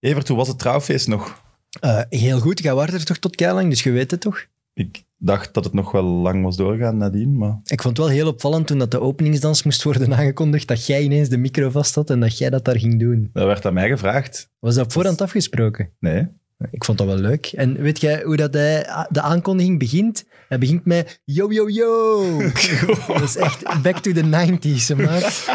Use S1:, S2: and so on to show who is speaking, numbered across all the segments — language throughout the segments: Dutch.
S1: Evert, hoe was het trouwfeest nog?
S2: Eh, heel goed, jij was er toch tot keilang, dus je weet het toch?
S1: Ik dacht dat het nog wel lang was doorgaan nadien, maar...
S2: Ik vond het wel heel opvallend toen dat de openingsdans moest worden aangekondigd, dat jij ineens de micro vast had en dat jij dat daar ging doen.
S1: Dat werd aan mij gevraagd.
S2: Was dat op voorhand afgesproken?
S1: Nee.
S2: Ik vond dat wel leuk. En weet jij hoe dat hij, de aankondiging begint? Hij begint met yo, yo, yo. dat is echt back to the 90s, maar.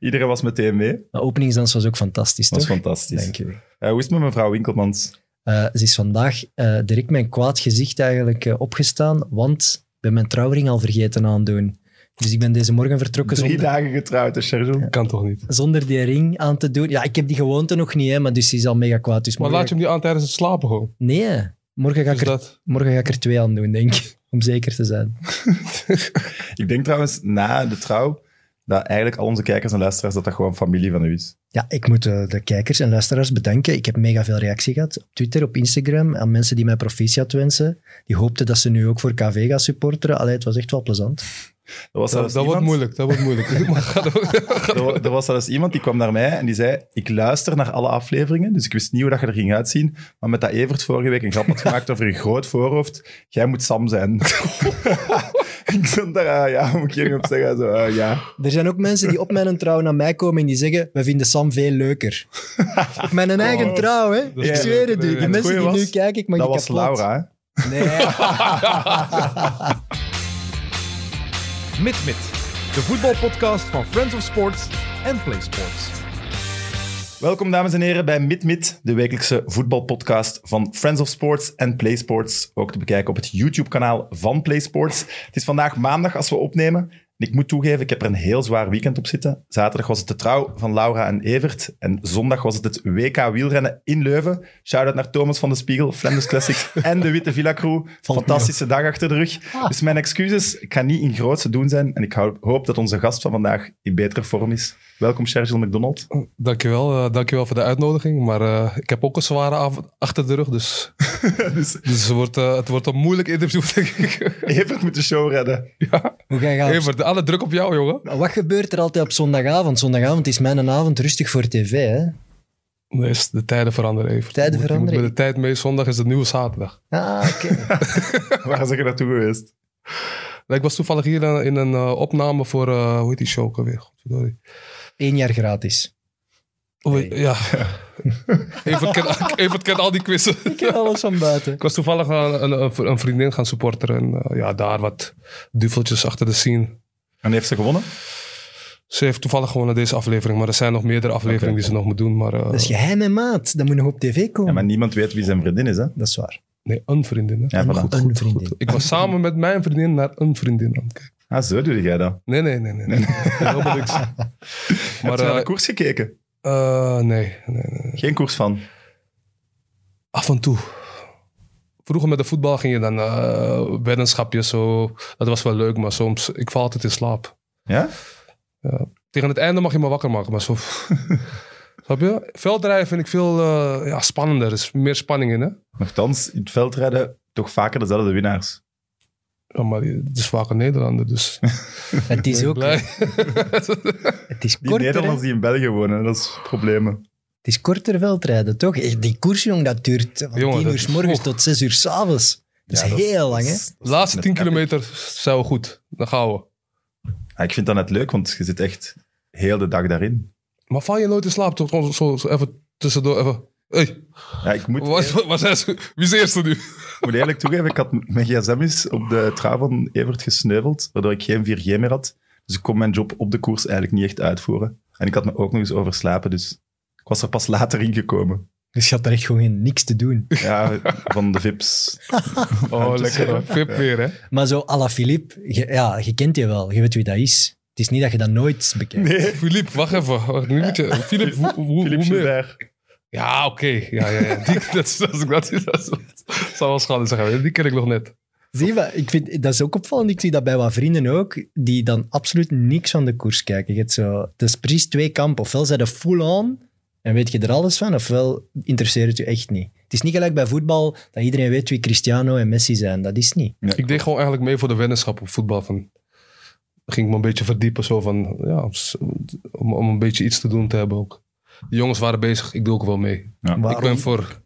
S1: Iedereen was meteen mee.
S2: De openingsdans was ook fantastisch,
S1: Dat was
S2: toch?
S1: fantastisch.
S2: Dank je.
S1: Eh, hoe is het met mevrouw Winkelmans?
S2: Eh, ze is vandaag eh, direct mijn kwaad gezicht eigenlijk eh, opgestaan, want ik ben mijn trouwring al vergeten aandoen. Dus ik ben deze morgen vertrokken
S1: Drie
S2: zonder,
S1: dagen getrouwd, hè, Sergio?
S3: Kan toch niet?
S2: zonder die ring aan te doen. Ja, ik heb die gewoonte nog niet, hè, maar dus die is al mega kwaad. Dus
S3: Maar
S2: morgen
S3: laat je hem nu aan tijdens het slapen gewoon.
S2: ga ik- Nee, morgen ga, ik
S3: Dus
S2: er,
S3: dat...
S2: morgen ga ik er twee aan doen, denk ik. Om zeker te zijn.
S1: Ik denk trouwens, na de trouw, dat eigenlijk al onze kijkers en luisteraars, dat dat gewoon familie van u is.
S2: Ja, ik moet eh, de kijkers en luisteraars bedanken. Ik heb mega veel reactie gehad op Twitter, op Instagram, aan mensen die mij proficiat wensen. Die hoopten dat ze nu ook voor KV gaan supporteren. Allee, het was echt wel plezant.
S1: Er was,
S3: Dat,
S1: zelfs
S3: dat wordt
S1: iemand,
S3: moeilijk, dat wordt moeilijk. Maar ga door.
S1: er, wa- er was zelfs iemand die kwam naar mij en die zei, ik luister naar alle afleveringen, dus ik wist niet hoe dat je er ging uitzien, maar met dat Evert vorige week een grap had gemaakt over je groot voorhoofd, jij moet Sam zijn. ik stond daar, ah, ja, hoe moet ik hier op zeggen? Zo, ah, ja.
S2: Er zijn ook mensen die op mijn trouw naar mij komen en die zeggen: We vinden Sam veel leuker. op mijn eigen trouw, hè?
S3: Oh, Dat is
S2: Ik
S1: niet
S2: zweer
S3: leuk.
S2: het u.
S3: Nee, nee,
S2: De
S3: het
S2: mensen die
S1: goeie
S2: nu
S1: was,
S2: kijken, ik mag
S1: Dat
S2: die
S1: was
S2: kapot.
S1: Laura, hè?
S2: Nee.
S4: MidMid, de voetbalpodcast van Friends of Sports en PlaySports.
S1: Welkom, dames en heren, bij MidMid, de wekelijkse voetbalpodcast van Friends of Sports en PlaySports. Ook te bekijken op het YouTube-kanaal van PlaySports. Het is vandaag maandag als we opnemen. En ik moet toegeven, ik heb er een heel zwaar weekend op zitten. Zaterdag was het de trouw van Laura en Evert. En zondag was het het WK wielrennen in Leuven. Shout-out naar Thomas van de Spiegel, Flanders Classics en de Witte Villa Crew. Fantastische dag achter de rug. Dus mijn excuses, ik ga niet in grootste doen zijn. En ik hou- hoop dat onze gast van vandaag in betere vorm is. Welkom, Sergio McDonald.
S3: Dankjewel, eh, dankjewel voor de uitnodiging. Maar eh, ik heb ook een zware avond achter de rug, dus,
S1: Dus-
S3: dus... het, wordt, eh, het wordt een moeilijk interview, denk ik.
S1: Evert moet de show redden.
S2: Hoe ga je gaan?
S3: Evert, alle druk op jou, jongen.
S2: Wat gebeurt er altijd op zondagavond? Zondagavond is mijn avond rustig voor tv, hè?
S3: Nee, is- de tijden veranderen, Evert.
S2: Tijden
S3: Je moet- je moet
S2: veranderen.
S3: met de tijd mee, zondag is de nieuwe zaterdag.
S2: Ah, oké.
S1: Waar zeg je naartoe geweest?
S3: Ik was toevallig hier in, in een eh, opname voor, eh, hoe heet die show ook alweer? Godverdorie.
S2: Eén jaar gratis.
S3: Oei, Ja. Evert kent, Evert kent al die quizzen.
S2: Ik ken alles van buiten.
S3: Ik was toevallig aan een, een, een vriendin gaan supporteren. En eh, ja, daar wat duveltjes achter de scene.
S1: En heeft ze gewonnen?
S3: Ze heeft toevallig gewonnen deze aflevering. Maar er zijn nog meerdere afleveringen
S1: Oké.
S3: die ze nog moet doen. Maar eh,
S2: Dat is geheim en maat. Dat moet nog op tv
S1: Ja,
S2: komen.
S1: maar niemand weet wie zijn vriendin is, hè?
S2: Dat is waar.
S3: nee, een vriendin. hè.
S1: Ja, voilà.
S2: een vriendin.
S3: Goed. Ik was samen met mijn vriendin naar een vriendin aan het kijken.
S1: Ah, zo doe jij dat.
S3: Nee, nee, nee. nee, nee. Helemaal niks.
S1: Maar,
S3: Maar
S1: naar
S3: eh
S1: de koers gekeken?
S3: eh, nee, nee, nee.
S1: Geen koers van.
S3: Af en toe. Vroeger met de voetbal ging je dan eh weddenschapjes. Zo. Dat was wel leuk, maar soms... Ik val altijd in slaap.
S1: Ja?
S3: Tegen het einde mag je me wakker maken, maar zo... Snap je? Veldrijden vind ik veel eh, ja, spannender. Er is meer spanning in, hè?
S1: Nochtans, in het veldrijden toch vaker dezelfde winnaars.
S3: Ja, maar het is vaak een Nederlander, dus...
S2: Het is
S3: ik ben
S2: ook...
S3: blij.
S2: Het is
S1: Die
S2: korter, hè?
S1: Nederlanders die in België wonen, dat is problemen.
S2: Het is korter veldrijden, toch? Eh, Die koers, jong, dat duurt van 10
S3: Jongen, dat
S2: uur
S3: is-
S2: 's morgens
S3: oh.
S2: tot 6 uur 's avonds. Dat is heel lang, hè?
S3: Laatste 10
S1: net epic.
S3: kilometer zijn we goed. Dan gaan we.
S1: Ja, Ah, ik vind dat net leuk, want je zit echt heel de dag daarin.
S3: Maar val je nooit in slaap? Toch gewoon zo, zo even tussendoor, even... Hey,
S1: Ja, ik moet,
S3: wat,
S1: ik
S3: wat, wat zijn ze- wie is de eerste nu?
S1: moet eerlijk toegeven, ik had m- mijn gsm is op de trouw van Evert gesneuveld, waardoor ik geen 4G meer had. Dus ik kon mijn job op de koers eigenlijk niet echt uitvoeren. En ik had me ook nog eens overslapen, dus ik was er pas later ingekomen.
S2: Dus je had er echt gewoon geen- niks te doen.
S1: Ja, van de VIPs.
S3: Oh,
S1: Dus,
S3: lekker hoor.
S1: ja.
S3: Vip weer, hè?
S2: Maar zo à la Philippe, je- ja, je kent die wel. Je weet wie dat is. Het is niet dat je dat nooit bekijkt.
S3: Philippe, wacht even. Wacht, nu moet je... Philip, hoe, hoe,
S1: Philippe
S3: hoe meer?
S1: Gilbert.
S3: Ja, oké. Ja, ja, ja. Die, dat, is- dat, is- dat, is- dat, is- dat zou wel schade zijn. Die ken ik nog net.
S2: Zie je, wat? ik vind, dat is ook opvallend. Ik zie dat bij wat vrienden ook, die dan absoluut niks van de koers kijken. Je hebt zo, het is precies twee kampen. Ofwel zijn de full on en weet je er alles van, ofwel interesseert het je echt niet. Het is niet gelijk bij voetbal dat iedereen weet wie Cristiano en Messi zijn. Dat is niet.
S3: Ik deed gewoon eigenlijk mee voor de weddenschap op voetbal. Van, ging ik me een beetje verdiepen zo van, ja, om, om een beetje iets te doen te hebben ook. De jongens waren bezig, ik doe ook wel mee. Ik
S2: Waarom?
S3: ben voor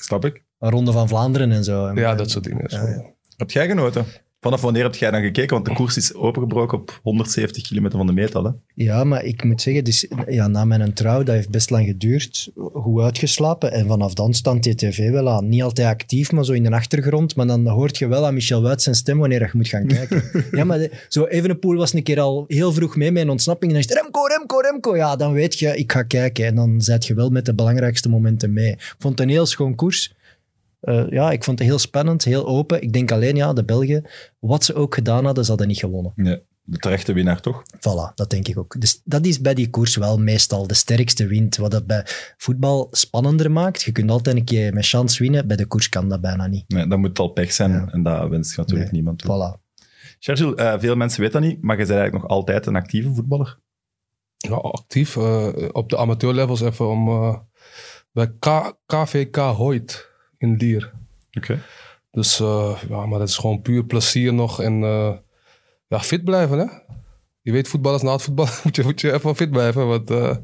S1: Snap ik.
S2: Een ronde van Vlaanderen en zo.
S3: ja, dat soort dingen.
S2: Ja, ja.
S1: Heb jij genoten? Vanaf wanneer heb jij dan gekeken? Want de koers is opengebroken op 170 kilometer van de metal. Hè?
S2: Ja, maar ik moet zeggen, dus, ja, na mijn trouw, dat heeft best lang geduurd, goed uitgeslapen. En vanaf dan stond TTV wel aan. Niet altijd actief, maar zo in de achtergrond. Maar dan hoort je wel aan Michel Wuit zijn stem wanneer je moet gaan kijken. ja, maar de- zo Evenepoel was een keer al heel vroeg mee met een ontsnapping. En dan is het Remco, Remco, Remco. Ja, dan weet je, ik ga kijken. En dan zet je wel met de belangrijkste momenten mee. Ik vond het een heel schoon koers. Eh, ja, ik vond het heel spannend, heel open. Ik denk alleen, ja, de Belgen, wat ze ook gedaan hadden, ze hadden niet gewonnen.
S1: Nee. De terechte winnaar, toch?
S2: Voilà, dat denk ik ook. Dus dat is bij die koers wel meestal de sterkste wind. Wat dat bij voetbal spannender maakt. Je kunt altijd een keer met chance winnen. Bij de koers kan dat bijna niet.
S1: Nee, dat moet al pech zijn
S2: Ja.
S1: en dat wenst natuurlijk
S2: Nee.
S1: niemand. toe.
S2: Voilà.
S1: Sergio, eh, veel mensen weten dat niet, maar je bent eigenlijk nog altijd een actieve voetballer.
S3: Ja, actief eh, op de amateurlevels even om eh, bij K- KVK Hoyt in Lier.
S1: Oké.
S3: Dus eh, ja, maar dat is gewoon puur plezier nog en eh, ja, fit blijven hè. Je weet voetballers na het voetbal moet je, moet je even fit blijven, want eh,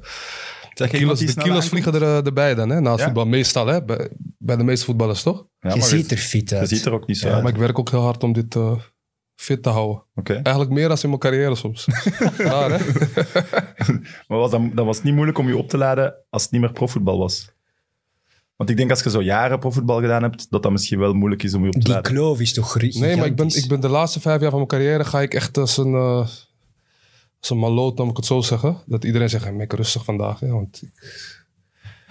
S1: Zeg je iemand
S3: kilo's,
S1: die
S3: de
S1: snel
S3: kilo's
S1: aankomt?
S3: vliegen er, eh, erbij dan hè, na het
S1: Ja.
S3: voetbal meestal hè, bij, bij de meeste voetballers toch?
S1: Ja,
S2: je
S1: maar
S2: ziet er fit
S1: je
S2: uit.
S1: ziet er ook niet zo
S3: Ja,
S1: uit.
S3: maar ik werk ook heel hard om dit eh, fit te houden.
S1: Oké.
S3: Eigenlijk meer dan in mijn carrière soms. Raar, hè?
S1: Maar was dan, dan was het niet moeilijk om je op te laden als het niet meer profvoetbal was? Want ik denk als je zo jaren profvoetbal gedaan hebt, dat dat misschien wel moeilijk is om je op te
S2: Die
S1: laden.
S2: kloof is toch gigantisch.
S3: Nee, maar ik ben, ik ben de laatste vijf jaar van mijn carrière ga ik echt als een, eh als een maloot, moet ik het zo zeggen. Dat iedereen zegt, "Hey, Mick, rustig vandaag. Hè, want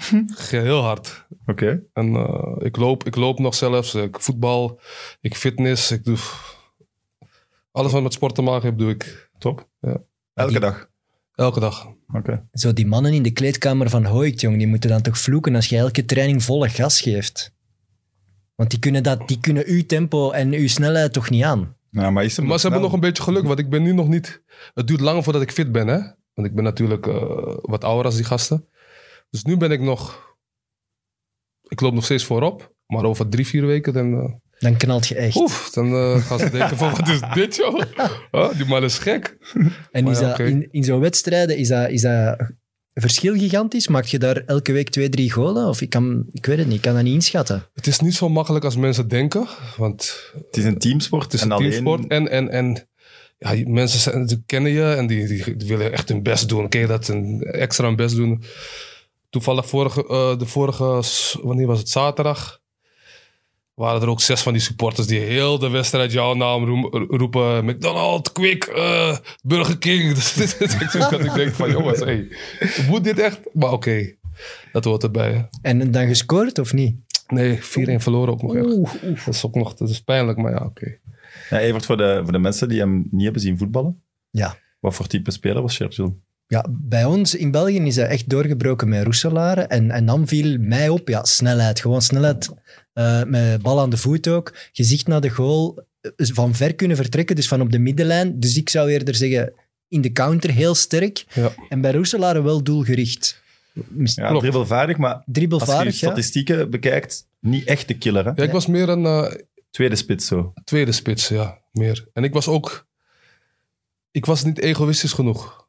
S3: ik ga heel hard.
S1: Oké.
S3: En eh, ik, loop, ik loop nog zelfs. Ik voetbal, ik fitness, ik doe... Alles wat met sport te maken heeft, doe ik
S1: Top.
S3: Ja.
S1: Elke
S2: Die-
S1: dag.
S3: elke dag.
S1: Oké.
S2: Zo die mannen in de kleedkamer van Hoyt, jong, die moeten dan toch vloeken als je elke training volle gas geeft. Want die kunnen, dat, die kunnen uw tempo en uw snelheid toch niet aan.
S1: Nou, maar is hem
S3: Maar ze hebben nog
S1: snel?
S3: een beetje geluk, want ik ben nu nog niet... Het duurt langer voordat ik fit ben, hè. Want ik ben natuurlijk eh, wat ouder als die gasten. Dus nu ben ik nog... Ik loop nog steeds voorop. Maar over drie, vier weken dan... eh,
S2: Dan knalt je echt.
S3: oef, dan eh, gaan ze denken van, wat is dit, joh? Huh, die man is gek.
S2: En
S3: Maar
S2: is
S3: ja,
S2: dat,
S3: oké.
S2: in, in zo'n wedstrijden is dat, is dat verschil gigantisch? Maak je daar elke week twee, drie golen? Of ik, kan, ik weet het niet, ik kan dat niet inschatten.
S3: Het is niet zo makkelijk als mensen denken. Want
S1: Het is een teamsport.
S3: het is
S1: en
S3: een
S1: alleen-
S3: teamsport. En, en, en ja, je- mensen zijn, die kennen je en die, die, die willen echt hun best doen. Ken je dat? Een extra hun best doen. Toevallig vorige, eh, de vorige, s- wanneer was het? Zaterdag. Waren er ook zes van die supporters die heel de wedstrijd jouw naam roem- roepen. McDonald, Quick, eh, Burger King. Dus dat ik denk van jongens, hey, moet dit echt? Maar oké, dat hoort erbij. hè.
S2: En dan gescoord of niet?
S3: Nee, 4-1 verloren ook nog. echt.
S2: Oeh, oeh.
S3: Dat is ook nog, dat is pijnlijk, maar ja, oké.
S1: Ja, Evert, voor de, voor de mensen die hem niet hebben zien voetballen.
S2: Ja.
S1: Wat voor type speler was Churchill?
S2: Ja, bij ons in België is hij echt doorgebroken met Roeselaren. En, en dan viel mij op, ja, snelheid. Gewoon snelheid, eh, met bal aan de voet ook. Gezicht naar de goal, eh, van ver kunnen vertrekken, dus van op de middenlijn. Dus ik zou eerder zeggen, in de counter heel sterk.
S3: Ja.
S2: En bij Roeselaren wel doelgericht. Mis-
S1: Ja,
S3: Klopt.
S1: dribbelvaardig, maar als je je
S2: Dribbelvaardig, ja.
S1: statistieken bekijkt, niet echt de killer. Hè?
S3: Ja, ik was meer een eh,
S1: Tweede spits zo.
S3: tweede spits, ja, meer. En ik was ook, ik was niet egoïstisch genoeg.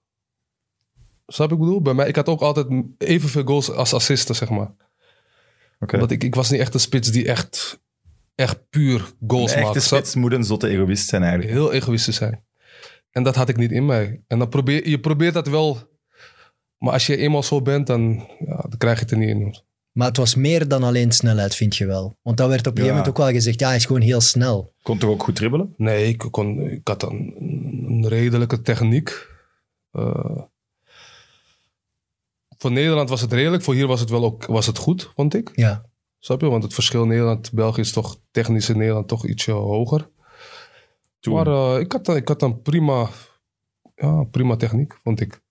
S3: Snap je wat ik bedoel? Bij mij, ik had ook altijd m- evenveel goals als assisten, zeg maar.
S1: Oké.
S3: Omdat ik, ik was niet echt een spits die echt, echt puur
S1: Een
S3: goals
S1: echte
S3: maakte. Snap-
S1: spits moet een zotte egoïst zijn eigenlijk.
S3: Heel egoïstisch zijn. En dat had ik niet in mij. En dan probeer, je probeert dat wel. Maar als je eenmaal zo bent, dan, ja, dan krijg je het er niet in.
S2: Maar het was meer dan alleen snelheid, vind je wel. Want dat werd op een gegeven
S1: Ja.
S2: moment ook wel gezegd. Ja, hij is gewoon heel snel.
S1: Kon toch ook goed dribbelen?
S3: Nee, ik, kon, ik had een, een redelijke techniek. Eh, voor Nederland was het redelijk, voor hier was het wel ook, was het goed, vond ik.
S2: Ja.
S3: Snap je? Want het verschil Nederland-België is toch technisch in Nederland toch ietsje hoger.
S1: Toen.
S3: Maar eh, ik, had, ik had een prima, ja, prima techniek, vond ik.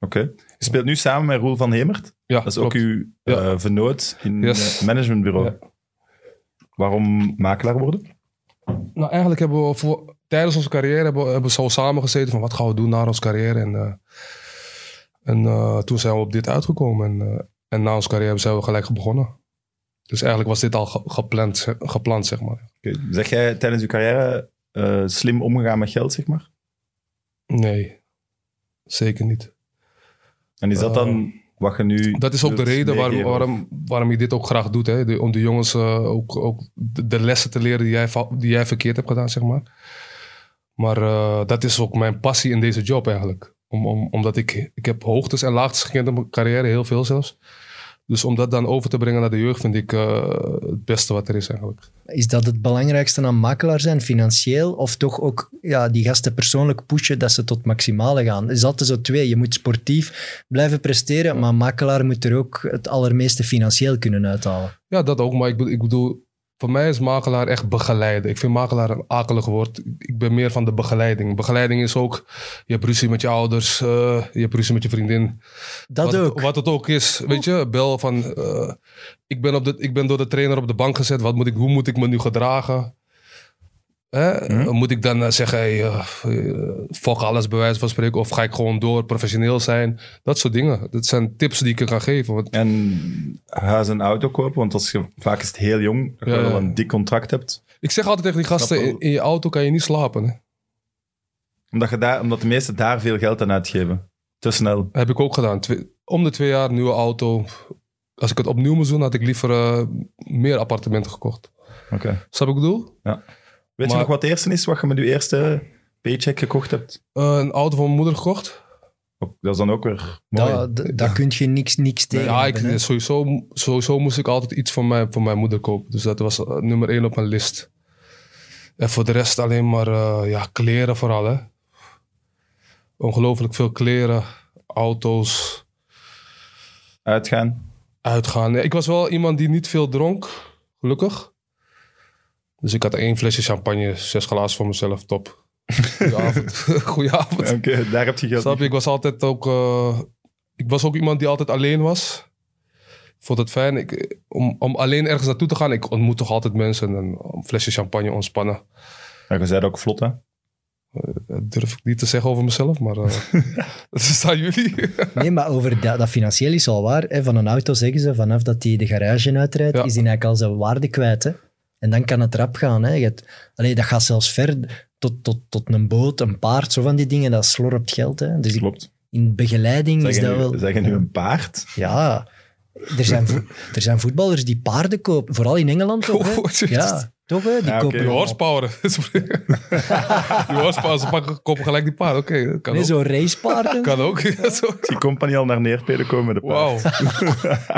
S1: Oké. Je speelt nu samen met Roel van Hemert.
S3: Ja,
S1: Dat is ook
S3: klopt.
S1: uw eh, vernoot in
S3: Yes.
S1: het managementbureau.
S3: Ja.
S1: Waarom makelaar worden?
S3: Nou, eigenlijk hebben we voor, tijdens onze carrière hebben we, hebben we zo samengezeten van wat gaan we doen na onze carrière. En, eh, en eh, toen zijn we op dit uitgekomen. En, eh, en na onze carrière zijn we gelijk begonnen. Dus eigenlijk was dit al ge- gepland, ze- gepland, zeg maar.
S1: Oké. Zeg jij tijdens je carrière eh, slim omgegaan met geld, zeg maar?
S3: Nee, zeker niet.
S1: En is dat
S3: Eh,
S1: dan Wat je nu
S3: Dat is ook de
S1: wilt
S3: reden waarom,
S1: meegeven, of-
S3: waarom, waarom je dit ook graag doet. Hè? De- om de jongens eh, ook, ook de, de lessen te leren die jij, va- die jij verkeerd hebt gedaan, zeg maar. Maar eh, dat is ook mijn passie in deze job eigenlijk. Om, om, omdat ik, ik heb hoogtes en laagtes gekend in mijn carrière, heel veel zelfs. Dus om dat dan over te brengen naar de jeugd vind ik eh, het beste wat er is eigenlijk.
S2: Is dat het belangrijkste aan makelaar zijn, financieel? Of toch ook ja, die gasten persoonlijk pushen dat ze tot maximale gaan? Er is altijd zo twee. Je moet sportief blijven presteren, maar makelaar moet er ook het allermeeste financieel kunnen uithalen.
S3: Ja, dat ook. Maar ik, bedo- ik bedoel, voor mij is makelaar echt begeleiden. Ik vind makelaar een akelig woord. Ik ben meer van de begeleiding. Begeleiding is ook, je hebt ruzie met je ouders, eh, je hebt ruzie met je vriendin.
S2: Dat
S3: wat,
S2: ook.
S3: Het, wat het ook is, weet je. Bel van, eh, ik, ben op de, ik ben door de trainer op de bank gezet. Wat moet ik, hoe moet ik me nu gedragen? Hè? Moet ik dan eh, zeggen, hey, eh, eh, fuck alles bij wijze van spreken? Of ga ik gewoon door, professioneel zijn? Dat soort dingen. Dat zijn tips die ik je kan geven. Want
S1: En huis en auto kopen, want als je, vaak is het heel jong, dat je
S3: Ja, ja.
S1: wel een dik contract hebt.
S3: ik zeg altijd tegen die gasten,
S1: Snap
S3: in, in je auto kan je niet slapen. Hè?
S1: Omdat, je daar, omdat de meesten daar veel geld aan uitgeven. Te snel.
S3: Heb ik ook gedaan. Twee- om de twee jaar nieuwe auto. Als ik het opnieuw moest doen, had ik liever eh, meer appartementen gekocht.
S1: Oké.
S3: Snap ik wat ik bedoel?
S1: Weet je
S3: Maar-
S1: nog wat het eerste is wat je met je eerste paycheck gekocht hebt?
S3: Eh, een auto van mijn moeder gekocht.
S1: Ook- Dat is dan ook weer mooi.
S2: Daar da, daar kun je niks, niks tegen
S3: ja, ik,
S2: hebben, hè.
S3: sowieso, sowieso moest ik altijd iets van mijn, van mijn moeder kopen. Dus dat was eh, nummer één op mijn list. En voor de rest alleen maar eh, ja, kleren vooral. Hè. Ongelooflijk veel kleren, auto's,
S1: Uitgaan.
S3: uitgaan. Ik was wel iemand die niet veel dronk, gelukkig. Dus ik had één flesje champagne, zes glazen voor mezelf, top. Goedenavond. Goedenavond.
S1: Oké, daar heb je geld.
S3: Snap je, ik was altijd ook... eh, ik was ook iemand die altijd alleen was. Ik vond het fijn ik, om, om alleen ergens naartoe te gaan. Ik ontmoet toch altijd mensen en een flesje champagne ontspannen.
S1: Maar je zei dat ook vlot, hè?
S3: Dat durf ik niet te zeggen over mezelf, maar eh, dat is aan jullie.
S2: Nee, maar over dat, dat financieel is al waar. Hè. Van een auto zeggen ze, vanaf dat die de garage uitrijdt,
S3: Ja.
S2: is die eigenlijk al zijn waarde kwijt. Hè. En dan kan het rap gaan. Hè. Je hebt- allee, dat gaat zelfs ver tot, tot, tot een boot, een paard, zo van die dingen. Dat slorpt geld. Hè. Dus ik-
S1: Klopt.
S2: in begeleiding
S1: Zeg
S2: is
S1: je,
S2: dat wel...
S1: nu, zeg je nu een paard?
S2: Ja, er zijn, vo- er zijn voetballers die paarden kopen. Vooral in Engeland toch, hè?
S3: Oh, jezus.
S2: Ja, toch hè? Die
S1: Ja, oké.
S2: kopen...
S3: Je horsepower. Je horsepower, ze pakken kopen gelijk die paard. Oké, dat kan
S2: Nee,
S3: ook.
S2: zo'n racepaarden.
S3: Kan ook. Ja, zo.
S1: Die compagnie al naar neerpelen komen met de paard.
S3: Wauw.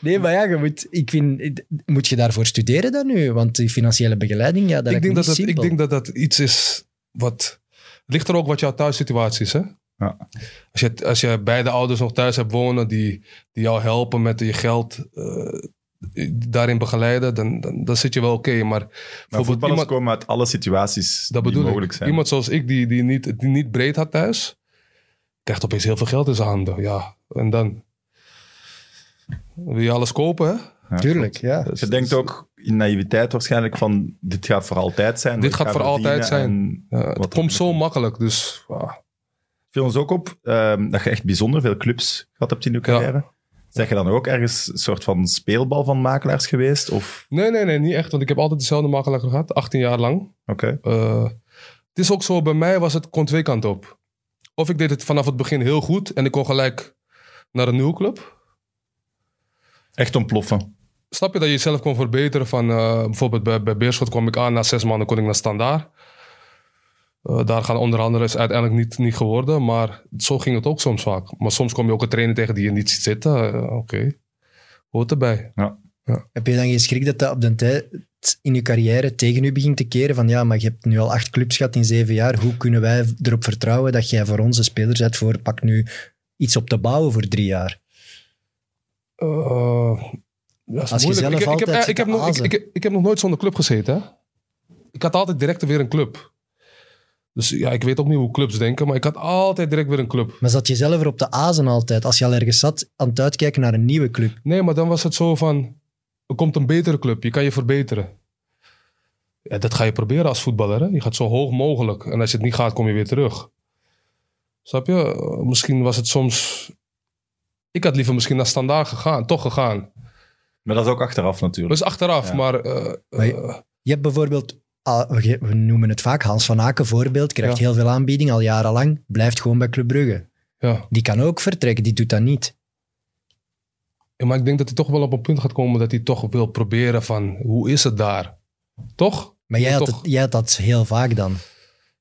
S2: Nee, maar ja, je moet, ik vind, moet je daarvoor studeren dan nu? Want die financiële begeleiding, ja, dat
S3: Ik denk dat,
S2: niet
S3: dat,
S2: simpel.
S3: ik denk dat dat iets is wat... Het ligt er ook wat jouw thuissituatie is, hè?
S1: Ja.
S3: Als je, als je beide ouders nog thuis hebt wonen die, die jou helpen met je geld... eh, daarin begeleiden, dan, dan, dan zit je wel oké. Maar
S1: Maar
S3: bijvoorbeeld
S1: voetballers
S3: iemand-
S1: komen uit alle situaties
S3: dat
S1: die
S3: bedoel
S1: mogelijk
S3: ik.
S1: zijn.
S3: Iemand zoals ik, die, die, niet, die niet breed had thuis, krijgt opeens heel veel geld in zijn handen. Ja, en dan wil je alles kopen, hè?
S1: Ja,
S2: Tuurlijk, ja.
S1: Dus Je denkt ook in naïviteit waarschijnlijk van, dit gaat voor altijd zijn.
S3: Dit
S1: ik
S3: gaat
S1: ga
S3: voor altijd
S1: verdienen en- Wat
S3: Ja, het
S1: er
S3: komt
S1: binnenkomt.
S3: zo makkelijk, dus... ah,
S1: viel ons ook op ehm, dat je echt bijzonder veel clubs gehad hebt in je carrière. Zeg je dan ook ergens een soort van speelbal van makelaars geweest? Of,
S3: Nee, nee, nee, niet echt. Want ik heb altijd dezelfde makelaar gehad, 18 jaar lang.
S1: oké,
S3: Eh, het is ook zo, bij mij was het, kon twee kanten op. Of ik deed het vanaf het begin heel goed en ik kon gelijk naar een nieuwe club.
S1: echt ontploffen.
S3: Snap je dat je jezelf kon verbeteren? Van, eh, bijvoorbeeld bij, bij Beerschot kwam ik aan, na zes maanden kon ik naar Standaard. Eh, daar gaan onderhandelen is uiteindelijk niet, niet geworden, maar zo ging het ook soms vaak. Maar soms kom je ook een trainer tegen die je niet ziet zitten. Eh, Oké, hoort erbij.
S2: Heb je dan geen schrik dat dat op den tijd in je carrière tegen u begint te keren? Van ja, maar je hebt nu al acht clubs gehad in zeven jaar. Hoe kunnen wij erop vertrouwen dat jij voor onze speler bent voor pak nu iets op te bouwen voor drie jaar?
S3: Eh, ja, is
S2: Als je
S3: moeilijk.
S2: zelf
S3: ik, ik,
S2: altijd
S3: heb,
S2: zit
S3: ik, heb
S2: te
S3: nog, ik,
S2: azen.
S3: ik- ik heb nog nooit zonder club gezeten. Hè? Ik had altijd direct weer een club. Dus ja, ik weet ook niet hoe clubs denken, maar ik had altijd direct weer een club.
S2: Maar zat je zelf er op de azen altijd? Als je al ergens zat, aan het uitkijken naar een nieuwe club.
S3: Nee, maar dan was het zo van, er komt een betere club, je kan je verbeteren. Ja, dat ga je proberen als voetballer. Hè? Je gaat zo hoog mogelijk. En als je het niet gaat, kom je weer terug. Snap je? Eh, Misschien was het soms... Ik had liever misschien naar standaard gegaan, toch gegaan.
S1: Maar dat is ook achteraf natuurlijk.
S3: Dus achteraf,
S1: Ja.
S3: maar... eh,
S2: Maar je-
S3: eh,
S2: Je hebt bijvoorbeeld, ah, we ge- we noemen het vaak, Hans van Aken voorbeeld, krijgt
S3: Ja.
S2: heel veel aanbiedingen al jarenlang, blijft gewoon bij Club Brugge.
S3: ja.
S2: Die kan ook vertrekken, die doet dat niet.
S3: Ja, Maar ik denk dat hij toch wel op een punt gaat komen dat hij toch wil proberen van hoe is het daar? Toch?
S2: Maar jij
S3: Ja,
S2: had,
S3: toch.
S2: het, jij had dat heel vaak dan.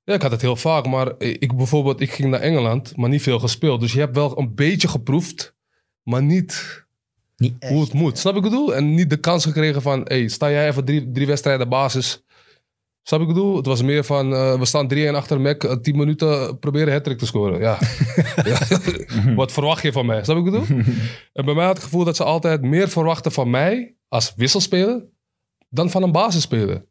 S3: Ja, ik had het heel vaak, maar ik bijvoorbeeld, ik ging naar Engeland, maar niet veel gespeeld. Dus je hebt wel een beetje geproefd, maar niet
S2: Niet echt.
S3: hoe het moet. Snap ik wat ik bedoel? En niet de kans gekregen van, hey, sta jij even drie, drie wedstrijden basis. Snap ik wat ik bedoel? Het was meer van, eh, we staan 3-1 achter Mac, eh, 10 minuten eh, proberen hattrick te scoren. Ja. Ja.
S1: Mhm.
S3: wat verwacht je van mij? Snap ik wat ik bedoel? en bij mij had ik het gevoel dat ze altijd meer verwachten van mij als wisselspeler dan van een basisspeler.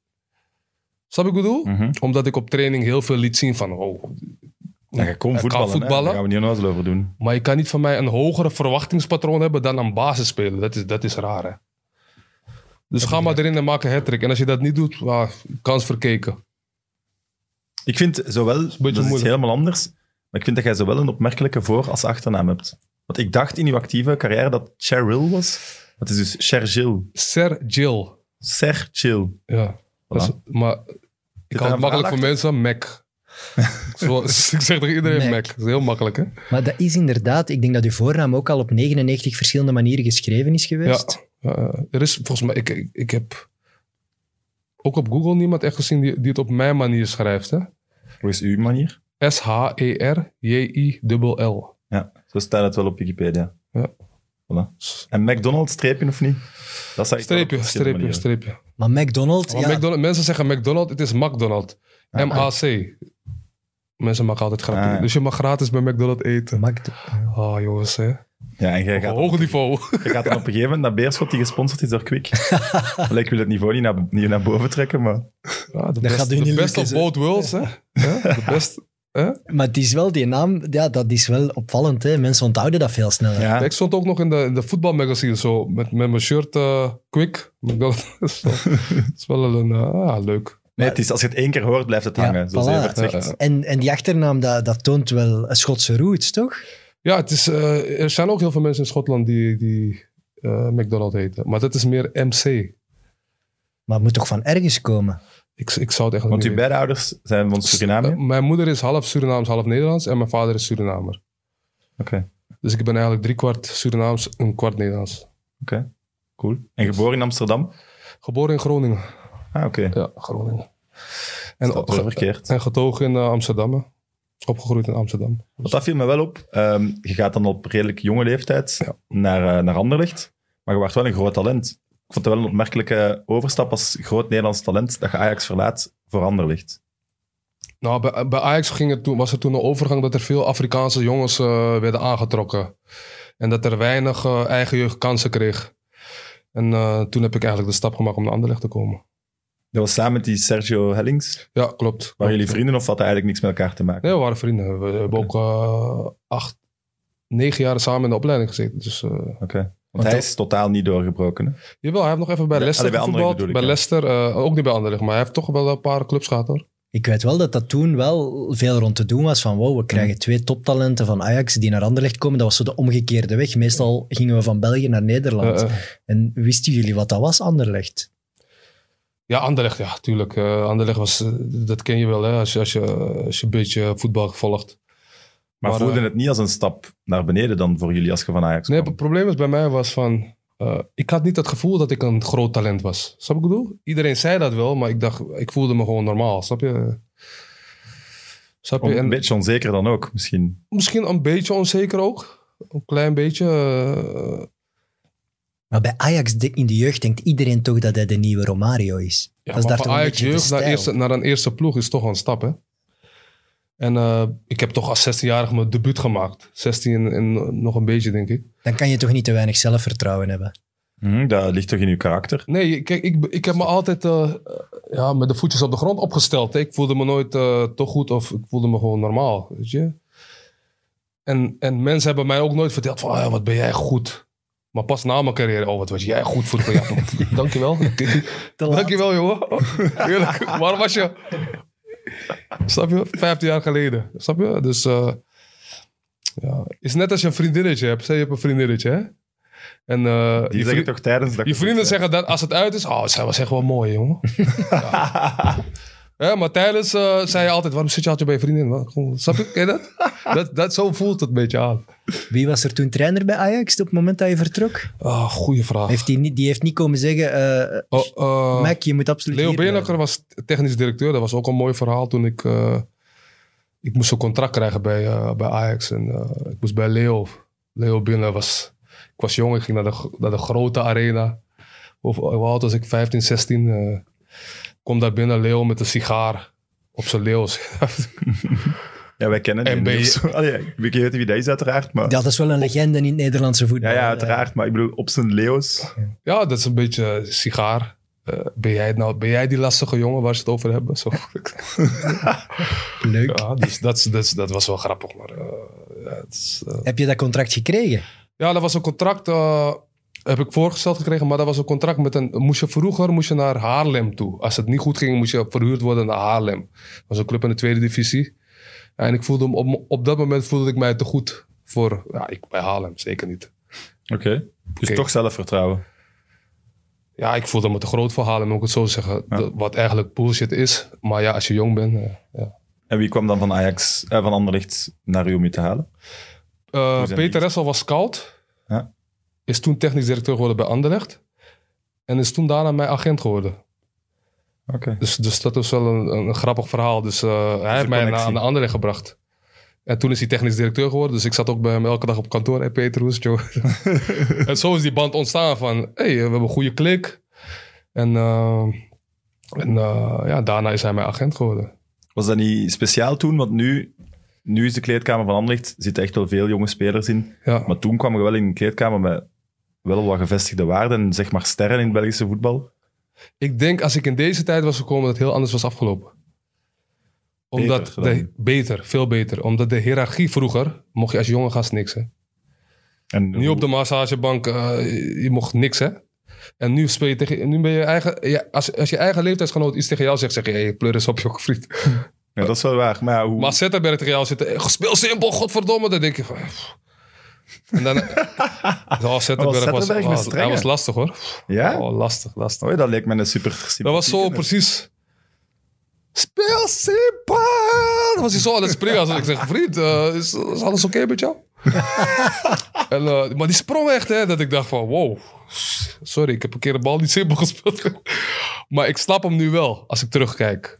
S3: Snap ik wat ik bedoel?
S1: Mhm.
S3: Omdat ik op training heel veel liet zien van, oh,
S1: Ja, je kon
S3: Hij kan
S1: voetballen, hè.
S3: voetballen.
S1: daar gaan we niet onnozel over doen.
S3: maar je kan niet van mij een hogere verwachtingspatroon hebben dan een basisspeler. Dat is, dat is raar, hè? Dus ga maar erin en maak een hat En als je dat niet doet, ah, kans verkeken.
S1: Ik vind zowel, dat is, iets
S3: moeilijk.
S1: helemaal anders, maar ik vind dat jij zowel een opmerkelijke voor- als achternaam hebt. Want ik dacht in uw actieve carrière dat Cheryl was. Dat is dus Sergil.
S3: Ser Jill.
S1: Sergil.
S3: Ja. Dat is- maar ik
S1: Zit
S3: hou
S1: daar
S3: het
S1: een
S3: makkelijk voor
S1: verhaal
S3: mensen. Mac. Zoals, ik zeg tegen iedereen Mac.
S2: Mac.
S3: Dat is heel makkelijk, hè?
S2: Maar dat is inderdaad, ik denk dat uw voornaam ook al op 99 verschillende manieren geschreven is
S3: Ja.
S2: geweest.
S3: Eh, er is volgens mij... Ik, ik, ik heb ook op Google niemand echt gezien die, die het op mijn manier schrijft, hè? E
S1: Hoe is uw manier?
S3: S-H-E-R-J-I-L-L.
S1: Ja, zo staat het wel op Wikipedia.
S3: Ja.
S1: Voilà. En McDonald's, streepje of niet? Dat zag ik wel op
S3: Streepje,
S1: verschillende manieren.
S3: streepje, streepje.
S2: Maar McDonald's,
S3: Maar
S2: ja,
S3: McDonald- mensen zeggen McDonald's, het is McDonald's.
S1: Ah, ah.
S3: M-A-C. Mensen maken altijd grapjes.
S1: Ah, ja.
S3: Dus je mag gratis bij McDonald's eten.
S2: Mac-
S3: Ah, jongens, hè.
S1: Ja, en jij
S3: Op een
S1: gaat,
S3: hoog niveau.
S1: jij gaat dan op een gegeven moment naar Beerschot, die gesponsord is door Kwik. Allee, ik wil het niveau niet naar, niet naar boven trekken, maar...
S3: Ja, de
S2: Dat
S3: best,
S2: gaat u niet
S3: de best
S2: lukken,
S3: of
S2: ze.
S3: both worlds, hè. Ja, de best.
S2: Maar het is wel die naam, ja, dat is wel opvallend. Hè. Mensen onthouden dat veel sneller.
S1: Ja.
S3: Ik stond ook nog in de, in de voetbalmagazine zo, met, met mijn shirt eh, quick. McDonald's. Dat is wel- dat is wel een, eh, ah, leuk.
S1: Nee, het is, als je het één keer hoort, blijft het
S2: Ja,
S1: hangen, zoals
S2: voilà.
S1: Evert zegt.
S3: Ja,
S2: En, en die achternaam, dat, dat toont wel een Schotse roots, toch?
S3: Ja, het is, eh, er zijn ook heel veel mensen in Schotland die, die eh, McDonald's eten. Maar dat is meer MC.
S2: Maar het moet toch van ergens komen?
S3: Ik, ik zou het echt
S1: Want
S3: niet
S1: uw beide ouders zijn van Suriname.
S3: Eh,
S1: Oké.
S3: Mijn moeder is half Surinaams, half Nederlands. En mijn vader is Surinamer.
S1: Oké.
S3: Dus ik ben eigenlijk driekwart Surinaams en een kwart Nederlands.
S1: Cool. En geboren in Amsterdam?
S3: Geboren in Groningen.
S1: Ah, oké.
S3: Ja, Groningen.
S1: En
S3: Eh, En,
S1: dat is eh, wel verkeerd.
S3: en getogen in eh, Amsterdam. hè. Opgegroeid in Amsterdam.
S1: Want dat viel me wel op. Ehm, je gaat dan op redelijk jonge leeftijd naar, eh, naar Anderlecht. Maar je werd wel een groot talent. Ik vond het wel een opmerkelijke overstap als groot Nederlands talent dat je Ajax verlaat voor Anderlecht.
S3: Nou, bij, bij Ajax ging het toen, was er toen een overgang dat er veel Afrikaanse jongens eh, werden aangetrokken. En dat er weinig eh, eigen jeugd kansen kreeg. En eh, toen heb ik eigenlijk de stap gemaakt om naar Anderlecht te komen.
S1: Dat was samen met die Sergio Hellings.
S3: Ja, klopt.
S1: Waren
S3: Klopt.
S1: jullie vrienden of had dat eigenlijk niks met elkaar te maken?
S3: Nee, we waren vrienden. We hebben ook eh, acht, negen jaar samen in de opleiding gezeten. Dus, eh,
S1: Oké. Want hij is totaal niet doorgebroken. hè?
S3: jawel, hij heeft nog even bij
S1: Ja,
S3: Leicester
S1: allee, bij Anderlecht
S3: gevoetbald.
S1: bedoel ik,
S3: Bij
S1: ja.
S3: Leicester, eh, ook niet bij Anderlecht. Maar hij heeft toch wel een paar clubs gehad hoor.
S2: Ik weet wel dat dat toen wel veel rond te doen was van wow, we krijgen twee toptalenten van Ajax die naar Anderlecht komen. Dat was zo de omgekeerde weg. Meestal gingen we van België naar Nederland.
S3: Eh, eh,
S2: En wisten jullie wat dat was, Anderlecht?
S3: ja, Anderlecht, ja, tuurlijk. Eh, Anderlecht was, eh, dat ken je wel hè, als je, als je, als je een beetje voetbal volgt.
S1: Maar,
S3: Maar,
S1: voelde
S3: eh,
S1: het niet als een stap naar beneden dan voor jullie als je van Ajax
S3: Nee,
S1: kwam?
S3: het probleem is bij mij was van... eh, ik had niet het gevoel dat ik een groot talent was. Snap je wat ik bedoel? Iedereen zei dat wel, maar ik dacht... Ik voelde me gewoon normaal, snap je? Snap je?
S1: Om- Een
S3: En-
S1: beetje onzeker dan ook, misschien.
S3: misschien een beetje onzeker ook. Een klein beetje. eh,
S2: Maar bij Ajax de- in de jeugd denkt iedereen toch dat hij de nieuwe Romario is.
S3: ja,
S2: dat is
S3: maar
S2: daar
S3: van
S2: toch een
S3: Ajax
S2: beetje de
S3: jeugd naar,
S2: stijl.
S3: eerste, naar een eerste ploeg is toch wel een stap, hè? En eh, ik heb toch als 16-jarig mijn debuut gemaakt. 16 en, en nog een beetje, denk ik.
S2: Dan kan je toch niet te weinig zelfvertrouwen hebben.
S1: Mhm, dat ligt toch in uw karakter?
S3: Nee, kijk, ik, ik heb me altijd eh, ja, met de voetjes op de grond opgesteld. hè. Ik voelde me nooit eh, toch goed of ik voelde me gewoon normaal, weet je. En, en mensen hebben mij ook nooit verteld van, ah, wat ben jij goed. Maar pas na mijn carrière, oh, wat was jij goed voetbal. Ja, dankjewel. Dankjewel, jongen. Eerlijk, waarom was je... Snap je? 15 jaar geleden. Snap je? Dus... eh, ja. is net als je een vriendinnetje hebt. Zeg, je hebt een vriendinnetje, hè? En, eh,
S1: Die
S3: je
S1: zeggen
S3: vriend-
S1: toch tijdens dat
S3: je vrienden zeggen dan, als het uit is, oh, zij was echt wel mooi, jongen. Ja. Hè, maar tijdens eh, zei je altijd, waarom zit je altijd bij je vriendin? Wat- gewoon, Snap je? Ken je dat? dat, dat? Zo voelt het een beetje aan.
S2: Wie was er toen trainer bij Ajax op het moment dat je vertrok?
S3: Ah, goeie vraag.
S2: Heeft die, niet, die heeft niet komen zeggen, eh
S3: Oh, eh,
S2: Mac, je moet absoluut
S3: Leo
S2: hier blijven.
S3: Beenakker was technisch directeur. Dat was ook een mooi verhaal toen ik... eh, ik moest een contract krijgen bij, eh, bij Ajax. En eh, ik moest bij Leo. Leo binnen was... Ik was jong, ik ging naar de, gro- naar de grote arena. Of eh, hoe oud was ik? 15, 16. eh. Ik kom daar binnen, Leo met een sigaar. Op zijn Leo's.
S1: Ja, wij kennen die.
S3: En ben je-
S1: Niels. Allee, ik weet niet wie dat is uiteraard, maar...
S2: Dat is wel een legende in het Nederlandse voetbal.
S1: Ja, ja, uiteraard. Maar ik bedoel, op zijn Leo's.
S3: ja, dat is een beetje eh, sigaar. Eh, ben, jij het nou, ben jij die lastige jongen waar ze het over hebben? Zo.
S2: Eh, leuk.
S3: ja, dus dat, is- dat, is- dat was wel grappig. Maar, eh, ja, het is, eh,
S2: Heb je dat contract gekregen?
S3: Ja, dat was een contract, eh, heb ik voorgesteld gekregen, maar dat was een contract met een, moest je vroeger moest je naar Haarlem toe. Als het niet goed ging, moest je verhuurd worden naar Haarlem. Dat was een club in de tweede divisie. En ik voelde, hem- op, op dat moment voelde ik mij te goed voor, ja, ik bij Haarlem, zeker niet.
S1: Oké. Dus
S3: Oké.
S1: toch zelfvertrouwen.
S3: Ja, ik voelde me te groot voor Haarlem, moet ik het zo zeggen.
S1: Ja.
S3: Dat- wat eigenlijk bullshit is. Maar ja, als je jong bent, eh, ja.
S1: En wie kwam dan van Ajax, eh, van Anderlicht naar Rumi te halen?
S3: Eh,
S1: Hoe zijn
S3: Peter
S1: die?
S3: Ressel was scout.
S1: Ja.
S3: Is toen technisch directeur geworden bij Anderlecht. En is toen daarna mijn agent geworden.
S1: Oké.
S3: Dus, dus dat is wel een, een grappig verhaal. Dus eh, hij heeft mij naar-
S1: connectie.
S3: aan de Anderlecht gebracht. En toen is hij technisch directeur geworden. Dus ik zat ook bij hem elke dag op kantoor. Hey Peter, hoe is het, joh? en zo is die band ontstaan van... hey, we hebben een goede klik. En, eh, en eh, ja, daarna is hij mijn agent geworden.
S1: Was dat niet speciaal toen? Want nu, nu is de kleedkamer van Anderlicht, zitten echt wel veel jonge spelers in.
S3: Ja.
S1: Maar toen kwam je wel in een kleedkamer met wel wat gevestigde waarden en zeg maar sterren in het Belgische voetbal.
S3: Ik denk als ik in deze tijd was gekomen, dat het heel anders was afgelopen. Omdat
S1: Beter
S3: beter,
S1: gedaan.
S3: beter veel beter. Omdat de hiërarchie vroeger mocht je als jonge gast niks. Hè?
S1: En
S3: Niet op de massagebank, eh, je mocht niks hè. En nu speel je tegen, nu ben je eigen, ja, als, als je eigen leeftijdsgenoot iets tegen jou zegt, zeg je, hey, pleur eens op, joh, vriend.
S1: Ja, dat is wel waar. Maar ja, hoe...
S3: Maar als Zetterberg tegen jou zit, eh, speel simpel, godverdomme, dan denk je van... eh, pff. En dan... oh, Zetterberg, was,
S1: Zetterberg met
S3: was, hij
S1: strengen?
S3: was lastig hoor.
S1: Ja?
S3: Oh, lastig, lastig.
S1: Oei, dat leek me een super sympathieke.
S3: Dat was zo precies. Speel simpel! Dan was hij zo aan het springen. Als ik zeg, vriend, eh, is, is alles oké met jou? en, eh, maar die sprong echt, hè, dat ik dacht van, wow. Sorry, ik heb een keer de bal niet simpel gespeeld. maar ik snap hem nu wel, als ik terugkijk.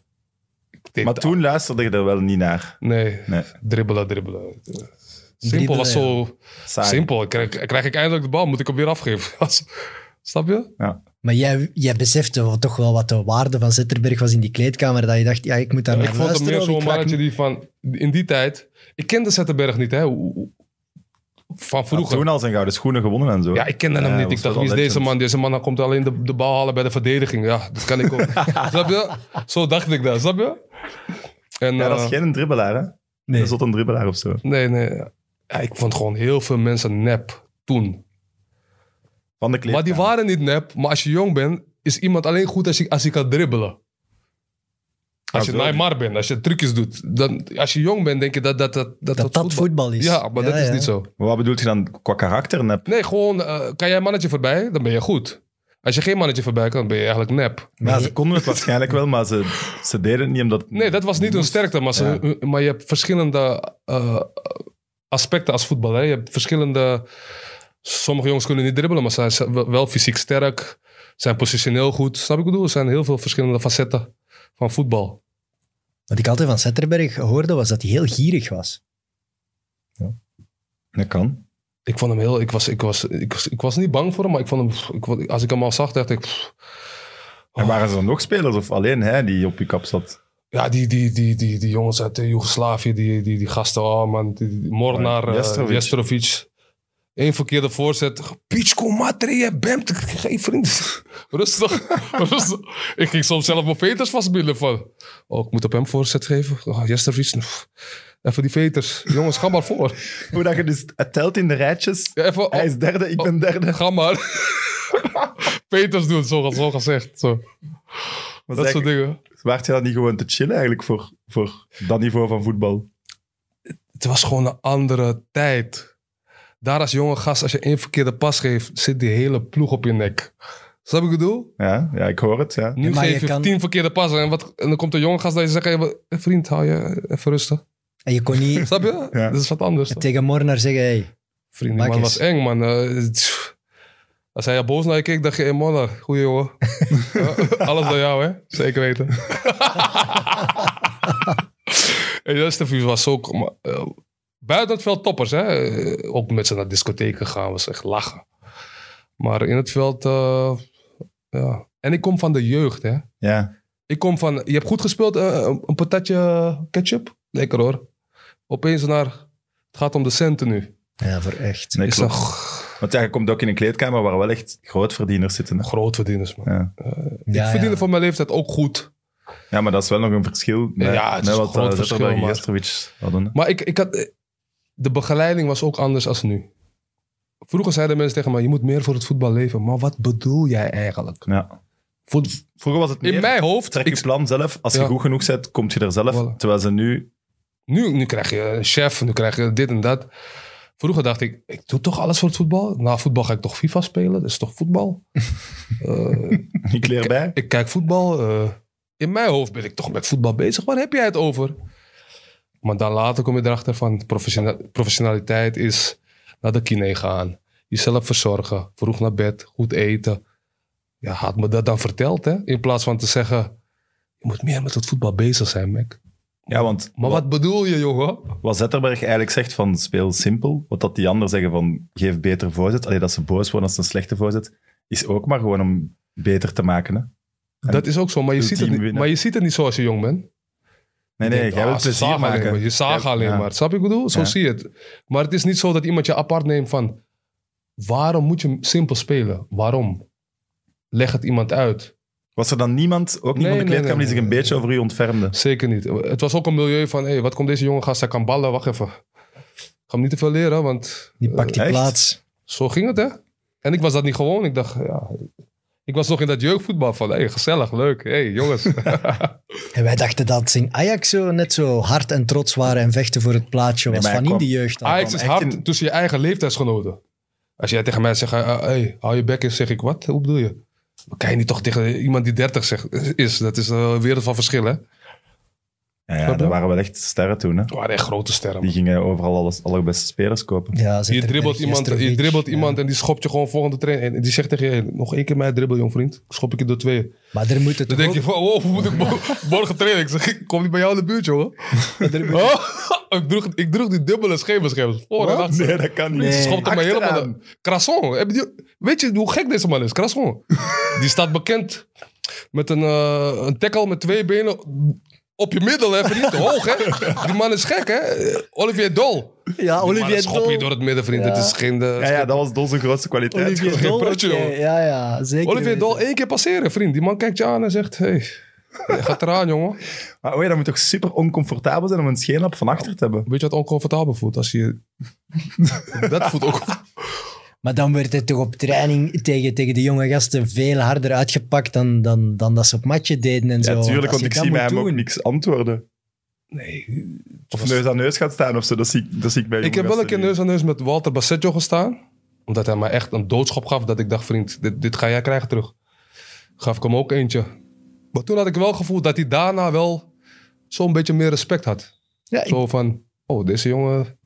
S3: Ik denk,
S1: Maar toen luisterde je er wel niet naar.
S3: Nee,
S1: Nee.
S3: dribbelen, dribbelen. Simpel
S2: Dribbelen,
S3: was zo
S1: Saai.
S3: simpel. Ik Krijg, krijg ik eindelijk de bal, moet ik hem weer afgeven. snap je?
S2: Maar jij, jij besefte wel toch wel wat de waarde van Zetterberg was in die kleedkamer. Dat je dacht, ja, ik moet daar
S3: Ja,
S2: naar
S3: ik vond hem
S2: luisteren.
S3: meer
S2: of
S3: zo'n
S2: ik raak
S3: mannetje
S2: niet-
S3: die van... In die tijd... Ik kende Zetterberg niet, hè. hoe- hoe- Van
S1: Had
S3: vroeger.
S1: toen al zijn gouden schoenen gewonnen en zo.
S3: Ja, ik kende hem
S1: Ja,
S3: niet.
S1: was
S3: Ik dacht,
S1: wel
S3: wie is
S1: legend.
S3: deze man? Deze man komt alleen de, de bal halen bij de verdediging. Ja, dat kan ik ook. snap je? Zo dacht ik dat, snap je? En,
S1: Ja, dat is
S3: eh,
S1: geen dribbelaar, hè?
S2: Nee.
S1: Dat is een dribbelaar of zo.
S3: Nee, nee. Ja, ik vond gewoon heel veel mensen nep toen.
S1: Van de
S3: Maar die
S1: kleedkamer.
S3: waren niet nep. Maar als je jong bent, is iemand alleen goed als je, als je kan dribbelen. Als
S1: Ah,
S3: je
S1: zo.
S3: Neymar bent, als je trucjes doet. Dan, als je jong bent, denk je dat dat... Dat dat,
S2: Dat dat voetbal is.
S3: Ja, maar dat is
S2: ja.
S3: niet zo.
S1: Maar wat bedoelt je dan qua karakter? Nep?
S3: Nee, gewoon, eh, kan jij een mannetje voorbij, dan ben je goed. Als je geen mannetje voorbij kan, dan ben je eigenlijk nep.
S1: Ja, ze konden het waarschijnlijk wel, maar ze, ze deden het niet omdat...
S3: Nee, dat was niet hun sterkte, maar, ze, eh, maar je hebt verschillende eh, aspecten als voetbal. Hè. Je hebt verschillende... Sommige jongens kunnen niet dribbelen, maar ze zijn wel fysiek sterk. Zijn positioneel goed. Snap ik wat ik bedoel? Er zijn heel veel verschillende facetten van voetbal.
S2: Wat ik altijd van Zetterberg hoorde, was dat hij heel gierig was.
S1: Dat kan.
S3: Ik vond hem heel... Ik was, ik was, ik was, ik was niet bang voor hem, maar ik vond hem, ik, vond- als ik hem al zag, dacht ik... pff,
S1: En waren ze dan nog spelers of alleen hij die op je kap zat?
S3: Ja, die, die, die, die, die jongens uit eh, Joegoslavië, die, die, die gasten, oh man, die, die- die Mornar,
S1: Ja,
S3: eh,
S1: Jestrovic.
S3: Jestrovic. Eén verkeerde voorzet. Pichko Matre, je bent geen vriend. Rustig, rustig. Ik ging soms zelf mijn veters vastbinden van... Oh, ik moet op hem voorzet geven. Oh, Jestrovic, pff, even die veters. Jongens, ga maar voor.
S1: Hoe dat je dus het telt in de rijtjes.
S3: Ja, Oh. even,
S1: Hij is derde, ik ben derde.
S3: ga maar. Peters doet, zo, zo gezegd. Zo.
S1: Maar
S3: Dat
S1: zeg,
S3: soort dingen.
S1: waart je dan niet gewoon te chillen eigenlijk voor, voor dat niveau van voetbal?
S3: het was gewoon een andere tijd. Daar als jonge gast, als je één verkeerde pas geeft, zit die hele ploeg op je nek. Snap je wat ik bedoel?
S1: Ja, ja, ik hoor het. Ja.
S3: Nu
S2: maar
S3: geef
S2: je
S3: je
S2: kan-
S3: tien verkeerde passen. En, wat, en dan komt een jonge gast dat je zegt, hey, wat- vriend, hou je even rustig.
S2: En je kon niet
S3: Snap je?
S1: Ja.
S3: Dat is wat anders. toch?
S2: tegen Mornar zeggen, hey,
S3: Vriend, die
S2: Maak
S3: man
S2: eens.
S3: was eng, man. Eh, tjoe. als hij boos naar je keek, dacht je, hey, man, goeie jongen. Ja, Alles door jou, hè? Zeker weten. en de rest van u was ook... maar, eh, buiten het veld toppers, hè? Eh, Ook met ze naar discotheken gaan, was echt lachen. Maar in het veld... eh, ja. En ik kom van de jeugd, hè?
S1: Ja.
S3: Ik kom van, je hebt goed gespeeld, eh, een- een patatje ketchup. Lekker hoor. Opeens naar, het gaat om de centen nu.
S2: ja, voor echt.
S1: Nee,
S3: is
S1: klopt.
S3: een
S1: Want ja, je komt ook in een kleedkamer waar wel echt grootverdieners zitten. hè.
S3: grootverdieners man.
S1: Ja.
S2: Ja,
S3: ik verdiende
S2: ja.
S3: voor mijn leeftijd ook goed.
S1: ja, maar dat is wel nog een verschil met,
S3: Ja, het is
S1: met
S3: een
S1: wat
S3: groot
S1: eh,
S3: verschil,
S1: Zetterberg en
S3: maar-
S1: Gestrovic hadden. hè.
S3: Maar ik, ik had, eh, de begeleiding was ook anders als nu. Vroeger zeiden mensen tegen me, je moet meer voor het voetbal leven. Maar wat bedoel jij eigenlijk?
S1: Ja.
S3: Voor-
S1: Vroeger was het meer,
S3: in mijn hoofd,
S1: trek je
S3: ik-
S1: plan zelf. Als je
S3: Ja.
S1: goed genoeg bent, kom je er zelf.
S3: Voilà.
S1: Terwijl ze nu...
S3: nu, nu krijg je een chef, nu krijg je dit en dat. Vroeger dacht ik, ik doe toch alles voor het voetbal? Na voetbal ga ik toch FIFA spelen? Dat is toch voetbal? Eh,
S1: Ik leer bij.
S3: Ik kijk voetbal. eh, in mijn hoofd ben ik toch met voetbal bezig. Waar heb jij het over? Maar dan later kom je erachter van professiona- professionaliteit is naar de kine gaan. Jezelf verzorgen. Vroeg naar bed. Goed eten. Ja, had me dat dan verteld hè? In plaats van te zeggen, je moet meer met het voetbal bezig zijn Mac.
S1: Ja, want
S3: Maar wat bedoel je jongen?
S1: wat Zetterberg eigenlijk zegt van speel simpel, wat dat die anderen zeggen van geef beter voorzet, alleen dat ze boos worden als ze een slechte voorzet, is ook maar gewoon om beter te maken. Hè? En
S3: dat is ook zo, maar je,
S1: ultiem
S3: ziet het niet,
S1: winnen.
S3: maar je ziet het niet zo als je jong bent.
S1: Nee,
S3: Je
S1: nee,
S3: denkt,
S1: jij
S3: ah,
S1: wilt
S3: ze
S1: plezier
S3: zagen alleen
S1: maken.
S3: maar. Je zagen
S1: Jij-
S3: alleen
S1: ja.
S3: maar. Snap je wat ik bedoel? Zo
S1: Ja.
S3: zie je het. Maar het is niet zo dat iemand je apart neemt van... Waarom moet je simpel spelen? Waarom? Leg het iemand uit.
S1: Was er dan niemand, ook
S3: Nee,
S1: niemand in de
S3: nee,
S1: kleedkamer, die
S3: nee,
S1: zich een
S3: nee,
S1: beetje over u ontfermde?
S3: Zeker niet. Het was ook een milieu van... Hey, wat komt deze jongen gast? Hij kan ballen. Wacht even. Ik ga hem niet te veel leren, want...
S2: Die pakt die
S1: echt?
S2: plaats.
S3: Zo ging het, hè? En ik was dat niet gewoon. Ik dacht, ja... Ik was nog in dat jeugdvoetbal van... Hey, gezellig, leuk. Hey, jongens.
S2: En wij dachten dat Sing Ajax zo net zo hard en trots waren en vechten voor het plaatje
S1: Nee,
S2: was
S1: maar
S2: van
S1: hij
S2: in de
S1: kwam-
S2: jeugd. al.
S3: Ajax
S1: kwam
S3: is
S1: echt
S3: hard
S1: in-
S3: tussen je eigen leeftijdsgenoten. Als jij tegen mij zegt, eh, hey, hou je bek in, zeg ik, wat? Hoe bedoel je? Dan kan je niet toch tegen iemand die 30 zegt, is. Dat is een wereld van verschil, hè? Het
S1: Ja, ja
S3: Snap je?
S1: dat waren wel echt sterren toen. Hè?
S3: waren echt grote sterren.
S1: Die
S3: man.
S1: gingen overal alles, alle beste spelers kopen.
S2: Ja,
S3: Je
S2: Zetterberg,
S3: dribbelt, iemand, je
S2: Jestrovic,
S3: dribbelt
S2: ja.
S3: iemand en die schopt je gewoon volgende train. En die zegt tegen je, hey, nog één keer mij dribbel, jong vriend. Schop ik je door twee.
S2: Maar er moet het
S3: Dan
S2: toch
S3: denk
S2: ook-
S3: je, van, wow, hoe moet ik mo- morgen trainen? Ik zeg, ik kom niet bij jou in de buurt, jongen. Oh, ik, droeg, ik droeg die dubbele schemerscherms. Voor en achter.
S1: Nee, Oh, dat kan niet.
S2: Nee.
S3: Ze schopte mij
S1: Eh, Achteraan.
S3: helemaal... de- Crasson. Heb je die- weet je hoe gek deze man is? Crasson. die staat bekend met een, eh, een tackle met twee benen op je middel. Even niet te hoog, hè? Die man is gek, hè? Eh, Olivier Dol.
S2: Ja, Olivier
S3: schop je
S2: Dol.
S3: door het midden, vriend.
S2: Ja.
S3: Het is geen... eh,
S1: Ja, ja, dat was Dol zijn grootste kwaliteit.
S2: Olivier
S3: geen
S2: Dol.
S3: broodje,
S2: oké,
S3: hoor.
S2: Ja, ja, zeker.
S3: Olivier
S2: weten.
S3: Dol één keer passeren, vriend. Die man kijkt je aan en zegt... Hey, je gaat eraan, jongen.
S1: Maar oei, dat moet toch super oncomfortabel zijn om een scheenlap van achter te hebben.
S3: Weet je wat oncomfortabel voelt? Als je... dat voelt ook...
S2: Maar dan werd het toch op training tegen, tegen de jonge gasten veel harder uitgepakt dan, dan, dan dat ze op matje deden en zo.
S1: Ja, tuurlijk, want
S2: als je
S1: ik
S2: dat
S1: zie
S2: moet
S1: bij hem ook
S2: doen-
S1: niks antwoorden.
S3: Nee,
S1: Of neus aan neus gaat staan of zo, dat zie ik, dat zie ik bij
S3: Ik heb
S1: jongens
S3: wel een keer
S1: niet.
S3: neus aan neus met Walter Bassetto gestaan. Omdat hij mij echt een doodschop gaf. Dat ik dacht, vriend, dit, dit ga jij krijgen terug. Gaf ik hem ook eentje. Maar toen had ik wel het gevoel dat hij daarna wel zo'n beetje meer respect had.
S2: Ja, ik
S3: Zo van, oh, deze jongen...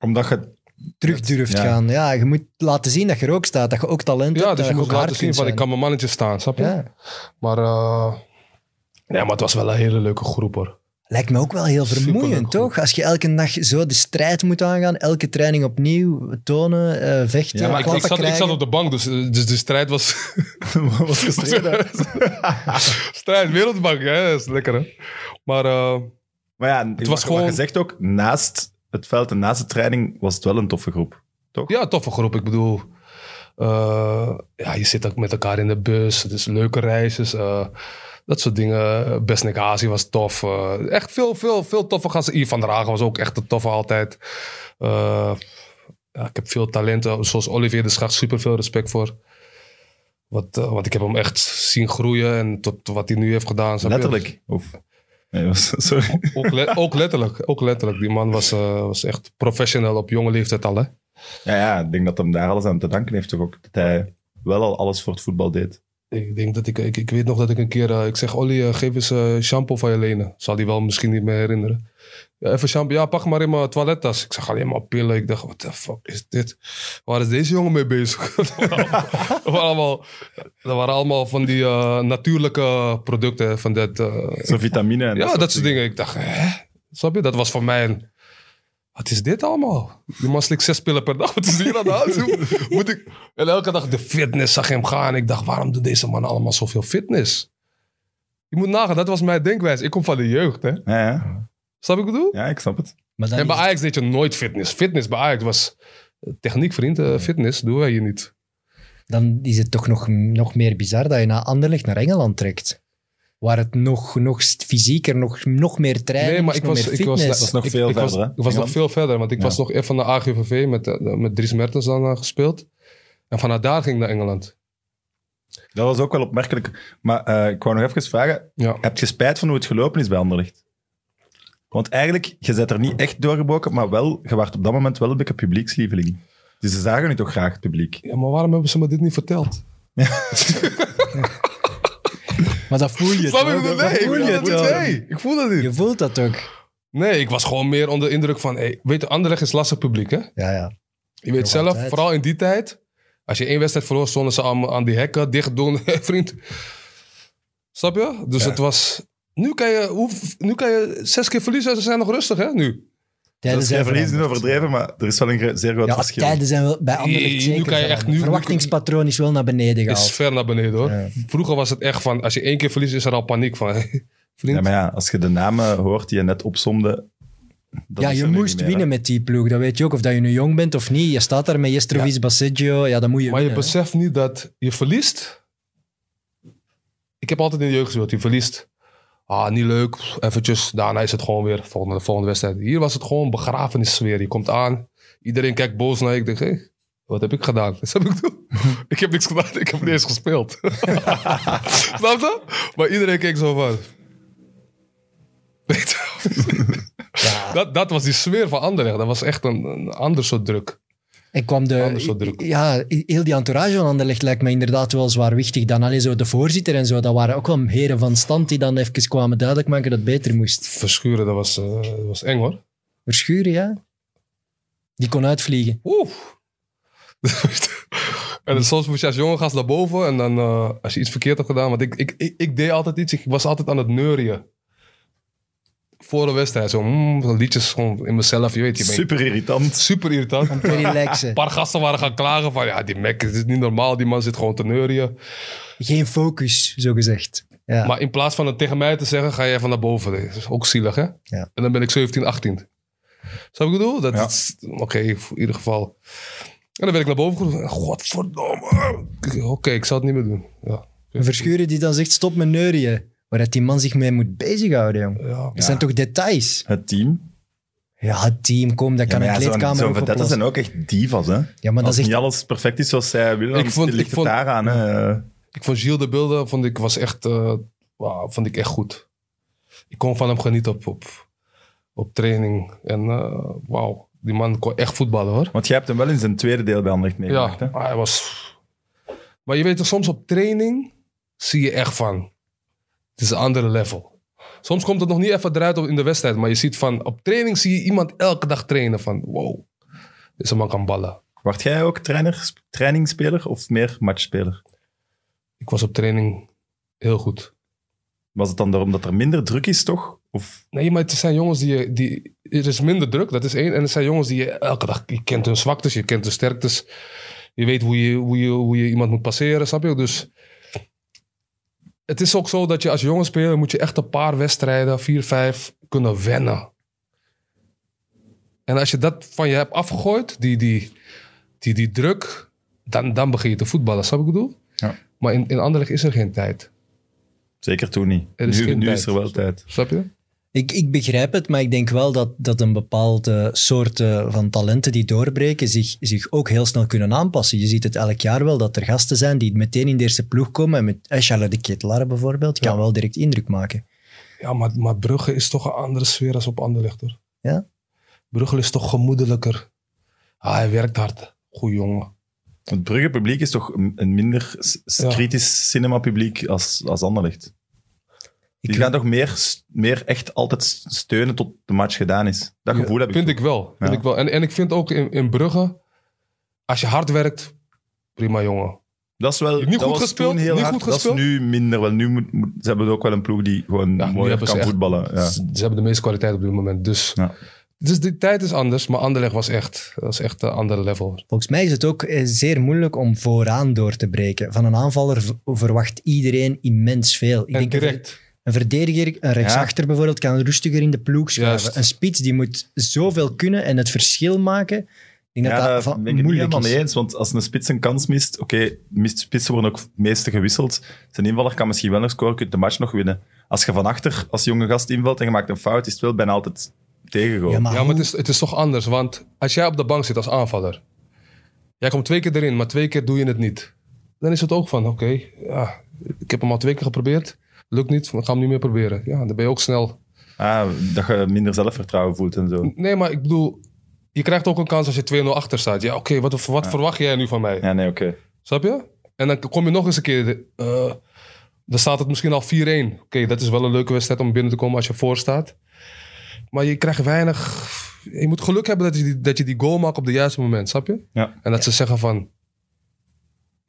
S1: Omdat je...
S2: terug durft
S1: Ja.
S2: gaan. Ja, je moet laten zien dat je er ook staat, dat je ook talent
S3: Ja,
S2: hebt,
S3: dus
S2: dat
S3: je
S2: je
S3: moet
S2: ook eh, hard
S3: laten
S2: kunt
S3: zien van,
S2: zijn.
S3: ik kan mijn mannetje staan, snap je?
S2: Ja.
S3: Maar, eh, nee, maar het was wel een hele leuke groep, hoor.
S2: Lijkt me ook wel heel
S3: Superleuk
S2: vermoeiend,
S3: goed.
S2: toch? Als je elke dag zo de strijd moet aangaan, elke training opnieuw, tonen, eh, vechten,
S1: Ja, maar
S3: ik, ik,
S2: klappen
S3: zat, ik
S2: krijgen.
S3: zat op de bank, dus, eh, dus de strijd was...
S1: Wat gestreden.
S3: strijd, wereldbank, hè? Dat is lekker, hè? Maar... eh,
S1: Maar ja, het was
S3: was
S1: gewoon...
S3: gewoon-
S1: gezegd ook, naast het veld en naast de training was het wel een toffe groep.
S3: Ja, toffe groep. Ik bedoel, eh, ja, je zit ook met elkaar in de bus. Het is leuke reisjes. eh, dat soort dingen. Besnik Hazi was tof. eh, echt veel, veel, veel toffe gasten. Ivan van der Hagen was ook echt een toffe altijd. Eh, ja, ik heb veel talenten. Zoals Olivier de Schacht, super veel respect voor. Wat, eh, want ik heb hem echt zien groeien en tot wat hij nu heeft gedaan. snap je?
S1: Letterlijk. Of... Nee, was, sorry.
S3: Ook, le- ook letterlijk. Ook letterlijk. Die man was, eh, was echt professional op jonge leeftijd al. Hè?
S1: Ja, ja, ik denk dat hem daar alles aan te danken heeft toch ook. Dat hij wel al alles voor het voetbal deed.
S3: Ik denk dat ik, ik, ik weet nog dat ik een keer, eh, ik zeg Olly, eh, geef eens eh, shampoo van je lenen. Zal hij wel misschien niet meer herinneren. Ja, even shampoo, ja pak maar in mijn toilettas. Ik zag alleen maar pillen. Ik dacht, what the fuck is dit? Waar is deze jongen mee bezig? dat, waren allemaal, dat waren allemaal van die eh, natuurlijke producten. hè, Van dat, eh,
S1: Zo vitamine en
S3: ja, dat soort dingen. Ik dacht, hè? Snap je? Dat was voor mij een... Wat is dit allemaal? Die man slikt zes pillen per dag. Wat is hier aan de hand? Hoe Moet ik... En elke dag de fitness zag hem gaan. Ik dacht, waarom doet deze man allemaal zoveel fitness? Je moet nagaan, dat was mijn denkwijze. Ik kom van de jeugd, hè.
S1: Ja, ja.
S3: Snap je wat ik bedoel?
S1: ja, ik snap het.
S2: Maar dan
S3: En bij
S2: is-
S3: Ajax deed je nooit fitness. Fitness bij Ajax was... eh, Techniek, vriend. eh, Fitness doen wij hier niet.
S2: dan is het toch nog, nog meer bizar dat je na Anderlecht naar Engeland trekt. Waar het nog, nog st- fysieker, nog, nog meer training
S3: Nee, maar
S2: is,
S3: ik
S2: nog
S3: was-
S2: meer
S3: ik was-
S2: fitness.
S1: Dat is nog
S3: Ik-
S1: veel
S3: ik was-
S1: verder, hè?
S3: Ik was nog
S1: Engeland?
S3: veel verder, want ik
S1: Ja.
S3: was nog even van de AGVV met, eh, met Dries Mertens dan eh, gespeeld. En vanuit daar ging ik naar Engeland.
S1: Dat was ook wel opmerkelijk. Maar eh, ik wou nog even vragen,
S3: Ja.
S1: heb je spijt van hoe het gelopen is bij Anderlecht? Want eigenlijk, je bent er niet echt doorgebroken, maar wel, je werd op dat moment wel een beetje publiekslieveling. Dus ze zagen nu toch graag het publiek.
S3: ja, maar waarom hebben ze me dit niet verteld?
S2: Maar dat voel je
S3: Snap
S2: toch?
S3: ik bedoel?
S2: Dat
S3: Nee, ik
S2: voel je
S3: voel dat
S2: toch?
S3: niet. Nee, ik voel dat niet.
S2: Je voelt dat ook.
S3: Nee, ik was gewoon meer onder de indruk van... Hey, weet je, Anderlecht is lastig publiek, hè?
S2: Ja, ja.
S3: Je weet
S2: Nog
S3: zelf,
S2: altijd.
S3: vooral in die tijd... Als je één wedstrijd verloor, stonden ze aan, aan die hekken dicht doen. vriend, snap je? Dus het was... Nu kan, je, hoe, nu kan je zes keer verliezen en ze zijn nog rustig, hè, nu.
S1: Dat is
S2: zijn
S1: geen verlies niet
S2: veranderd.
S1: overdreven, maar er is wel een gro- zeer groot
S2: Ja,
S1: verschil.
S2: tijden zijn wel bij Anderlecht
S3: Nee, nu
S2: zeker
S3: kan je echt-
S2: veranderd.
S3: nu- nu-
S2: Verwachtingspatroon is wel naar beneden
S3: is
S2: gehaald.
S3: ver naar beneden hoor.
S2: Ja.
S3: Vroeger was het echt van, als je één keer verliest, is er al paniek van. Vriend,
S1: Ja, maar ja, als je de namen hoort die je net opsomde... dat
S2: ja,
S1: is
S2: je
S1: er nu
S2: moest
S1: niet meer, hè.
S2: winnen met die ploeg. Dat weet je ook. Of dat je nu jong bent of niet. Je staat daar met Jestrovic, Baseggio. Ja, dan moet je
S3: maar je
S2: winnen, hè.
S3: beseft niet dat je verliest. Ik heb altijd in de jeugd gespeeld, je verliest. Ah, niet leuk. Eventjes, daarna is het gewoon weer volgende, de volgende wedstrijd. Hier was het gewoon begrafenissfeer. Je komt aan, iedereen kijkt boos naar je. Ik denk, hey, wat heb ik gedaan? Dat heb ik doen. ik heb niks gedaan, ik heb niet eens gespeeld. Snap je? Maar iedereen keek zo van... Weet je? dat, dat was die sfeer van Anderlecht. Dat was echt een, een ander soort druk.
S2: En kwam de...
S3: Anders zo druk.
S2: Ja, heel die entourage van Anderlecht lijkt me inderdaad wel zwaarwichtig. Dan alleen zo de voorzitter en zo. Dat waren ook wel heren van stand die dan even kwamen duidelijk maken dat het beter moest.
S3: Verschuren, dat was, eh, dat was eng hoor.
S2: Verschuren, ja. Die kon uitvliegen.
S3: Oeh. en dan soms moest je als jonge gast naar boven. En dan eh, als je iets verkeerd had gedaan. Want ik, ik, ik, ik deed altijd iets. Ik was altijd aan het neurien. Voor de wedstrijd. Zo, mm, zo liedjes gewoon in mezelf. Je weet, je bent
S1: Super irritant.
S3: super irritant.
S2: Om te
S3: Een
S2: relaxen.
S3: paar gasten waren gaan klagen van... Ja, die Mac, het is niet normaal. Die man zit gewoon te neurien.
S2: Geen focus, zo gezegd. Ja.
S3: Maar in plaats van het tegen mij te zeggen... Ga jij van naar boven. Dat is ook zielig, hè?
S2: Ja.
S3: En dan ben ik 17, 18. Snap je wat ik bedoel? Dat
S1: Ja.
S3: is- Oké, in ieder geval... En dan ben ik naar boven geroepen. Godverdomme. Oké, ik zal het niet meer doen. Ja.
S2: Een Verschuren die dan zegt stop met neurieën. Waar dat die man zich mee moet bezighouden, jong.
S3: Ja.
S2: Dat zijn toch details?
S1: Het team.
S2: Ja, het team, kom, dat kan
S1: maar
S2: een
S1: zo'n-
S2: kleedkamer
S1: zo'n
S2: ook
S1: vedetten
S2: oplossen.
S1: zijn ook echt divas, hè.
S2: Ja, maar dat
S1: Als
S2: is echt...
S1: niet alles perfect is zoals zij willen,
S3: Ik
S1: ik
S3: vond-
S1: vond, ligt
S3: ik
S1: het
S3: vond-
S1: daar aan. Hè.
S3: Ik vond Gilles de Beelden vond ik, was echt, eh, wauw, vond ik echt goed. Ik kon van hem genieten op, op, op training. En eh, wauw, die man kon echt voetballen hoor.
S1: Want jij hebt hem wel in zijn tweede deel bij Anderlecht
S3: Ja,
S1: meegemaakt, hè?
S3: maar hij was... Maar je weet toch, soms op training zie je echt van... Het is een andere level. Soms komt het nog niet even eruit op- in de wedstrijd. Maar je ziet van, op training zie je iemand elke dag trainen van... Wow, deze man kan ballen.
S1: Word jij ook trainer, trainingsspeler of meer matchspeler?
S3: Ik was op training heel goed.
S1: Was het dan daarom dat er minder druk is, toch? Of
S3: Nee, maar het zijn jongens die, je- die... Er is minder druk, dat is één. En het zijn jongens die je elke dag... Je kent hun zwaktes, je kent hun sterktes. Je weet hoe je, hoe je, hoe je iemand moet passeren, snap je? Dus het is ook zo dat je als jonge speler... moet je echt een paar wedstrijden, vier, vijf, kunnen wennen. En als je dat van je hebt afgegooid, die, die, die, die druk... Dan, dan begin je te voetballen, snap je wat ik bedoel?
S1: Ja.
S3: Maar in, in Anderlecht is er geen tijd,
S1: zeker toen niet?
S3: Er is
S1: nu
S3: geen
S1: nu
S3: tijd.
S1: is er wel tijd.
S3: snap je?
S2: Ik, ik begrijp het, maar ik denk wel dat, dat een bepaalde soort eh, van talenten die doorbreken zich, zich ook heel snel kunnen aanpassen. Je ziet het elk jaar wel dat er gasten zijn die meteen in de eerste ploeg komen. En met eh, Charlotte de Ketelaar bijvoorbeeld, kan wel direct indruk maken.
S3: Ja, maar, maar Brugge is toch een andere sfeer als op Anderlecht, hoor.
S2: Ja?
S3: Brugge is toch gemoedelijker. Ah, hij werkt hard. Goeie jongen.
S1: Het Brugge-publiek is toch een een minder s- s-
S3: Ja.
S1: kritisch cinemapubliek als, als Anderlecht. Die gaan toch meer, s- meer echt altijd s- steunen tot de match gedaan is. Dat gevoel
S3: Ja,
S1: heb ik.
S3: Vind
S1: toch.
S3: ik wel. Vind
S1: Ja.
S3: ik wel. En, en ik vind ook in, in Brugge, als je hard werkt, prima jongen.
S1: Dat is wel
S3: Niet
S1: dat
S3: goed
S1: was
S3: gespeeld,
S1: toen heel
S3: niet
S1: hard.
S3: goed
S1: dat is
S3: gespeeld.
S1: nu minder. Wel, nu moet, moet- ze hebben ook wel een ploeg die gewoon
S3: Ja, nu
S1: mooi
S3: hebben
S1: kan
S3: ze echt-
S1: voetballen. Ja.
S3: Ze, ze hebben de meeste kwaliteit op dit moment. Dus,
S1: Ja.
S3: dus de tijd is anders, maar Anderlecht was echt, was echt een ander level.
S2: Volgens mij is het ook eh, zeer moeilijk om vooraan door te breken. Van een aanvaller v- verwacht iedereen immens veel. Ik
S3: En
S2: denk een ver-
S3: direct.
S2: Een verdediger, een rechtsachter bijvoorbeeld, kan rustiger in de ploeg schuiven.
S3: Juist.
S2: Een spits die moet zoveel kunnen en het verschil maken. Ik denk
S1: Ja,
S2: dat dat,
S1: daar
S2: van-
S1: ben ik het niet
S2: moeilijk
S1: helemaal
S2: is.
S1: mee eens. Want als een spits een kans mist, oké, mist spitsen worden ook meeste gewisseld. Zijn invaller kan misschien wel nog scoren, kunt de match nog winnen. Als je van achter als jonge gast invalt en je maakt een fout, is het wel bijna altijd tegengoal.
S2: Ja, maar,
S3: Ja, maar het
S2: hoe-
S3: is, het is toch anders. Want als jij op de bank zit als aanvaller, jij komt twee keer erin, maar twee keer doe je het niet. Dan is het ook van, oké, ja, ik heb hem al twee keer geprobeerd. Lukt niet, we gaan hem niet meer proberen. Ja, dan ben je ook snel
S1: Ah, dat je minder zelfvertrouwen voelt en zo.
S3: Nee, maar ik bedoel, je krijgt ook een kans als je 2-0 achter staat. Ja, oké, wat, wat verwacht jij nu van mij?
S1: Ja, nee, oké.
S3: Snap je? En dan kom je nog eens een keer. eh, dan staat het misschien al 4-1. Oké, dat is wel een leuke wedstrijd om binnen te komen als je voor staat. Maar je krijgt weinig. Je moet geluk hebben dat je die, dat je die goal maakt op het juiste moment, snap je?
S1: Ja.
S3: En dat ze zeggen van.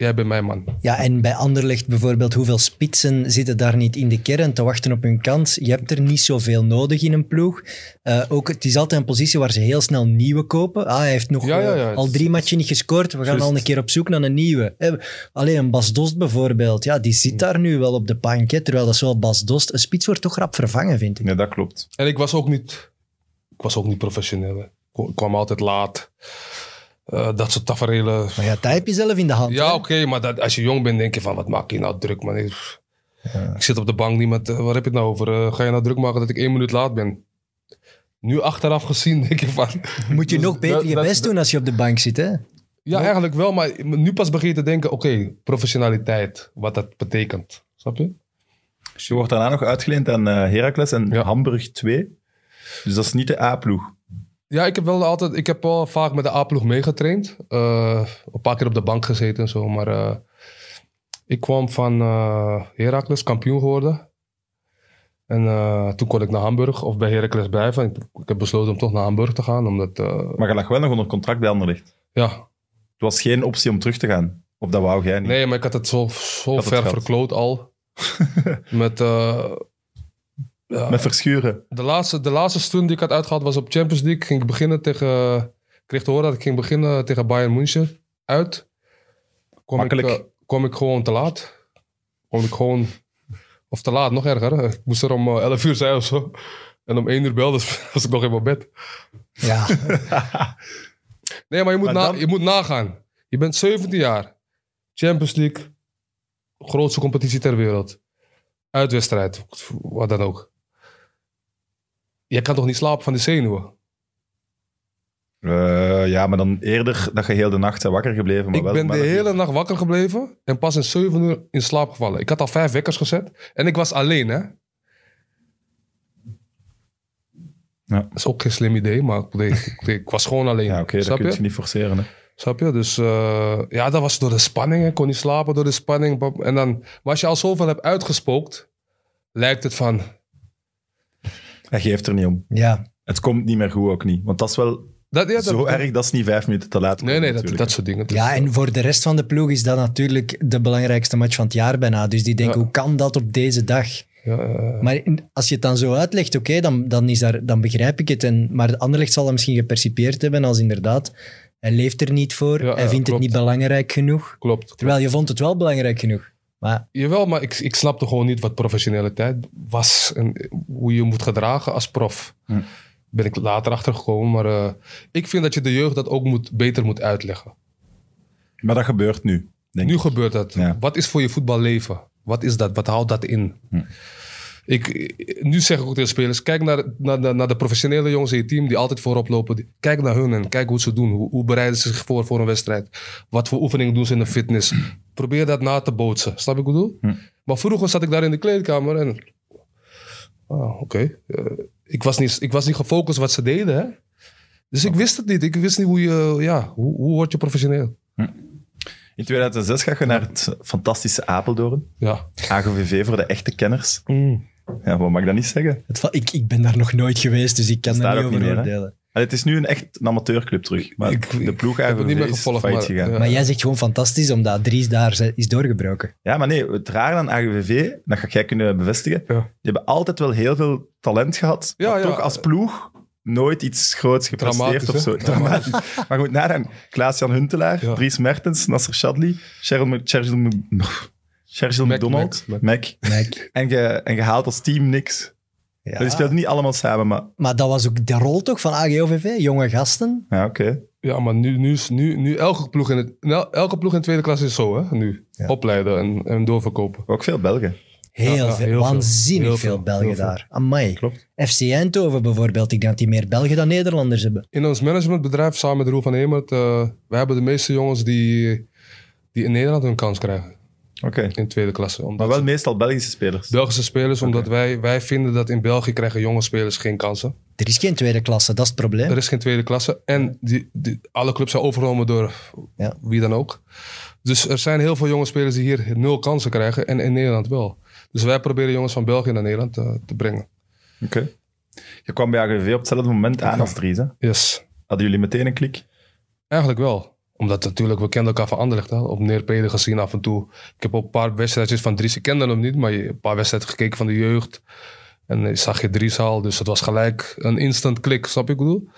S3: Jij bent mijn man.
S2: ja, en bij Anderlecht bijvoorbeeld, hoeveel spitsen zitten daar niet in de kern te wachten op hun kans? Je hebt er niet zoveel nodig in een ploeg. Eh, ook, het is altijd een positie waar ze heel snel nieuwe kopen. Ah, hij heeft nog
S3: Ja, ja,
S2: eh,
S3: ja, het
S2: al
S3: is-
S2: drie matchen niet gescoord. We gaan
S1: Juist.
S2: al een keer op zoek naar een nieuwe. Eh, Alleen een Bas Dost bijvoorbeeld, ja, die zit daar nu wel op de bank. hè, Terwijl dat is wel Bas Dost. Een spits wordt toch rap vervangen, vind ik.
S1: Ja, dat klopt.
S3: En ik was ook niet, ik was ook niet professioneel. hè. Ik kwam altijd laat. Eh, dat soort tafereelen.
S2: Maar ja, dat heb je zelf in de hand.
S3: Ja,
S2: hè?
S3: oké, maar dat, als je jong bent, denk je van, wat maak je nou druk, man? Ik, ik zit op de bank, niemand, eh, waar heb je het nou over? Eh, ga je nou druk maken dat ik één minuut laat ben? Nu achteraf gezien, denk je van...
S2: Moet je
S3: Dus
S2: nog beter
S3: dat-
S2: je
S3: dat-
S2: best doen als je op de bank zit, hè?
S3: Ja, eigenlijk wel, maar nu pas begin je te denken, oké, professionaliteit, wat dat betekent. Snap je?
S1: Dus je wordt daarna nog uitgeleend aan eh Heracles en
S3: Ja.
S1: Hamburg 2. Dus dat is niet de A-ploeg.
S3: Ja, ik heb wel altijd, ik heb wel vaak met de A-ploeg meegetraind. Eh, een paar keer op de bank gezeten en zo, maar eh, ik kwam van eh Heracles, kampioen geworden. En eh, toen kon ik naar Hamburg of bij Heracles blijven. Ik, ik heb besloten om toch naar Hamburg te gaan, omdat, eh,
S1: Maar je lag wel nog onder contract bij Anderlecht.
S3: ja.
S1: Het was geen optie om terug te gaan. Of dat wou jij niet.
S3: Nee, maar ik had het zo, zo
S1: Had het
S3: ver
S1: geld.
S3: verkloot al. met, eh, ja.
S1: Met verschuren.
S3: De laatste, de laatste stunt die ik had uitgehaald was op Champions League. Ging ik beginnen tegen. Ik kreeg te horen dat ik ging beginnen tegen Bayern München. Uit. Kom ik,
S1: Makkelijk.
S3: eh, kwam ik gewoon te laat. Kom ik gewoon. Of te laat, nog erger. Ik moest er om eh, 11 uur zijn of zo. En om 1 uur belde dus was ik nog in mijn bed.
S2: Ja,
S3: Nee, maar je moet,
S1: Maar
S3: na,
S1: dan-
S3: je moet nagaan. Je bent 17 jaar. Champions League. Grootste competitie ter wereld. Uitwedstrijd. Wat dan ook. Je kan toch niet slapen van de zenuwen?
S1: Eh, ja, maar dan eerder dat je heel de nacht eh, wakker gebleven. Maar
S3: Ik
S1: wel,
S3: ben de
S1: maar dat-
S3: hele nacht wakker gebleven en pas in 7 uur in slaap gevallen. Ik had al vijf wekkers gezet en ik was alleen, hè? Dat is ook geen slim idee, maar ik, deed- ik, deed- ik was gewoon alleen.
S1: Ja, oké, dat
S3: snap,
S1: kun
S3: je?
S1: je niet forceren. Hè.
S3: snap je? Dus eh, ja, dat was door de spanning. hè. Ik kon niet slapen door de spanning. Bam, En dan, maar als je al zoveel hebt uitgespookt, lijkt het van.
S1: Hij geeft er niet om.
S2: ja.
S1: Het komt niet meer goed ook niet. Want dat is wel
S3: Dat, ja, dat,
S1: zo erg, dat is niet vijf minuten te laat.
S3: Nee, nee, dat,
S1: natuurlijk.
S3: dat soort dingen.
S2: ja, en voor de rest van de ploeg is dat natuurlijk de belangrijkste match van het jaar bijna. Dus die denken,
S3: Ja.
S2: hoe kan dat op deze dag?
S3: Ja, eh,
S2: Maar in- als je het dan zo uitlegt, oké, dan, dan, is daar- dan begrijp ik het. En, maar de Anderlecht zal dat misschien gepercipieerd hebben als inderdaad... Hij leeft er niet voor,
S3: Ja, ja,
S2: hij vindt
S3: klopt.
S2: het niet belangrijk genoeg.
S3: klopt.
S2: Terwijl je vond het wel belangrijk genoeg. Maar
S3: Jawel, maar ik, ik snapte gewoon niet wat professionaliteit was en hoe je moet gedragen als prof.
S1: Hm.
S3: Ben ik later achtergekomen, maar eh, ik vind dat je de jeugd dat ook moet, beter moet uitleggen.
S1: Maar dat gebeurt nu. Denk
S3: Nu
S1: ik.
S3: gebeurt dat.
S1: Ja.
S3: Wat is voor je voetballeven? Wat is dat? Wat houdt dat in?
S1: Hm.
S3: Ik, nu zeg ik ook tegen spelers, kijk naar, naar, de- naar de professionele jongens in je team die altijd voorop lopen. Die- Kijk naar hun en kijk hoe ze doen. Hoe, hoe bereiden ze zich voor voor een wedstrijd? Wat voor oefeningen doen ze in de fitness? Probeer dat na te bootsen. Snap je wat ik bedoel?
S1: Hm.
S3: Maar vroeger zat ik daar in de kleedkamer en... Ah, oké. Eh, ik, was niet, ik was niet gefocust wat ze deden, hè? Dus ik wist het niet. Ik wist niet hoe je... Ja, hoe, hoe word je professioneel?
S1: In 2006 ga je naar het fantastische Apeldoorn.
S3: Ja.
S1: AGVV voor de echte kenners. Ja, wat mag ik dat niet zeggen?
S2: Het va- ik, ik ben daar nog nooit geweest, dus ik kan
S1: Staat
S2: daar niet
S1: ook
S2: over
S1: niet meer, hè?
S2: oordelen.
S1: Allee, het is nu een echt een amateurclub terug. Maar
S3: Ik-
S1: de ploeg
S3: ik heb het niet
S1: AGVV
S3: meer
S1: is
S3: gevolgd,
S1: failliet
S3: maar-
S1: gegaan.
S3: ja.
S2: Maar jij zegt gewoon fantastisch, omdat Dries daar ze- is doorgebroken.
S1: Ja, maar nee, het rare aan AGVV, dat ga jij kunnen bevestigen,
S3: Ja.
S1: die hebben altijd wel heel veel talent gehad,
S3: Ja,
S1: maar
S3: ja.
S1: toch als ploeg nooit iets groots gepresteerd
S3: Dramatisch,
S1: of zo.
S3: hè?
S1: Dramatisch. maar goed, nadenken. Klaas-Jan Huntelaar,
S3: Ja.
S1: Dries Mertens, Nasser Shadli, Cheryl Mc- Cheryl Mc- Cheryl
S3: Mac,
S1: McDonald,
S3: Mac,
S1: Mac.
S2: Mike.
S1: En je en je haalt als team niks.
S2: Ja.
S1: Die speelden niet allemaal samen, maar...
S2: Maar dat was ook de rol toch van AGOVV, jonge gasten.
S1: Ja, oké.
S3: Ja, maar nu, nu, is- nu, nu elke, ploeg in het, nou, elke ploeg in de tweede klas is zo, hè? Nu. Opleiden en, en doorverkopen.
S1: Ook veel Belgen.
S2: Heel,
S3: Ja, ja,
S2: veel,
S3: heel veel.
S2: waanzinnig
S3: Heel
S2: veel,
S3: veel,
S2: Belgen
S3: heel veel.
S2: daar. Amai.
S3: Klopt.
S2: FC Eindhoven bijvoorbeeld, ik denk dat die meer Belgen dan Nederlanders hebben.
S3: In ons managementbedrijf, samen met Roel van Hemert, eh we hebben de meeste jongens die, die in Nederland hun kans krijgen
S1: Oké.
S3: in tweede klasse. Omdat
S1: Maar wel meestal Belgische spelers.
S3: Belgische spelers, omdat wij, wij vinden dat in België krijgen jonge spelers geen kansen.
S2: Er is geen tweede klasse, dat is het probleem.
S3: Er is geen tweede klasse. En die, die- alle clubs zijn overgenomen door
S2: Ja.
S3: wie dan ook. Dus er zijn heel veel jonge spelers die hier nul kansen krijgen en in Nederland wel. Dus wij proberen jongens van België naar Nederland eh, te brengen.
S1: Oké. Je kwam bij AGVV op hetzelfde moment aan als Dries, hè?
S3: Yes.
S1: Hadden jullie meteen een klik?
S3: Eigenlijk wel. Omdat natuurlijk, we kenden elkaar van Anderlecht. Hè? Op neerpeden gezien af en toe. Ik heb ook een paar wedstrijdjes van Dries. Ik kende hem niet, maar je- een paar wedstrijden gekeken van de jeugd. En ik zag je Dries al. Dus het was gelijk een instant klik, snap je wat ik bedoel?